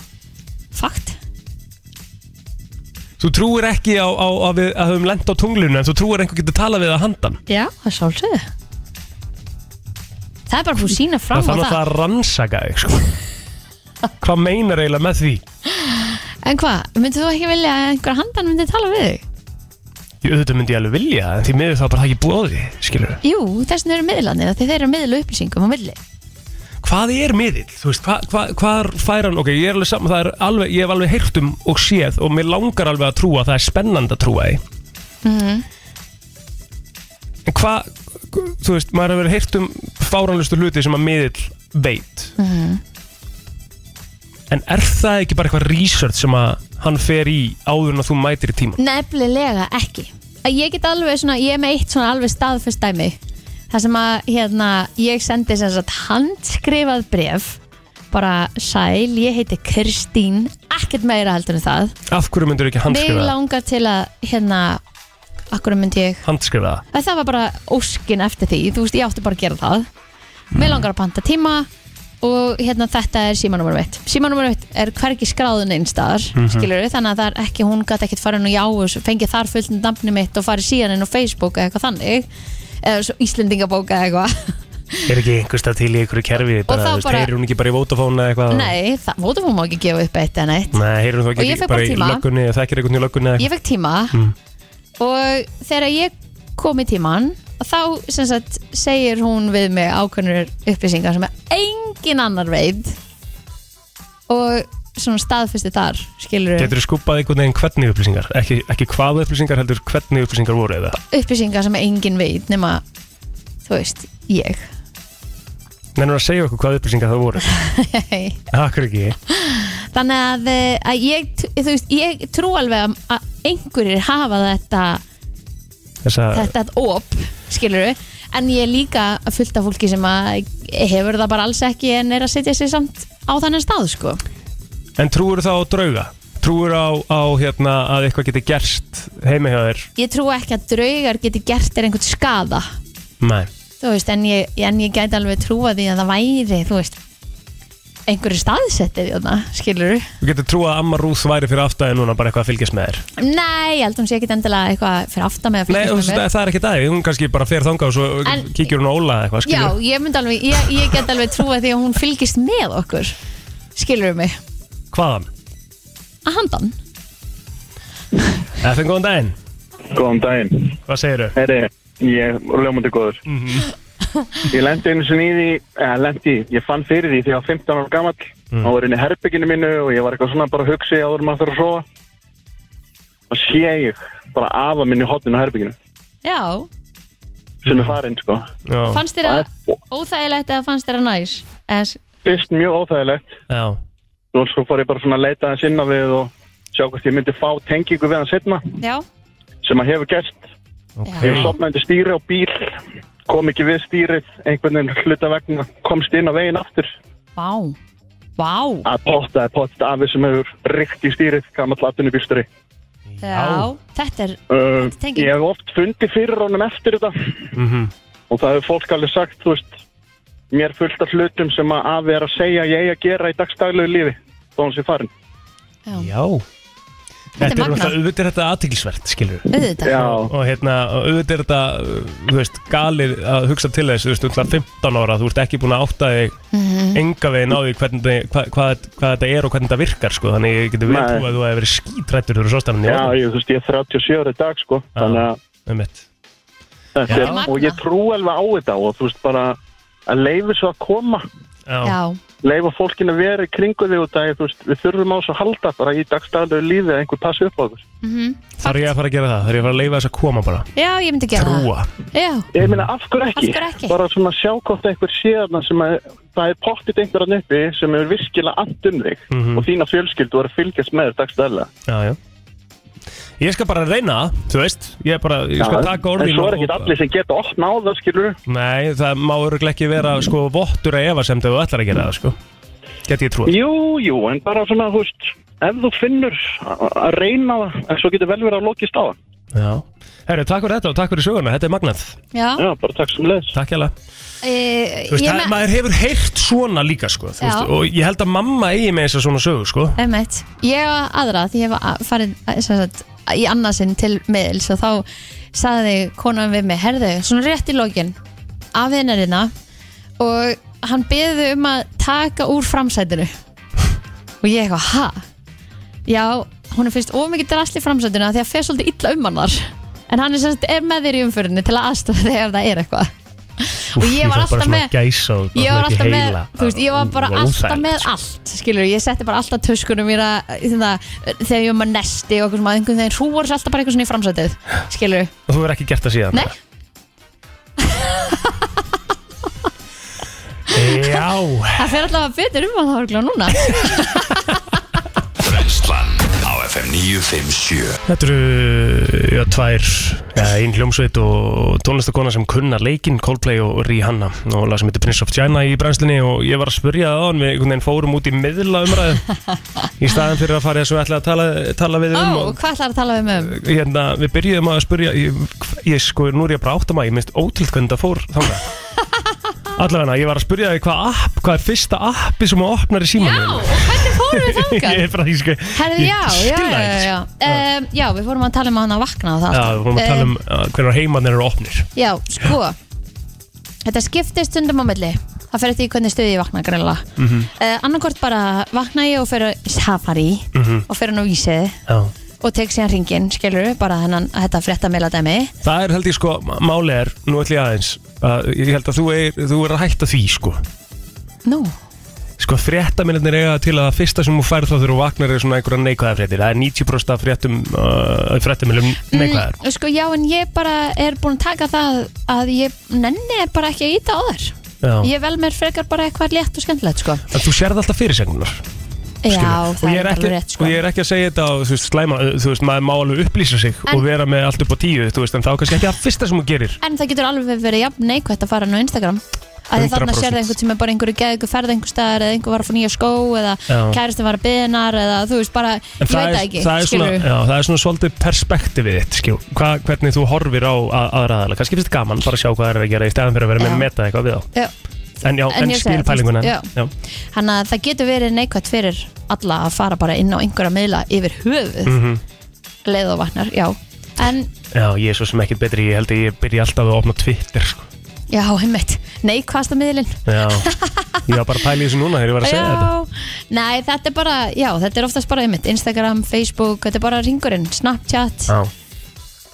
fakt
Þú trúir ekki á, á, á við, að höfum lent á tunglinu en þú trúir að einhver getur tala við að handan
Já, það er sálsöðu Það er bara að fú sína fram á
Það þannig
það,
að það rannsaka þig, sko Hvað meinar eiginlega með því?
En hvað, myndið þú ekki vilja að einhver handan myndið tala við þig?
Ég auðvitað myndi ég alveg vilja það, en því miður þá er bara það ekki bóði, skilur
Jú, þess vegna eru miðlarnir af því þeir eru að miðla upplýsingum á milli
Hvað er miðill? Þú veist, hva, hva, hvað fær hann? Ok, ég er alveg saman, það er alveg, ég hef alveg heyrt um og séð og mér langar alveg að trúa, það er spennandi að trúa því. En hvað, þú veist, maður hefur heyrt um fáranlustu hluti sem að miðill veit. En er það ekki bara eitthvað research sem að hann fer í áður en að þú mætir í tíman?
Nefnilega ekki Að Ég get alveg svona, ég er með eitt svona alveg staðfest dæmi Það sem að hérna, ég sendi sem sagt handskrifað bref bara sæl, ég heiti Kristín ekkert meira heldur en það
Af hverju myndur ekki
mig
handskrifa það?
langar til að hérna, akkur myndi ég
Handskrifa það?
að það var bara óskin eftir því þú veist, ég átti bara að gera það mig langar að panta tíma og hérna þetta er símanúmer mitt símanúmer mitt er hvergi skráðun einstaðar mm þannig að það er ekki, hún gæti ekkit farin og já, og svo fengið þar fullt um dampni mitt og farið síðan inn á Facebook eða eitthvað þannig eða svo Íslendingabók eða eitthvað
Er ekki einhverstað til í einhverju kerfi
bara, þá þú veist, bara-
heyrir
heyrir
hún ekki bara í Vodafone eða eitthvað
nei, það, Vodafone má ekki gefa upp eitt eða neitt
Nei, heyrir hún þá
Og ég
ekki
fékk
bara
bara
í
tíma.
löggunni eða þekkir einhvern í löggunni eða
ég fekk tíma og þegar ég kom í tíman þá sem sagt, segir hún við mig ákveðnur upplýsingar sem engin annar veit og svona staðfesti þar skilur
Getur þú skúpað einhvern veginn hvernig upplýsingar? Ekki, ekki hvað upplýsingar heldur hvernig upplýsingar voru eða?
upplýsingar sem engin veit nema þú veist, ég
Nennur að segja okkur hvað upplýsingar það voru? Akkur ekki
þannig að, eh, að ég, þú veist, ég trú alveg að- að einhverjir hafa þetta
Þessa,
þetta er op, skilur við en ég er líka fullt af fólki sem að hefur það bara alls ekki en er að setja sig samt á þannig stað sko.
En trúur þá á drauga? Trúur á, á hérna, að eitthvað geti gerst heima hjá þér?
ég trú ekki að draugar geti gert þér einhvern skada
Nei
þú veist, en ég, en ég gæti alveg trúa því að það væri, þú veist einhverju staðsettið þarna, skilur við
Þú getur trúað að Amma Rúð væri fyrir aftæði núna bara eitthvað að fylgjast með þér
nei, ég held hún sé ekki endilega eitthvað fyrir aftan með að
Nei, þú
fylgjast
veist,
með mér.
það er ekki dæði, hún kannski bara fer þangað og svo
En-
kíkir hún á Óla eða eitthvað
já,
skilurðu?
ég myndi alveg, ég, ég get alveg trúa því að hún fylgist með okkur skilur við mig,
Hvaðan?
að handan
FN, góðan daginn,
Góðan daginn.
hvað segirðu?
Herri, ég er ljómandi góður. Ég lendi einu sinni í því, eða lendi, ég fann fyrir því því ég var 15 ára gamall. Mm. Og var inn í herbygginu mínu og ég var eitthvað svona bara að hugsa ég áður en maður fyrir að sofa. Og sé ég bara afa minni hotninu á herbygginu.
já,
Sem er farinn, sko.
Já.
fannst þér að óþægilegt eða fannst þér að næs eða s-
Fyrst mjög óþægilegt.
Já,
Nú sko fór ég bara svona að leita hans inn á við og sjá hvort ég myndi fá tengingu við hann setna.
já,
Sem að hefur gerst. Ég
Mm.
ok
var sopnaði stýri á bíl. Kom ekki við stýrið, einhvern veginn hluta vegna. Komst inn á veginn aftur.
vá vá,
að potta er pottet afi sem hefur ríkt í stýrið, gammal atvinnubýrstari.
já, þetta er
Uh,
Tenging.
ég hef oft fundið fyrir honum eftir þetta
Mhm.
og það hefur fólk alveg sagt, þú veist, mér er fullt af hlutum sem að afi er að segja að ég eigi að gera í dagstaglegu lífi, þó hann sé farin.
Já
Þetta er
Þetta er
magnað.
náttúrulega, auðvitað er þetta aðtiklisvert, skilur
auðvitað
Já,
Og hérna, auðvitað er þetta, uh, þú veist, galið að hugsa til þess, þú veist, auðvitað 15 ára, þú ert ekki búin að átta þig
Mhm.
enga veginn á því hvernig, þið- hvað, hvað, hvað þetta er og hvernig þetta virkar, sko, þannig ég geti verið
Nei.
trú að þú hefur verið skítrættur þegar þú sást af henni.
já, ég, þú veist, ég er 37 ára í dag, sko, þannig að
Um mitt.
þetta
Já.
er, og ég trú alveg á þetta og þú veist, bara að leiði svo að koma,
Já.
leifa fólkin að vera í kringu þig út af því, þú veist, við þurfum á þess að halda bara í dagstæðanlegu lífi að einhver passi upp á okkur
Mhm.
Þarf ég að fara að gera það? Þarf ég að fara að leifa þess að koma bara?
Já, ég myndi gera
Trúa.
það Já,
Ég meina, af hverju ekki?
Af hverju ekki?
Bara svona sjá hvort einhver séðna sem að það er pottið einhverjan uppi sem er virkilega allt um þig
Mhm.
og þína fjölskyldu er að fylgjast með þér dagstæðlega
Já, já Ég skal bara reyna það, þú veist Ég, bara, ég skal taka orðin
En svo er ekkit allir sem geta opna á það, skilur
Nei, það má öruglega ekki vera sko vottur að efa sem þau ætlar að gera það sko Geti ég trúið
Jú, jú, en bara svona, þú veist ef þú finnur að að reyna það en svo getur vel verið að lokist á það
Já Herru, takk fyrir þetta og takk fyrir söguna, þetta er magnað
já
bara takk sem leðs
Takk hérlega
e,
Þú veist, það, maður hefur heyrt svona líka sko þú veist,
Já.
Og ég held að mamma eigi með þess að svona sögu sko
Emmett, ég var aðra því ég var að- farin að- sem sagt, í annarsinn til miðils og þá saði konan við mig, herðu, svona rétt í lokin af vinnarina og hann beði um að taka úr framsætinu og ég eitthvað, ha? Já, hún er fyrst ómikið drasli í framsætinu af því að fer svolítið illa um hann þar en hann er, sem sagt, er með þér í umfyrinni til að aðstofa þegar það er eitthvað og ég var alltaf með
gæsa, og
ég var
svona upp í
alltaf með,
heila.
þú veist, ég var bara
Það
alltaf
óþægilegt, sko.
með allt, skilur, ég setti bara alltaf töskunum mér að, þegar ég var með nesti og okkur sem að einhvern veginn hrúar sér alltaf bara eitthvað svona í framsætið, skilur,
Og þú verður ekki gert það síðan
nei,
Já
það fer alltaf betur um að það var núna.
Brenslan á FM 957
Þetta eru já, tvær, já, ein hljómsveit og tónlistakona sem kunna leikinn Coldplay og Rihanna og lag sem heitir Prince of China í brænslinni og ég var að spurja það á hann við einhvern veginn fórum út í miðla umræðu í staðan fyrir að fara þess að ætla að tala, tala við
Ó,
um og
hvað ætlar að tala um um?
hérna, við byrjuðum að spurja ég, ég sko, nú er ég bara áttum að ég minnst ótilt hvernig það fór þannig allavega, ég var að spurja þig hvað app hvað er fyrsta appi sem þú opnar í símanum
Já, og hvernig fórum við þangað?
ég er bara, ég sko
Herðu,
ég
já, já,
skil það
já,
ekki,
já,
sko.
já. Um, já, við fórum að tala um að hann að vakna og það.
Já,
allt.
við vorum að tala
Um,
um uh, hvernig heimannir eru opnir
Já, sko Þetta skiptist stundum á milli Það fer eftir í hvernig stuði ég vakna greinlega mm -hmm. Annarkort bara vakna ég og fer á safari
Mhm.
og fer hann á ísið
Já.
og tek síðan ringin, skilur bara hennan, þetta frétta meila dæmi
Það er held ég sko, máli er, nú ætlum ég aðeins að ég held að þú er, þú er að hætta því sko
Nú,
Sko fréttaminnir eiga til að það fyrsta sem þú færð þá þegar þú vaknar er svona einhverja neikvæða fréttir Það er 90% af fréttum, uh, fréttaminnum neikvæðar
sko já en ég bara er búin að taka það að ég nenni bara ekki að íta á þær
Já.
Ég vel mér frekar bara eitthvað létt og skemmtilegt sko
En þú sérð alltaf fyrirsegnunar
Já,
og,
það
ég
er
er
alveg
ekki-
rétt sko
og ég er ekki að segja þetta á, þú veist, slæma, þú veist, maður má alveg upplýsa sig
En-
og vera með allt upp á tíu, þú veist, en þá er kannski ekki að fyrsta sem þú gerir
En það getur alveg verið jafn neikvægt að fara nú á Instagram að því þarna
100%.
sér það einhvern sem er bara einhverju geð einhver ferð einhver staðar eða einhver var að fá nýja skó eða
Já.
kæristinn var að byðinar eða þú veist bara,
En
ég veit
er,
það ekki
það, er svona,
skilurðu.
já, það er svona svolítið perspektífið þitt skjú, hva, hvernig þú horfir á að- aðra aðalega, kannski finnst þetta gaman bara að sjá hvað það er að gera í stæðan fyrir að vera með
Já.
að meta eitthvað við á
Já.
en, já,
En
en,
ég segi það,
skilpælinguna
já. Þannig að það getur verið neikvægt fyrir alla að fara bara inn á einhverja miðla yfir höfuð mm
Mhm.
leið og vatnar, já en,
já, ég er svo sem ekkert betri, ég held að ég byrja alltaf að opna Twitter sko.
já, heimitt neikvægsta miðlinn
já. ég var bara að pæla í þessu núna þegar ég var að segja þetta
Já, nei, þetta er bara, já, þetta er oftast bara einmitt, Instagram, Facebook, þetta er bara ringurinn, Snapchat,
já.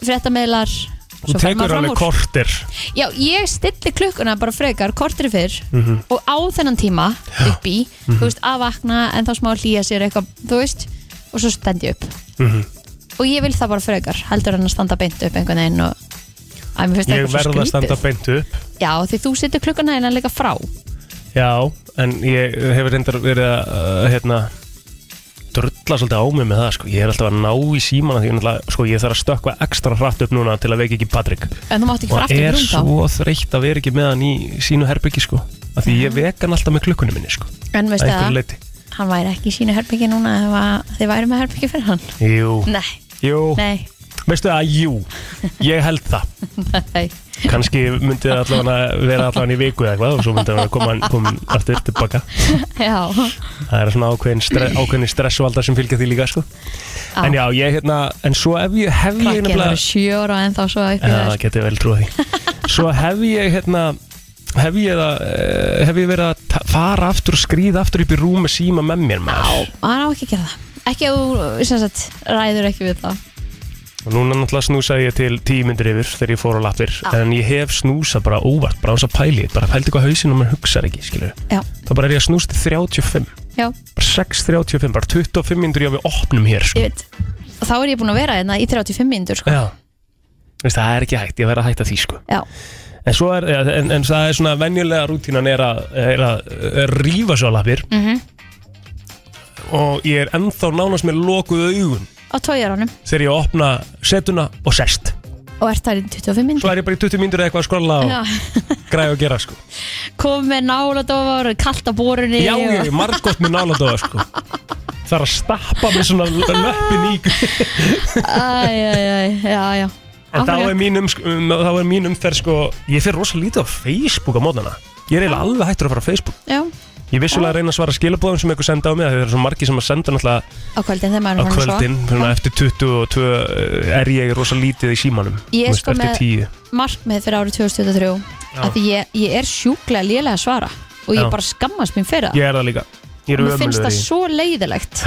fréttamiðlar
þú
svo fer maður
tekur
fram
alveg
úr.
kortir
Já, ég stilli klukkuna bara frekar kortir fyrr
Mhm.
og á þennan tíma upp í, þú veist, að vakna en þá smá hlýja sér eitthvað, þú veist og svo stend ég upp
Mhm.
og ég vil það bara frekar, heldur en að standa beint upp einhvern veginn og að mér finnst það
ég
eitthvað svo
verð að standa
skrítið.
beint upp
Já, því þú setur klukkuna hérna líka frá
já, en ég hefur reyndar verið að uh, hérna drulla svolítið á mig með það sko. ég er alltaf að ná í símana því ég, náttúrulega- sko, ég þarf að stökkva ekstra hratt upp núna til að veiki ekki Patrik
en þú mátt ekki fara
og
aftur í
er
rúm þá
svo þreytt að vera ekki með hann í sínu herbyggi sko af því ég vek hann alltaf með klukkunum minni sko
En veistu
Að einhverju
það,
leyti.
hann væri ekki í sínu herbyggi núna ef að þið væri með herbyggi fyrir hann
Jú,
Nei,
jú,
nei,
veistu það, jú Ég held það
nei
Kanski myndi það allavega vera allavega í viku eða eitthvað og svo myndi það koma kom aftur tilbaka
Já,
Það er svona ákveðin, stre ákveðin stressvalda sem fylgja því líka sko
Já.
En já, ég hérna, en svo ef ég hef ég
krakkið eru sjö ára en þá svo upp í
Já,
það,
það getur vel trúið því Svo hef ég hérna Hef ég, það, eh, hef ég verið að ta- fara aftur og skrýða aftur upp í rúm með síma með mér maður
maður á ekki að gera það ekki að þú sem sagt, ræður ekki við það
Og núna náttúrulega snúsaði ég til tíu myndir yfir þegar ég fór á lappir En ég hef snúsað bara óvart, bara hans að pæli Bara pældi hvað hausinn og maður hugsar ekki, skilur
Já.
Þá bara er ég að snúst til 35
Já,
Bara 6.35, bara 25 myndir ég á við opnum hér sko.
ég veit Og þá er ég búin að vera hérna í 35 mínútur sko.
Já Veist, það er ekki hægt, ég verð að hætta því sko.
Já.
en, svo er, en, en það er svona venjulega rútínan er að, er að, er að rífa svo á lappir
Mm
og ég er ennþá nánast með lokuð augun
Á tójaranum
þegar ég opna setuna og sest
og ert þar í 25 mínútur
Svo er ég bara í 20 myndir eitthvað að skrolla
Já.
og græða að gera sko.
Kom með náladofar, kallt á borunni
Já,
og-
ég er margótt með náladóða sko. Það er að stappa með svona löppin í
Æ, æ, æ, já, já
En þá
Áfram.
er mín, um, um, þá er mín umferð sko, Ég fer rosa lítið á Facebook á mótnana Ég er eiginlega alveg hættur að fara á Facebook
Já,
Ég vissulega reyna að svara skilabóðum sem eitthvað senda á mig af því Það eru svo margir sem að senda náttúrulega
á kvöldin þegar
á
maður er farin að sofa.
kvöldin Svona eftir 22 eh, er ég rosa lítið í símanum
Ég
Þú
er
veist,
sko
eftir
með
10.
markmið fyrir árið 2023
Já.
að því ég, ég er sjúklega lélega að svara og ég
Já.
bara skammast mín fyrir það
Ég er það líka Ég er
og mér
ömurlegur
finnst það
í-
svo leiðilegt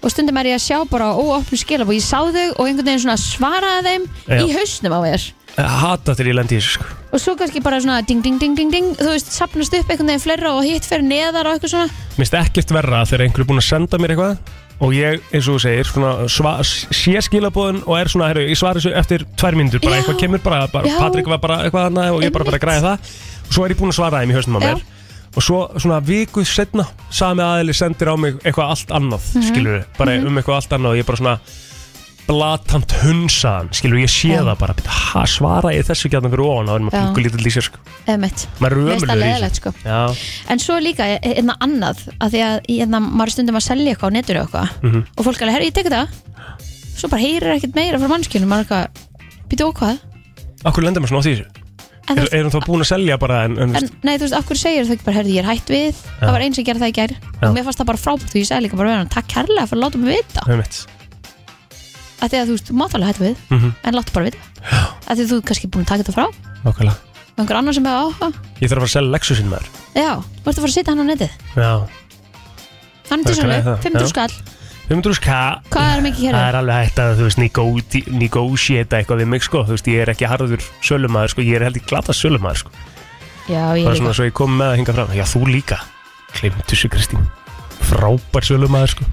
og stundum er ég að sjá bara óopnu skilab og ég sá þau og einhvern veginn svona svaraði þeim
Já.
í hausnum á mér
Ég Hata þegar ég lendi í þessu sko.
og svo kannski bara svona ding ding ding ding ding þú veist, sapnast upp einhvern veginn fleira og hitt fyrir neðar og eitthvað svona
Mér finnst ekkert verra þegar einhver er búinn að senda mér eitthvað og ég, eins og þú segir, svona, sva, sé skilabóðin og er svona, herru, ég svari þessu eftir tvær myndur, bara
Já.
eitthvað kemur bara, bara
Já.
Patrik var bara eitthvað annað og ég bara bara að græða það og svo er ég búinn að svara þeim í hausnum á
Já.
mér og svo svona viku setna sami aðili sendir á mig eitthvað allt annað mm
Mhm.
bara
Mhm.
um eitthvað allt annað og ég bara svona blatant hunsaðan, skilur, ég sé það bara, byrja, ha, svara ég þessu gætna fyrir ofan, þá er maður
Já.
pingu lítið lýsir, sko
emitt
maður er
Mér finnst það
ömurlegur í
leiðilegt,
þessu.
sko.
Já.
en svo líka, einna annað að því að einna, maður er stundum að selja eitthvað á netur eitthvað
Mhm.
og fólk alveg, herri, ég tek það svo bara heyrir ekkert meira frá mannskjunum maður er eitthvað, býtu og hvað
Akkur lendur maður svona á því
En
Er,
þú-
erum þá búin að selja bara en, en,
en nei, þú veist, af hverju segir þau ekki bara, herri, ég er hætt við það var eins sem gerði það í gær og mér fannst það bara frábært því ég segi líka bara, við hann, takk kærlega fyrir að láta mig vita
Einmitt.
að því að þú veist, þú mátt alveg hætt við
Mhm.
en láttu bara vita að því að þú er kannski búin að taka þetta frá og
Nákvæmlega
einhver annar sem hefur áhuga
Ég þarf að fara að selja Lexusin maður
já, þú ert að fara að setja hann á netið
Já
hann
Það
er til
er
sölu,
það,
500
já.
skall
500 ska
hvað er mikið hér
Það er alveg hægt að þú veist negóti- Negotiata eitthvað við mig sko Þú veist ég er ekki harður sölumæður sko Ég er held í glata sölumæður sko
já, ég
Bara
líka
svona svo ég kom með að hinga fram Já þú líka Klimtu sig Kristín Frábær sölumæður sko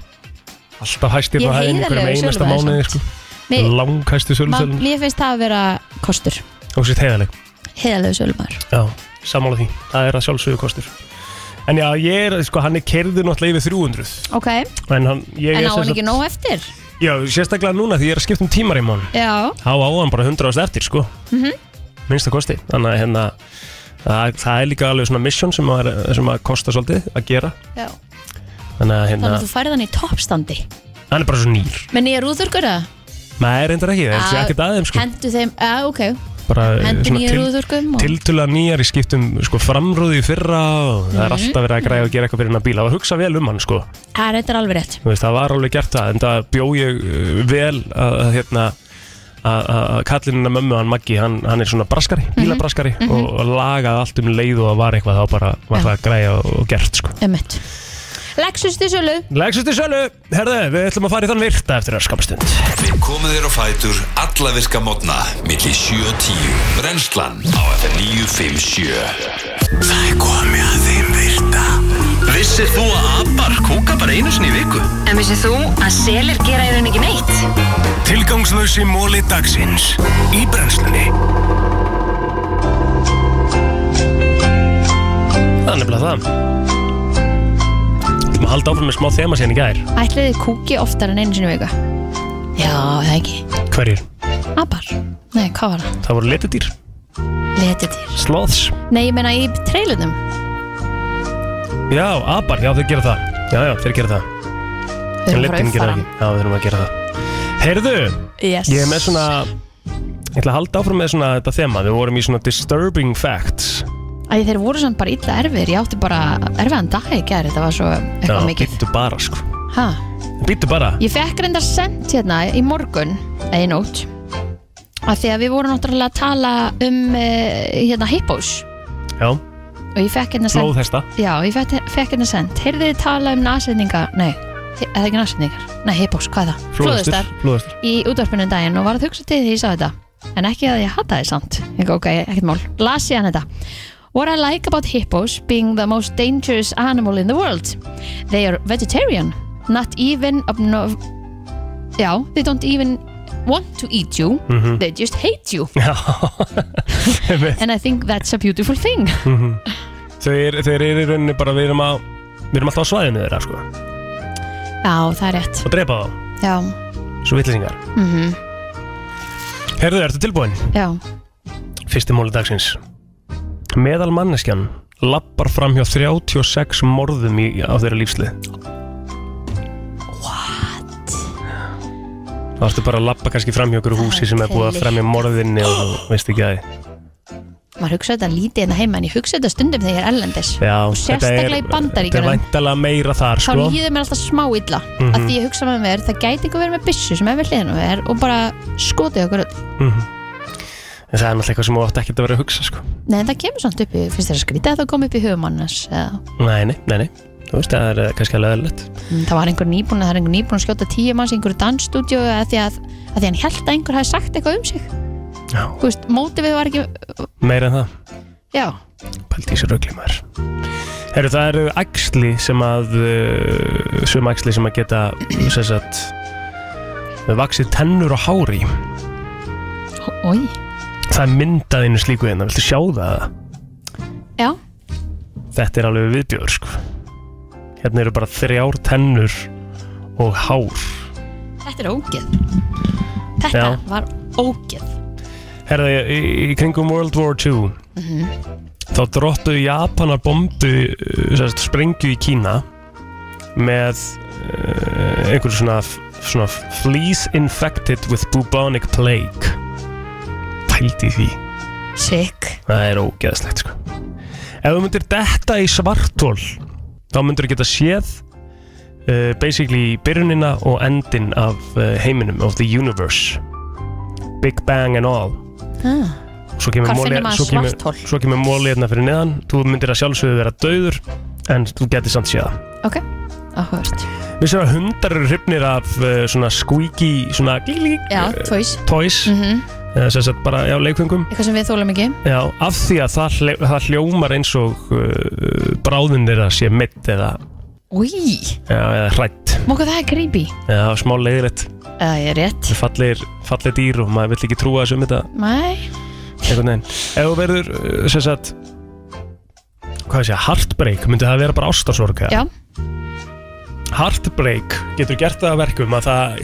Alltaf hæstir
Ég
á
er
hæðin
heiðarlegur
einum einasta
sölumaður
mánuði sko
Nei,
Langhæstu
Man-
sölumæður
ég finnst það að vera kostur
Og sér heiðaleg
heiðalegu sölumar
Já, sammála því, það er að sjálfsögðu kostur En já, ég er, sko, hann er kerður náttúrulega yfir 300
ok,
En hann, ég
en
er
á hann ekki nóg eftir
Já, sérstaklega núna því ég er að skipta um tímar í mán
já,
Há á hann bara 100 ást eftir, sko
mhm
Minnsta kosti, þannig að hérna Það, það er líka alveg svona mission sem að, sem að kosta svolítið að gera
Já.
Þannig að hérna,
þannig að þú færið hann í toppstandi
hann er bara svo nýr
menn ég er úðurkur að
Nei, reyndar ekki, það er
Ah,
ekkert aðeim, sko
hendu þeim, að ok
Bara eh,
hendu
svona
nýjur
til-
úðurkum og...
tiltölulega nýjar í skiptum sko, framrúði í fyrra og það er
Mhm.
alltaf verið að græða og gera eitthvað fyrir hennar bíla og hugsa vel um hann sko
það er Ah, þetta alveg rétt
Þú veist, það var alveg gert það en það bjó ég uh, vel að, að, hérna, að, að að kallinn hennar mömmu hann Maggi, hann, hann er svona braskari bílabraskari og, og lagaði allt um leið og það var eitthvað þá bara var það að græja og, og gert sko
Emmett Lexus til sölu
Legsust í sölu, herðu, við ætlum að fara í þann virta eftir að skamastund
Við komum þér á fætur alla virka mótna milli 7 og 10 Brennslan á FM 957 Það er komið að þeim virta
Vissir þú að abar kúka bara einu sinni í viku?
En vissið þú að selir gera í raun ekki neitt?
Tilgangslösi móli dagsins í brennslunni
Það er nefnilega það Við ætlum að halda áfram með smá þema síðan í gær
Ætliði kúki oftar en einu sinni í viku Já, það ekki
Hverjir?
Abar Nei, hvað var það?
Það voru letidýr,
Letidýr
sloths
Nei, ég meina í treylunum
Já, abar, já þeir gera það Já, já, þeir gera það
Við
En
erum að fara
litin
að
gera
uppfæra
það ekki Já, við þurfum að gera það Heyrðu,
Yes.
ég er með svona Ég ætla að halda áfram með svona þetta þema Við vorum í svona disturbing facts
Æ, þeir voru samt bara illa erfir Ég átti bara erfiðan dag í gæri Þetta var svo eitthvað
Já,
mikið
býttu bara sko
ha.
Býttu bara
Ég fekk reyndar sendt hérna í morgun Einn nót Af því að við vorum náttúrulega að tala um uh, hérna hippos
Já,
og ég fekk hérna sendt
flóðhesta
Já, ég fekk, fekk hérna sendt Heyrðið þið tala um nasetninga Nei, er það ekki náttúruleikar? Nei, hipbox, hvað er það? Flóðustar
Flóðustar
í útvarpinu um daginn og var að hugsa til því ég sá þetta en ekki að ég hata þið samt ég, ok, ekkert mál, las ég hann þetta What I like about hippos being the most dangerous animal in the world They are vegetarian Not even obno... Já, they don't even want to eat you
Mhm.
They just hate you
Já, einmitt.
And I think that's a beautiful thing
Mhm. Þeir, þeir eru í rauninni bara við erum, að, við erum alltaf á svæðinu þeirra sko,
Já, það er rétt
og drepa þá,
Já,
svo vittlisingar
mm
Herðu, ertu tilbúin?
já
Fyrsti móli dagsins Meðal manneskjan lappar fram hjá 36 morðum í, á þeirra lífslið What? Þá ertu bara að lappa kannski fram hjá okkur húsi sem er búið að fremja morðinni og þú veist ekki að
Maður hugsa þetta lítið en það heima en ég hugsa þetta stundum þegar ég er ellendis
Já,
sérstaklega í
Þetta
Bandaríkjunum.
er væntalega meira þar
þá
sko
líður mér alltaf smá illa mm
Mhm.
að því ég hugsa með mér, það gæti einhver verið með byssu sem er við hliðinu er og bara skotið okkur öll.
Mhm. En það er náttúrulega eitthvað sem þú átt ekki að vera að hugsa sko
nei, en það kemur samt upp í, finnst þér að skrýta að það kom upp í hugum annars eða,
Nei, nei, nei, nei Þú veist, það er eh, kannski alveg eðlilegt
mm, það var einhver nýbúin það er einhver nýbúin að skjóta tíu manns í einhverju dansstúdíu að því að, að því hann held að einhver hafi sagt eitthvað um sig
Já.
Þú veist, mótið við var ekki
Meira en það,
já,
pældi í sér rögli maður Heru, það eru æxli sem að uh, sum æxli sem að geta sem sagt vaksið tennur og hári
oi,
Það er myndað einu slíku hérna, viltu sjá það?
já
Þetta er alveg viðbjör sko Hérna eru bara þrjár tennur og hár
þetta er ógeð þetta
Já.
var ógeð
Herða, í, í kringum World War II
Mhm.
þá drottuðu Japanar bombu uh, sérst, sprengju í Kína með uh, einhverju svona, svona fleas infected with bubonic plague pældi því
sick,
það er ógeðslegt sko ef þú myndir detta í svartól þá myndir þú geta séð uh, basically byrjunina og endin af uh, heiminum of the universe Big Bang and all
ah,
svo kemur
Hvar
móli
finnur maður
svo kemur,
svarthol?
svo kemur móli hérna fyrir neðan þú myndir að sjálfsögðu vera dauður en þú getur samt séð það
ok, áhört
við séum að hundar eru hrifnir af uh, svona squeaky svona glík,
já, tvois
toys mm
Mhm.
eða sem sagt bara, já, leikfengum
eitthvað sem við þólum ekki
já, af því að það, hle, það hljómar eins og uh, bráðin þeirra sé mitt eða,
Új,
já, eða hrætt
móka það er creepy
eða smá leiðilegt
Það er rétt
fallir, fallir dýr og maður vill ekki trúa þessu um þetta
Nei,
einhvern veginn ef þú verður, uh, sem sagt hvað sé, heartbreak, myndi það vera bara ástasorg eða?
já,
Heartbreak getur gert það að verkum að það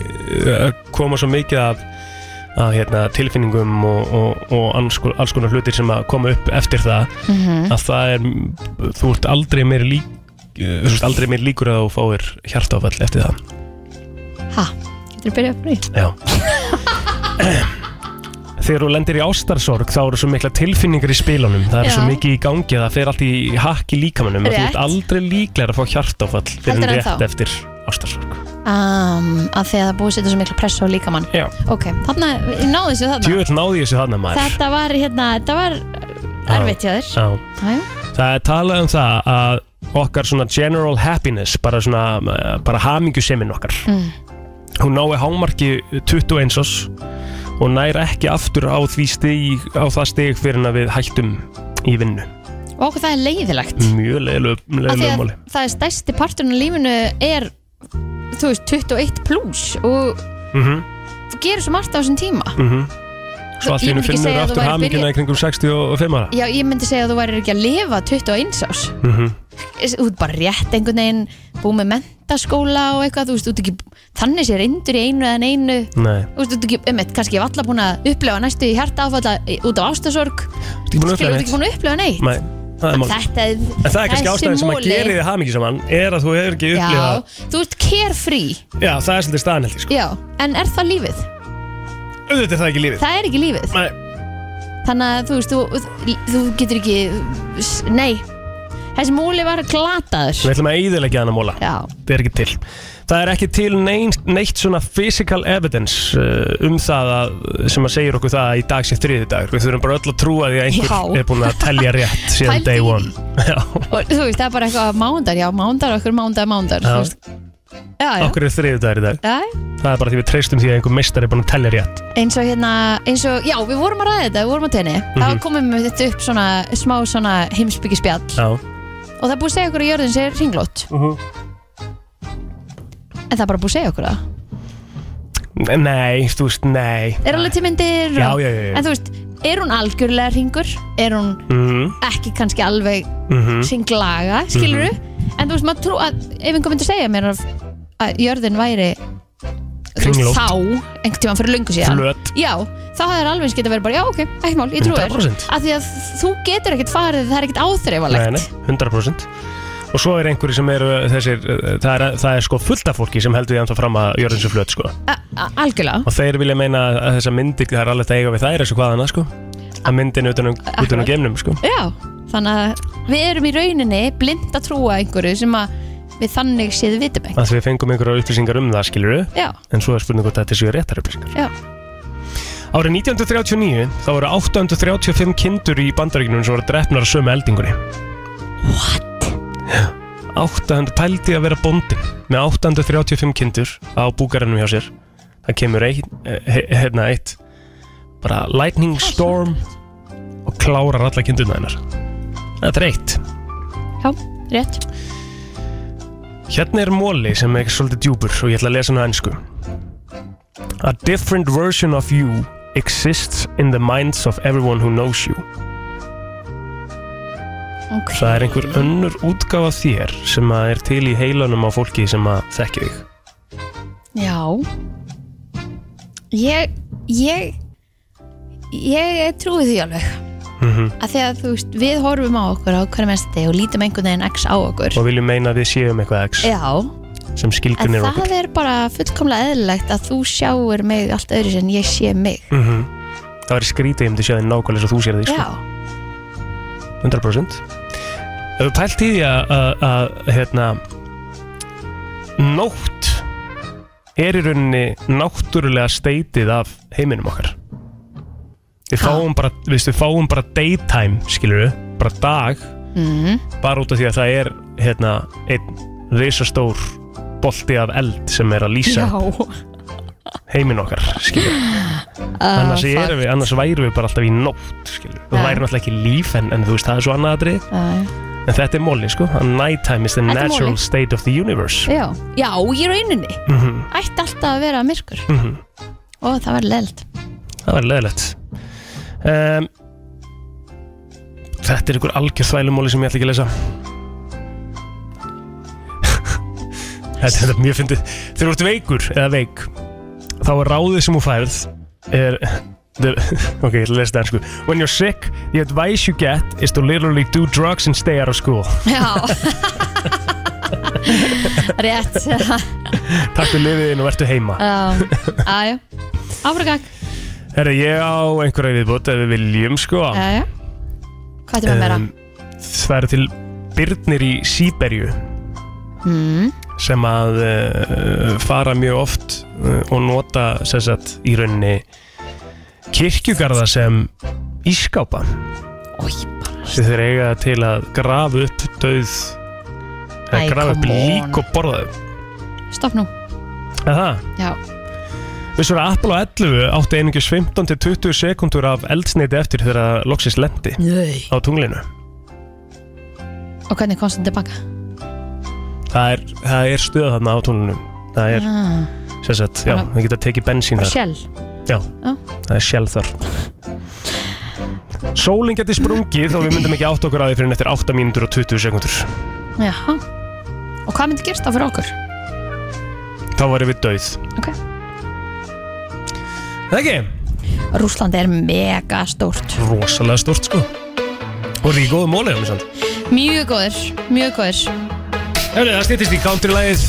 uh, koma svo mikið af, af hérna, tilfinningum og, og, og alls, kon- alls konar hlutir sem að koma upp eftir það
Mhm.
að það er, þú ert aldrei meir lík uh, þú ert aldrei meir líkur að þú fáir hjartáfall eftir það
ha, getur þú byrjað upp nýtt?
Já Þegar þú lendir í ástarsorg þá eru svo mikla tilfinningar í spilunum það er
Já.
svo mikið í gangi að það fer allt í hakk í líkamannum og þú
Rétt.
ert aldrei líklega að fá hjartáfall fyrir
Heldur
en
en
rétt
þá?
eftir ástarsorg
Um, að því að það búið að setja svo mikla pressa á líkamann
Já.
Ok, þarna, ég náði þessu þarna
Djöfull náði ég þessu þarna maður
Þetta var hérna, þetta var
Já.
erfitt hjá þér
Já.
Æ,
Það er talað um það að okkar svona general happiness bara svona, eh, bara hamingjusemin okkar
Mm.
hún nái hámarki 21 ás og nær ekki aftur á því stig á það stig fyrir en að við hættum í vinnu
Og okkur það er leiðilegt
mjög
Af því
leiðilega
að
Mm, máli
það er stærsti parturinn á lífinu er, þú veist, 21 pluss Og
mm -hmm,
þú gerir svo margt á þessum tíma
mhm. svo allt í
Ég
hennu
myndi ekki
finnur
segja að þú
aftur
værir
hamingina
byrjuð-
í kringum 65 ára
Já, ég myndi segja að þú værir ekki að lifa 21 ás
mm -hmm.
Þú ert bara rétt einhvern veginn Búið með mentaskóla og eitthvað Þú veist, þú ert ekki, þannig sér indur í einu eða einu
nei
Þú veist, þú ert ekki, einmitt, kannski ég hef alla búin að upplefa næstu í hjarta áfalla út af ástasorg
ekki búin að upplefa
Skilur, þú ert
neitt.
ekki búin að upplefa neitt
nei, það er mál
Þetta er,
en það er kannski
þessi
ástæðin sem að
múli-
gera þið hamingjuseman er að þú hefur ekki upplifað
Já, þú ert carefree
já, það er svolítið staðanheldi sko.
Já, en er það lífið?
auðvitað er það ekki lífið
Það er ekki lífið
Nei.
Þannig að þú veist, þú, þú getur ekki Nei Þessi múli var glataður
Við ætlum að eyðilegja hana móla
Já.
Það er ekki til Það er ekki til neitt, neitt svona physical evidence uh, um það að, sem að segir okkur það að í dag sé þriði dagur Við þurfum bara öll að trúa því að einhver
Já.
er búin að telja rétt síðan
Pældu í
day
því.
one Já,
og þú veist, það er bara eitthvað mándar, já, mándar, okkur mándar, mándar
Já.
þú veist, já, já.
Okkur er þriðdagar í dag
já,
Það er bara því við treystum því að einhver meistar er búin að tellja rétt
eins og hérna eins og, já, við vorum að ræða þetta, við vorum á tenni þá
Mhm.
komum við þetta upp svona smá svona heimsbyggispjall
Já
og það er búið að segja okkur að jörðin sé ringlót
Mhm.
en það er bara búið að segja okkur það
Nei, þú veist, nei
er alveg til myndir
Já,
og-
já, já, já.
en þú veist, er hún algjörlega ringur er hún
Mhm.
ekki kannski alveg
Mhm.
ringlaga, skilur du en þú veist, maður trú að ef einhver myndi segja mér að, að jörðin væri þú
Kringlótt.
veist, þá einhvern tímann fyrir löngu síðan
Flöt.
já, þá hefur alveg eins geta verið bara já, ok, ekki mál, ég trú þér
100%.
af því að þú getur ekkert farið það er ekkert
Nei,
áþreifalegt
nei, 100% Og svo er einhverju sem eru uh, þessir uh, það er, það er sko fullt af fólki sem heldur því að fram að jörðin sem flöt sko.
A- a- algjörlega,
Og þeir vilja meina að þessar myndir það er alveg að eiga við þær þessu hvaðan að sko. Að myndin utan um, utan um geimnum sko.
já þannig að við erum í rauninni blind að trúa einhverju sem að við þannig séð vitum ekki
Að við fengum einhverju upplýsingar um það skilur við
já,
En svo er spurning hvort þetta séu réttar upplýsingar
já
Árið 1939 þá voru 835 kindur í bandaríkjunum sem voru drefnar að sömu eldingunni. What? 800 pældi að vera bóndin með 835 kindur á búkarinnum hjá sér. Það kemur ein, he, hérna eitt, bara lightning storm og klárar alla kindurna hennar. Þetta er eitt.
Já, rétt
Hérna er móli sem er svolítið djúpur og ég ætla að lesa hann á ennsku. A different version of you exists in the minds of everyone who knows you.
Ok.
Það er einhver önnur útgáfa þér sem að er til í heilanum á fólki sem að þekki þig.
Já Ég Ég Ég trúi því alveg
Mhm.
að því að þú veist, við horfum á okkur á hverjum ennstæti og lítum einhvern veginn x á okkur
Og viljum meina að við séum eitthvað x
Já,
sem
en
skilgrunir okkur.
það er bara fullkomlega eðlilegt að þú sjáur mig allt öðru sem ég sé mig
Mm Það væri skrítið um því séð þig nákvæmlega eins og þú sér þig. sko.
Já,
100% Ef við pælt í því að- að að, hérna nótt er í rauninni náttúrulega steitið af heiminum okkar Við fáum bara, við, við fáum bara daytime, skilur við, bara dag
mm,
bara út af því að það er hérna, einn risastór bolti af eld sem er að lýsa
já
upp heiminn okkar, skilur við. annars, erum við, annars værum við bara alltaf í nótt, skilur við. það
Ah, Já.
væri náttúrulega ekki líf en, en þú veist, það er svo annað aðrið
uh,
En þetta er móli sko Nighttime is the
Þetta er
natural
Molly.
state of the universe
Já, já, ég rauninni
mm -hmm.
ætti alltaf að vera myrkur og það var leld
mhm. Það var leðilegt um, Þetta er einhver algjör þvælumóli sem ég ætla ekki að lesa Þetta þetta er mjög fyndið Þegar þú ert veikur eða veik Þá er ráðið sem þú færð er, the, Ok, ég ætla að lesa það sko When you're sick, the advice you get is to literally do drugs and stay out of school
Já Rétt Um,
Takk við lifiðin og ertu heima
Já, aðjá Áfragag,
Herra, ég á einhverja viðbútt ef við viljum sko
aðjá Hvað er það með meira?
Em, það eru til byrnir í Sýberju
Mm.
sem að uh, fara mjög oft uh, og nota sem sagt, í rauninni kirkjugarða sem ískápa sem þeir eiga til að grafa upp döð eða
Æ,
grafa upp
come on.
lík og borða þau
Stopp nú,
Er það?
já
Við svo að Apollo 11 átti einingis 15-20 sekundur af eldsneiti eftir þegar það loksist lendi
Nei.
á tunglinu
Og hvernig komst hann tilbaka?
Það er, það er stöð þarna á tunglinu Það er
Ah,
Sem sagt, já,
Bara-
það geta tekið bensín
bara
þar
Shell
Já,
Já.
það er sjálf þar Sólin geti sprungið og við myndum ekki átt okkur á því fyrir en eftir 8 mínútur og 20 sekundur
Jaha Og hvað myndi gerst það fyrir okkur?
Þá varum við döið
Ok.
Það ekki?
Rúsland er mega stórt
Rosalega stort sko Og er í góðu móli um þessand
Mjög góður, mjög góður
Hefði, það stýttist í country-lægið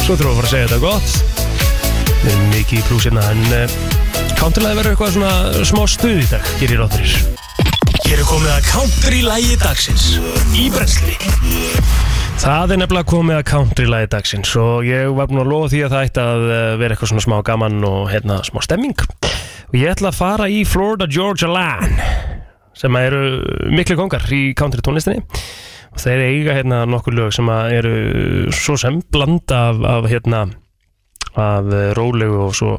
Svo þurfum við að fara að segja þetta gott Við erum mikið í plúsina en uh, country-lægið verður eitthvað svona smá stuð í dag Gerir átturir
Hér er komið að country-lægi dagsins Í brensli
Það er nefnilega komið að country-læði dagsins og ég var búin að lofa því að það ætti að eh, vera eitthvað svona smá gaman og hérna smá stemming og ég ætla að fara í Florida Georgia Line sem eru miklu kongar í country tónlistinni og þeir eiga hérna nokkur lög sem að eru svo sem bland af, af hérna af eh, rólegu og svo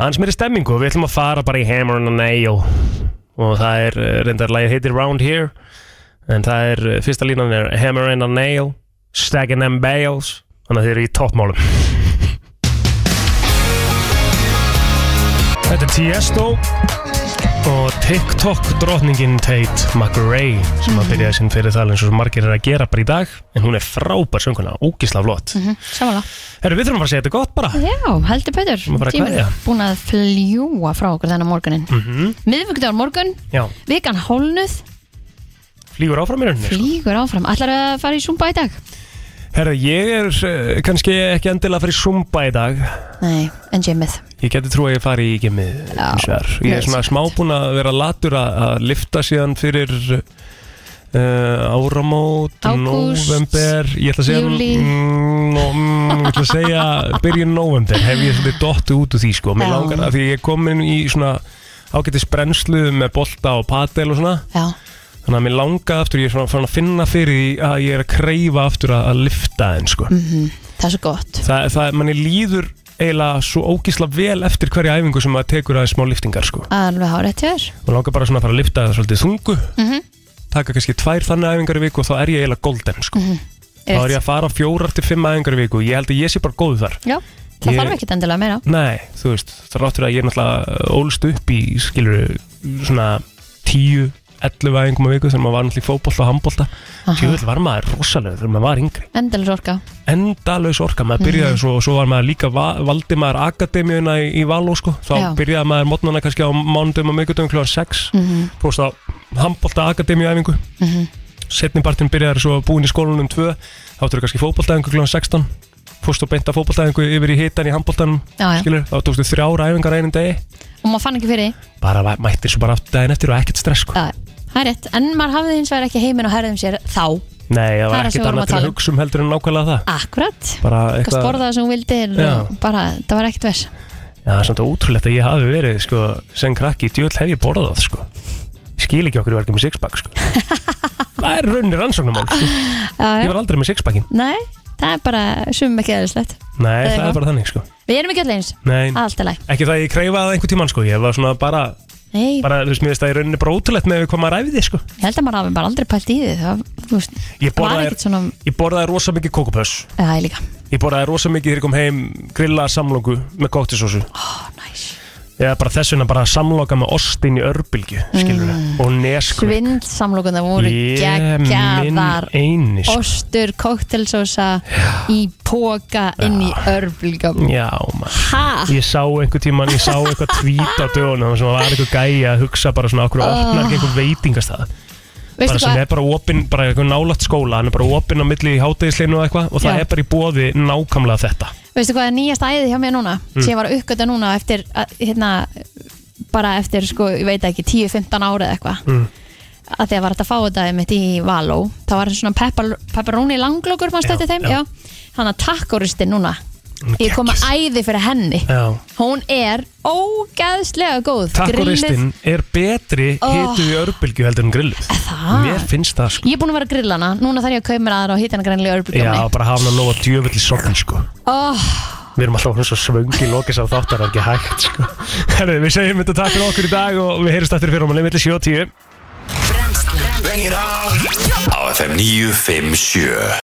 aðeins meiri stemmingu og við ætlum að fara bara í Hammer and a Nail og það er eh, reyndar lagið heitir Round Here en það er eh, fyrsta línan er Hammer and a Nail Stacking them Bales þannig að þeir eru í toppmálum Þetta er Tiesto og TikTok drotningin Tate McRae sem að byrjaði sinn fyrir það eins og svo margir er að gera bara í dag en hún er frábær sönguna, ógisla flott
mm Samanlega
Herru, við þurfum bara að segja þetta gott bara
Já, heldur betur
Má bara
Tíminn
kveðja.
er búin að fljúa frá okkur þennan morgunin mm.
mm
Miðvikudagur morgun,
Já,
vikan hólnuð
flýgur áfram í rauninni
Flýgur áfram, ætlar að fara í Zumba í dag?
Herru, ég er uh, kannski ekki endilega að fara í Zumba í dag
Nei, en gymmið
Ég geti trú að ég fari í gemið
Já,
hins vegar. Ég er svona smá búin að vera latur að, að lifta síðan fyrir uh, áramót,
Ágúst,
november Ég ætla að segja
júlí.
mm, nó- mm, Ég ætla að segja byrjun november hef ég svolítið dottu út úr því sko Mér
Já.
langar að því ég er komin í svona ágætis brennslu með bolta og patel og svona
Já,
Þannig að mér langaði aftur, ég er svona fann að finna fyrir því að ég er að kreyfa aftur að, að lifta þeim sko.
það er svo gott
Það, það, manni líður eiginlega svo ógísla vel eftir hverja æfingu sem maður tekur aðeins smá liftingar sko.
Alveg hárið til þér
Mér langar bara svona að fara að lifta svolítið þungu,
Mhm,
taka kannski tvær þannig æfingar í viku og þá er ég eiginlega golden sko. Þá er ég að fara fjórar til fimm æfingar í viku og ég held að ég sé bara góð þar.
Já, það
Ég-
þarf ekkert endilega meira
Nei, þú veist, þráttur að ég er náttúrulega ólst upp í, skilur, svona tíu, 11 æfingum á viku þegar maður var náttúrulega í fótbolta og handbolta Tjóðvill var maður rosalega þegar maður var yngri
Endilega orka
endalaus orka, maður byrjaði
Mhm.
svo og svo var maður líka, va valdi maður akademíuna í, í Való sko, þá
Já.
byrjaði maður mótnana kannski á mánudum og miðgutum kl. 6 mm
Mhm.
-hmm. fórst á handbólta akademíuæfingu mm -hmm. setnipartin byrjaði svo búin í skólanum 2 þá áttur kannski fótboltaæfingu kl. 16 fórst og beinta fótboltaæfingu yfir í hitan í handbóltanum,
Já, já.
skilur, þá tókstu þrjára æfingar á einum degi,
Og maður fann ekki fyrir því
bara va- mættir svo bara aftur daginn eftir og ekkert stress sko.
Já, Það er rétt, en maður hafði hins vegar ekki heiminn og herðum sér þá
Nei, það
Það er
var
það sem
ekkert
við vorum
annað
að
til
tala
að
um.
hugsa um heldur en nákvæmlega það
Akkurat
bara
Eitthvað sporða það sem hún vildir og
Já.
bara, það var ekkert vers
Já, það er svona ótrúlegt að ég hafi verið sko, sem krakki, djöll hef ég borðað sko. Ég skil ekki okkur í verkið með sixpack sko. Það er raunir rannsóknumál sko.
Já,
Ég
já.
var aldrei með sixpackin
Nei, það er bara sumum ekki eðlislegt
Nei,
Eða
það
hvað?
er bara þannig sko.
Við erum ekki allir eins,
Nei,
allt er læg
ekki það að ég kreifaði einhver tímann sko. Ég var svona bara,
Nei,
bara þú veist, mér finnst það í rauninni bara ótrúlegt með hvað maður æfði sko.
ég held að maður hafi bara aldrei pælt í því það þú veist,
Ég
var
borðaði,
ekkert svona
ég borðaði rosa mikið kókupöss
Já, ég líka,
Ég borðaði rosa mikið þegar ég kom heim grillaða samlóku með kóktisósu
oh, næs
Ég bara þess vegna bara samloka með ostin í örbylgju skilurðu,
Mm.
og neskur
Svind samlokunar voru geggjaðar
eini sko.
Ostur, koktelsósa í póka inn í örflíkam
Já, maður
Ha?
Ég sá einhver tíman, ég sá eitthvað tvít á dögunum sem var einhver gæja að hugsa bara svona okkur opnar ekki einhver veitingastað bara
Ah. Veistu
sem
hvað?
er bara opinn, bara einhver nálaft skóla hann er bara opinn á milli í hátegisleinu og eitthvað og það
Já.
er bara í bóði nákvæmlega þetta
Veistu hvað er nýjast æði hjá mér núna?
Hmm.
Sem ég var að uppgöta núna eftir, að, hérna, bara eftir, sko, ég veit ekki, 10-15 ára eða eitthvað.
Hmm.
Mm. Að því að var þetta að fá þetta mitt í Való. Það var svona peppar, pepperoni langlokur, mannstu
Já,
eftir þeim,
já.
já. Þannig að takkoristinn núna. Ég kom að æði fyrir henni.
Já.
Hún er ógæðslega góð.
Takoristinn er betri
Oh.
oh. hituð í örbylgju heldur en grilluð
Það?
Mér finnst það sko
Ég er búin að vera að grilla hana. Núna þarf ég að kaupa mér aðra og hita hana grænlega
Já,
örbjörgjómi.
bara hafa hann að lofa djöfull í sopin sko
Oh,
Við erum alltaf svona svo svöngi í lokis af þáttar, það er ekki hægt sko. Herðu, við segjum þetta takk fyrir okkur í dag og við heyrjumst aftur fyrir um að leið milli 7 og 10.
Á FM 957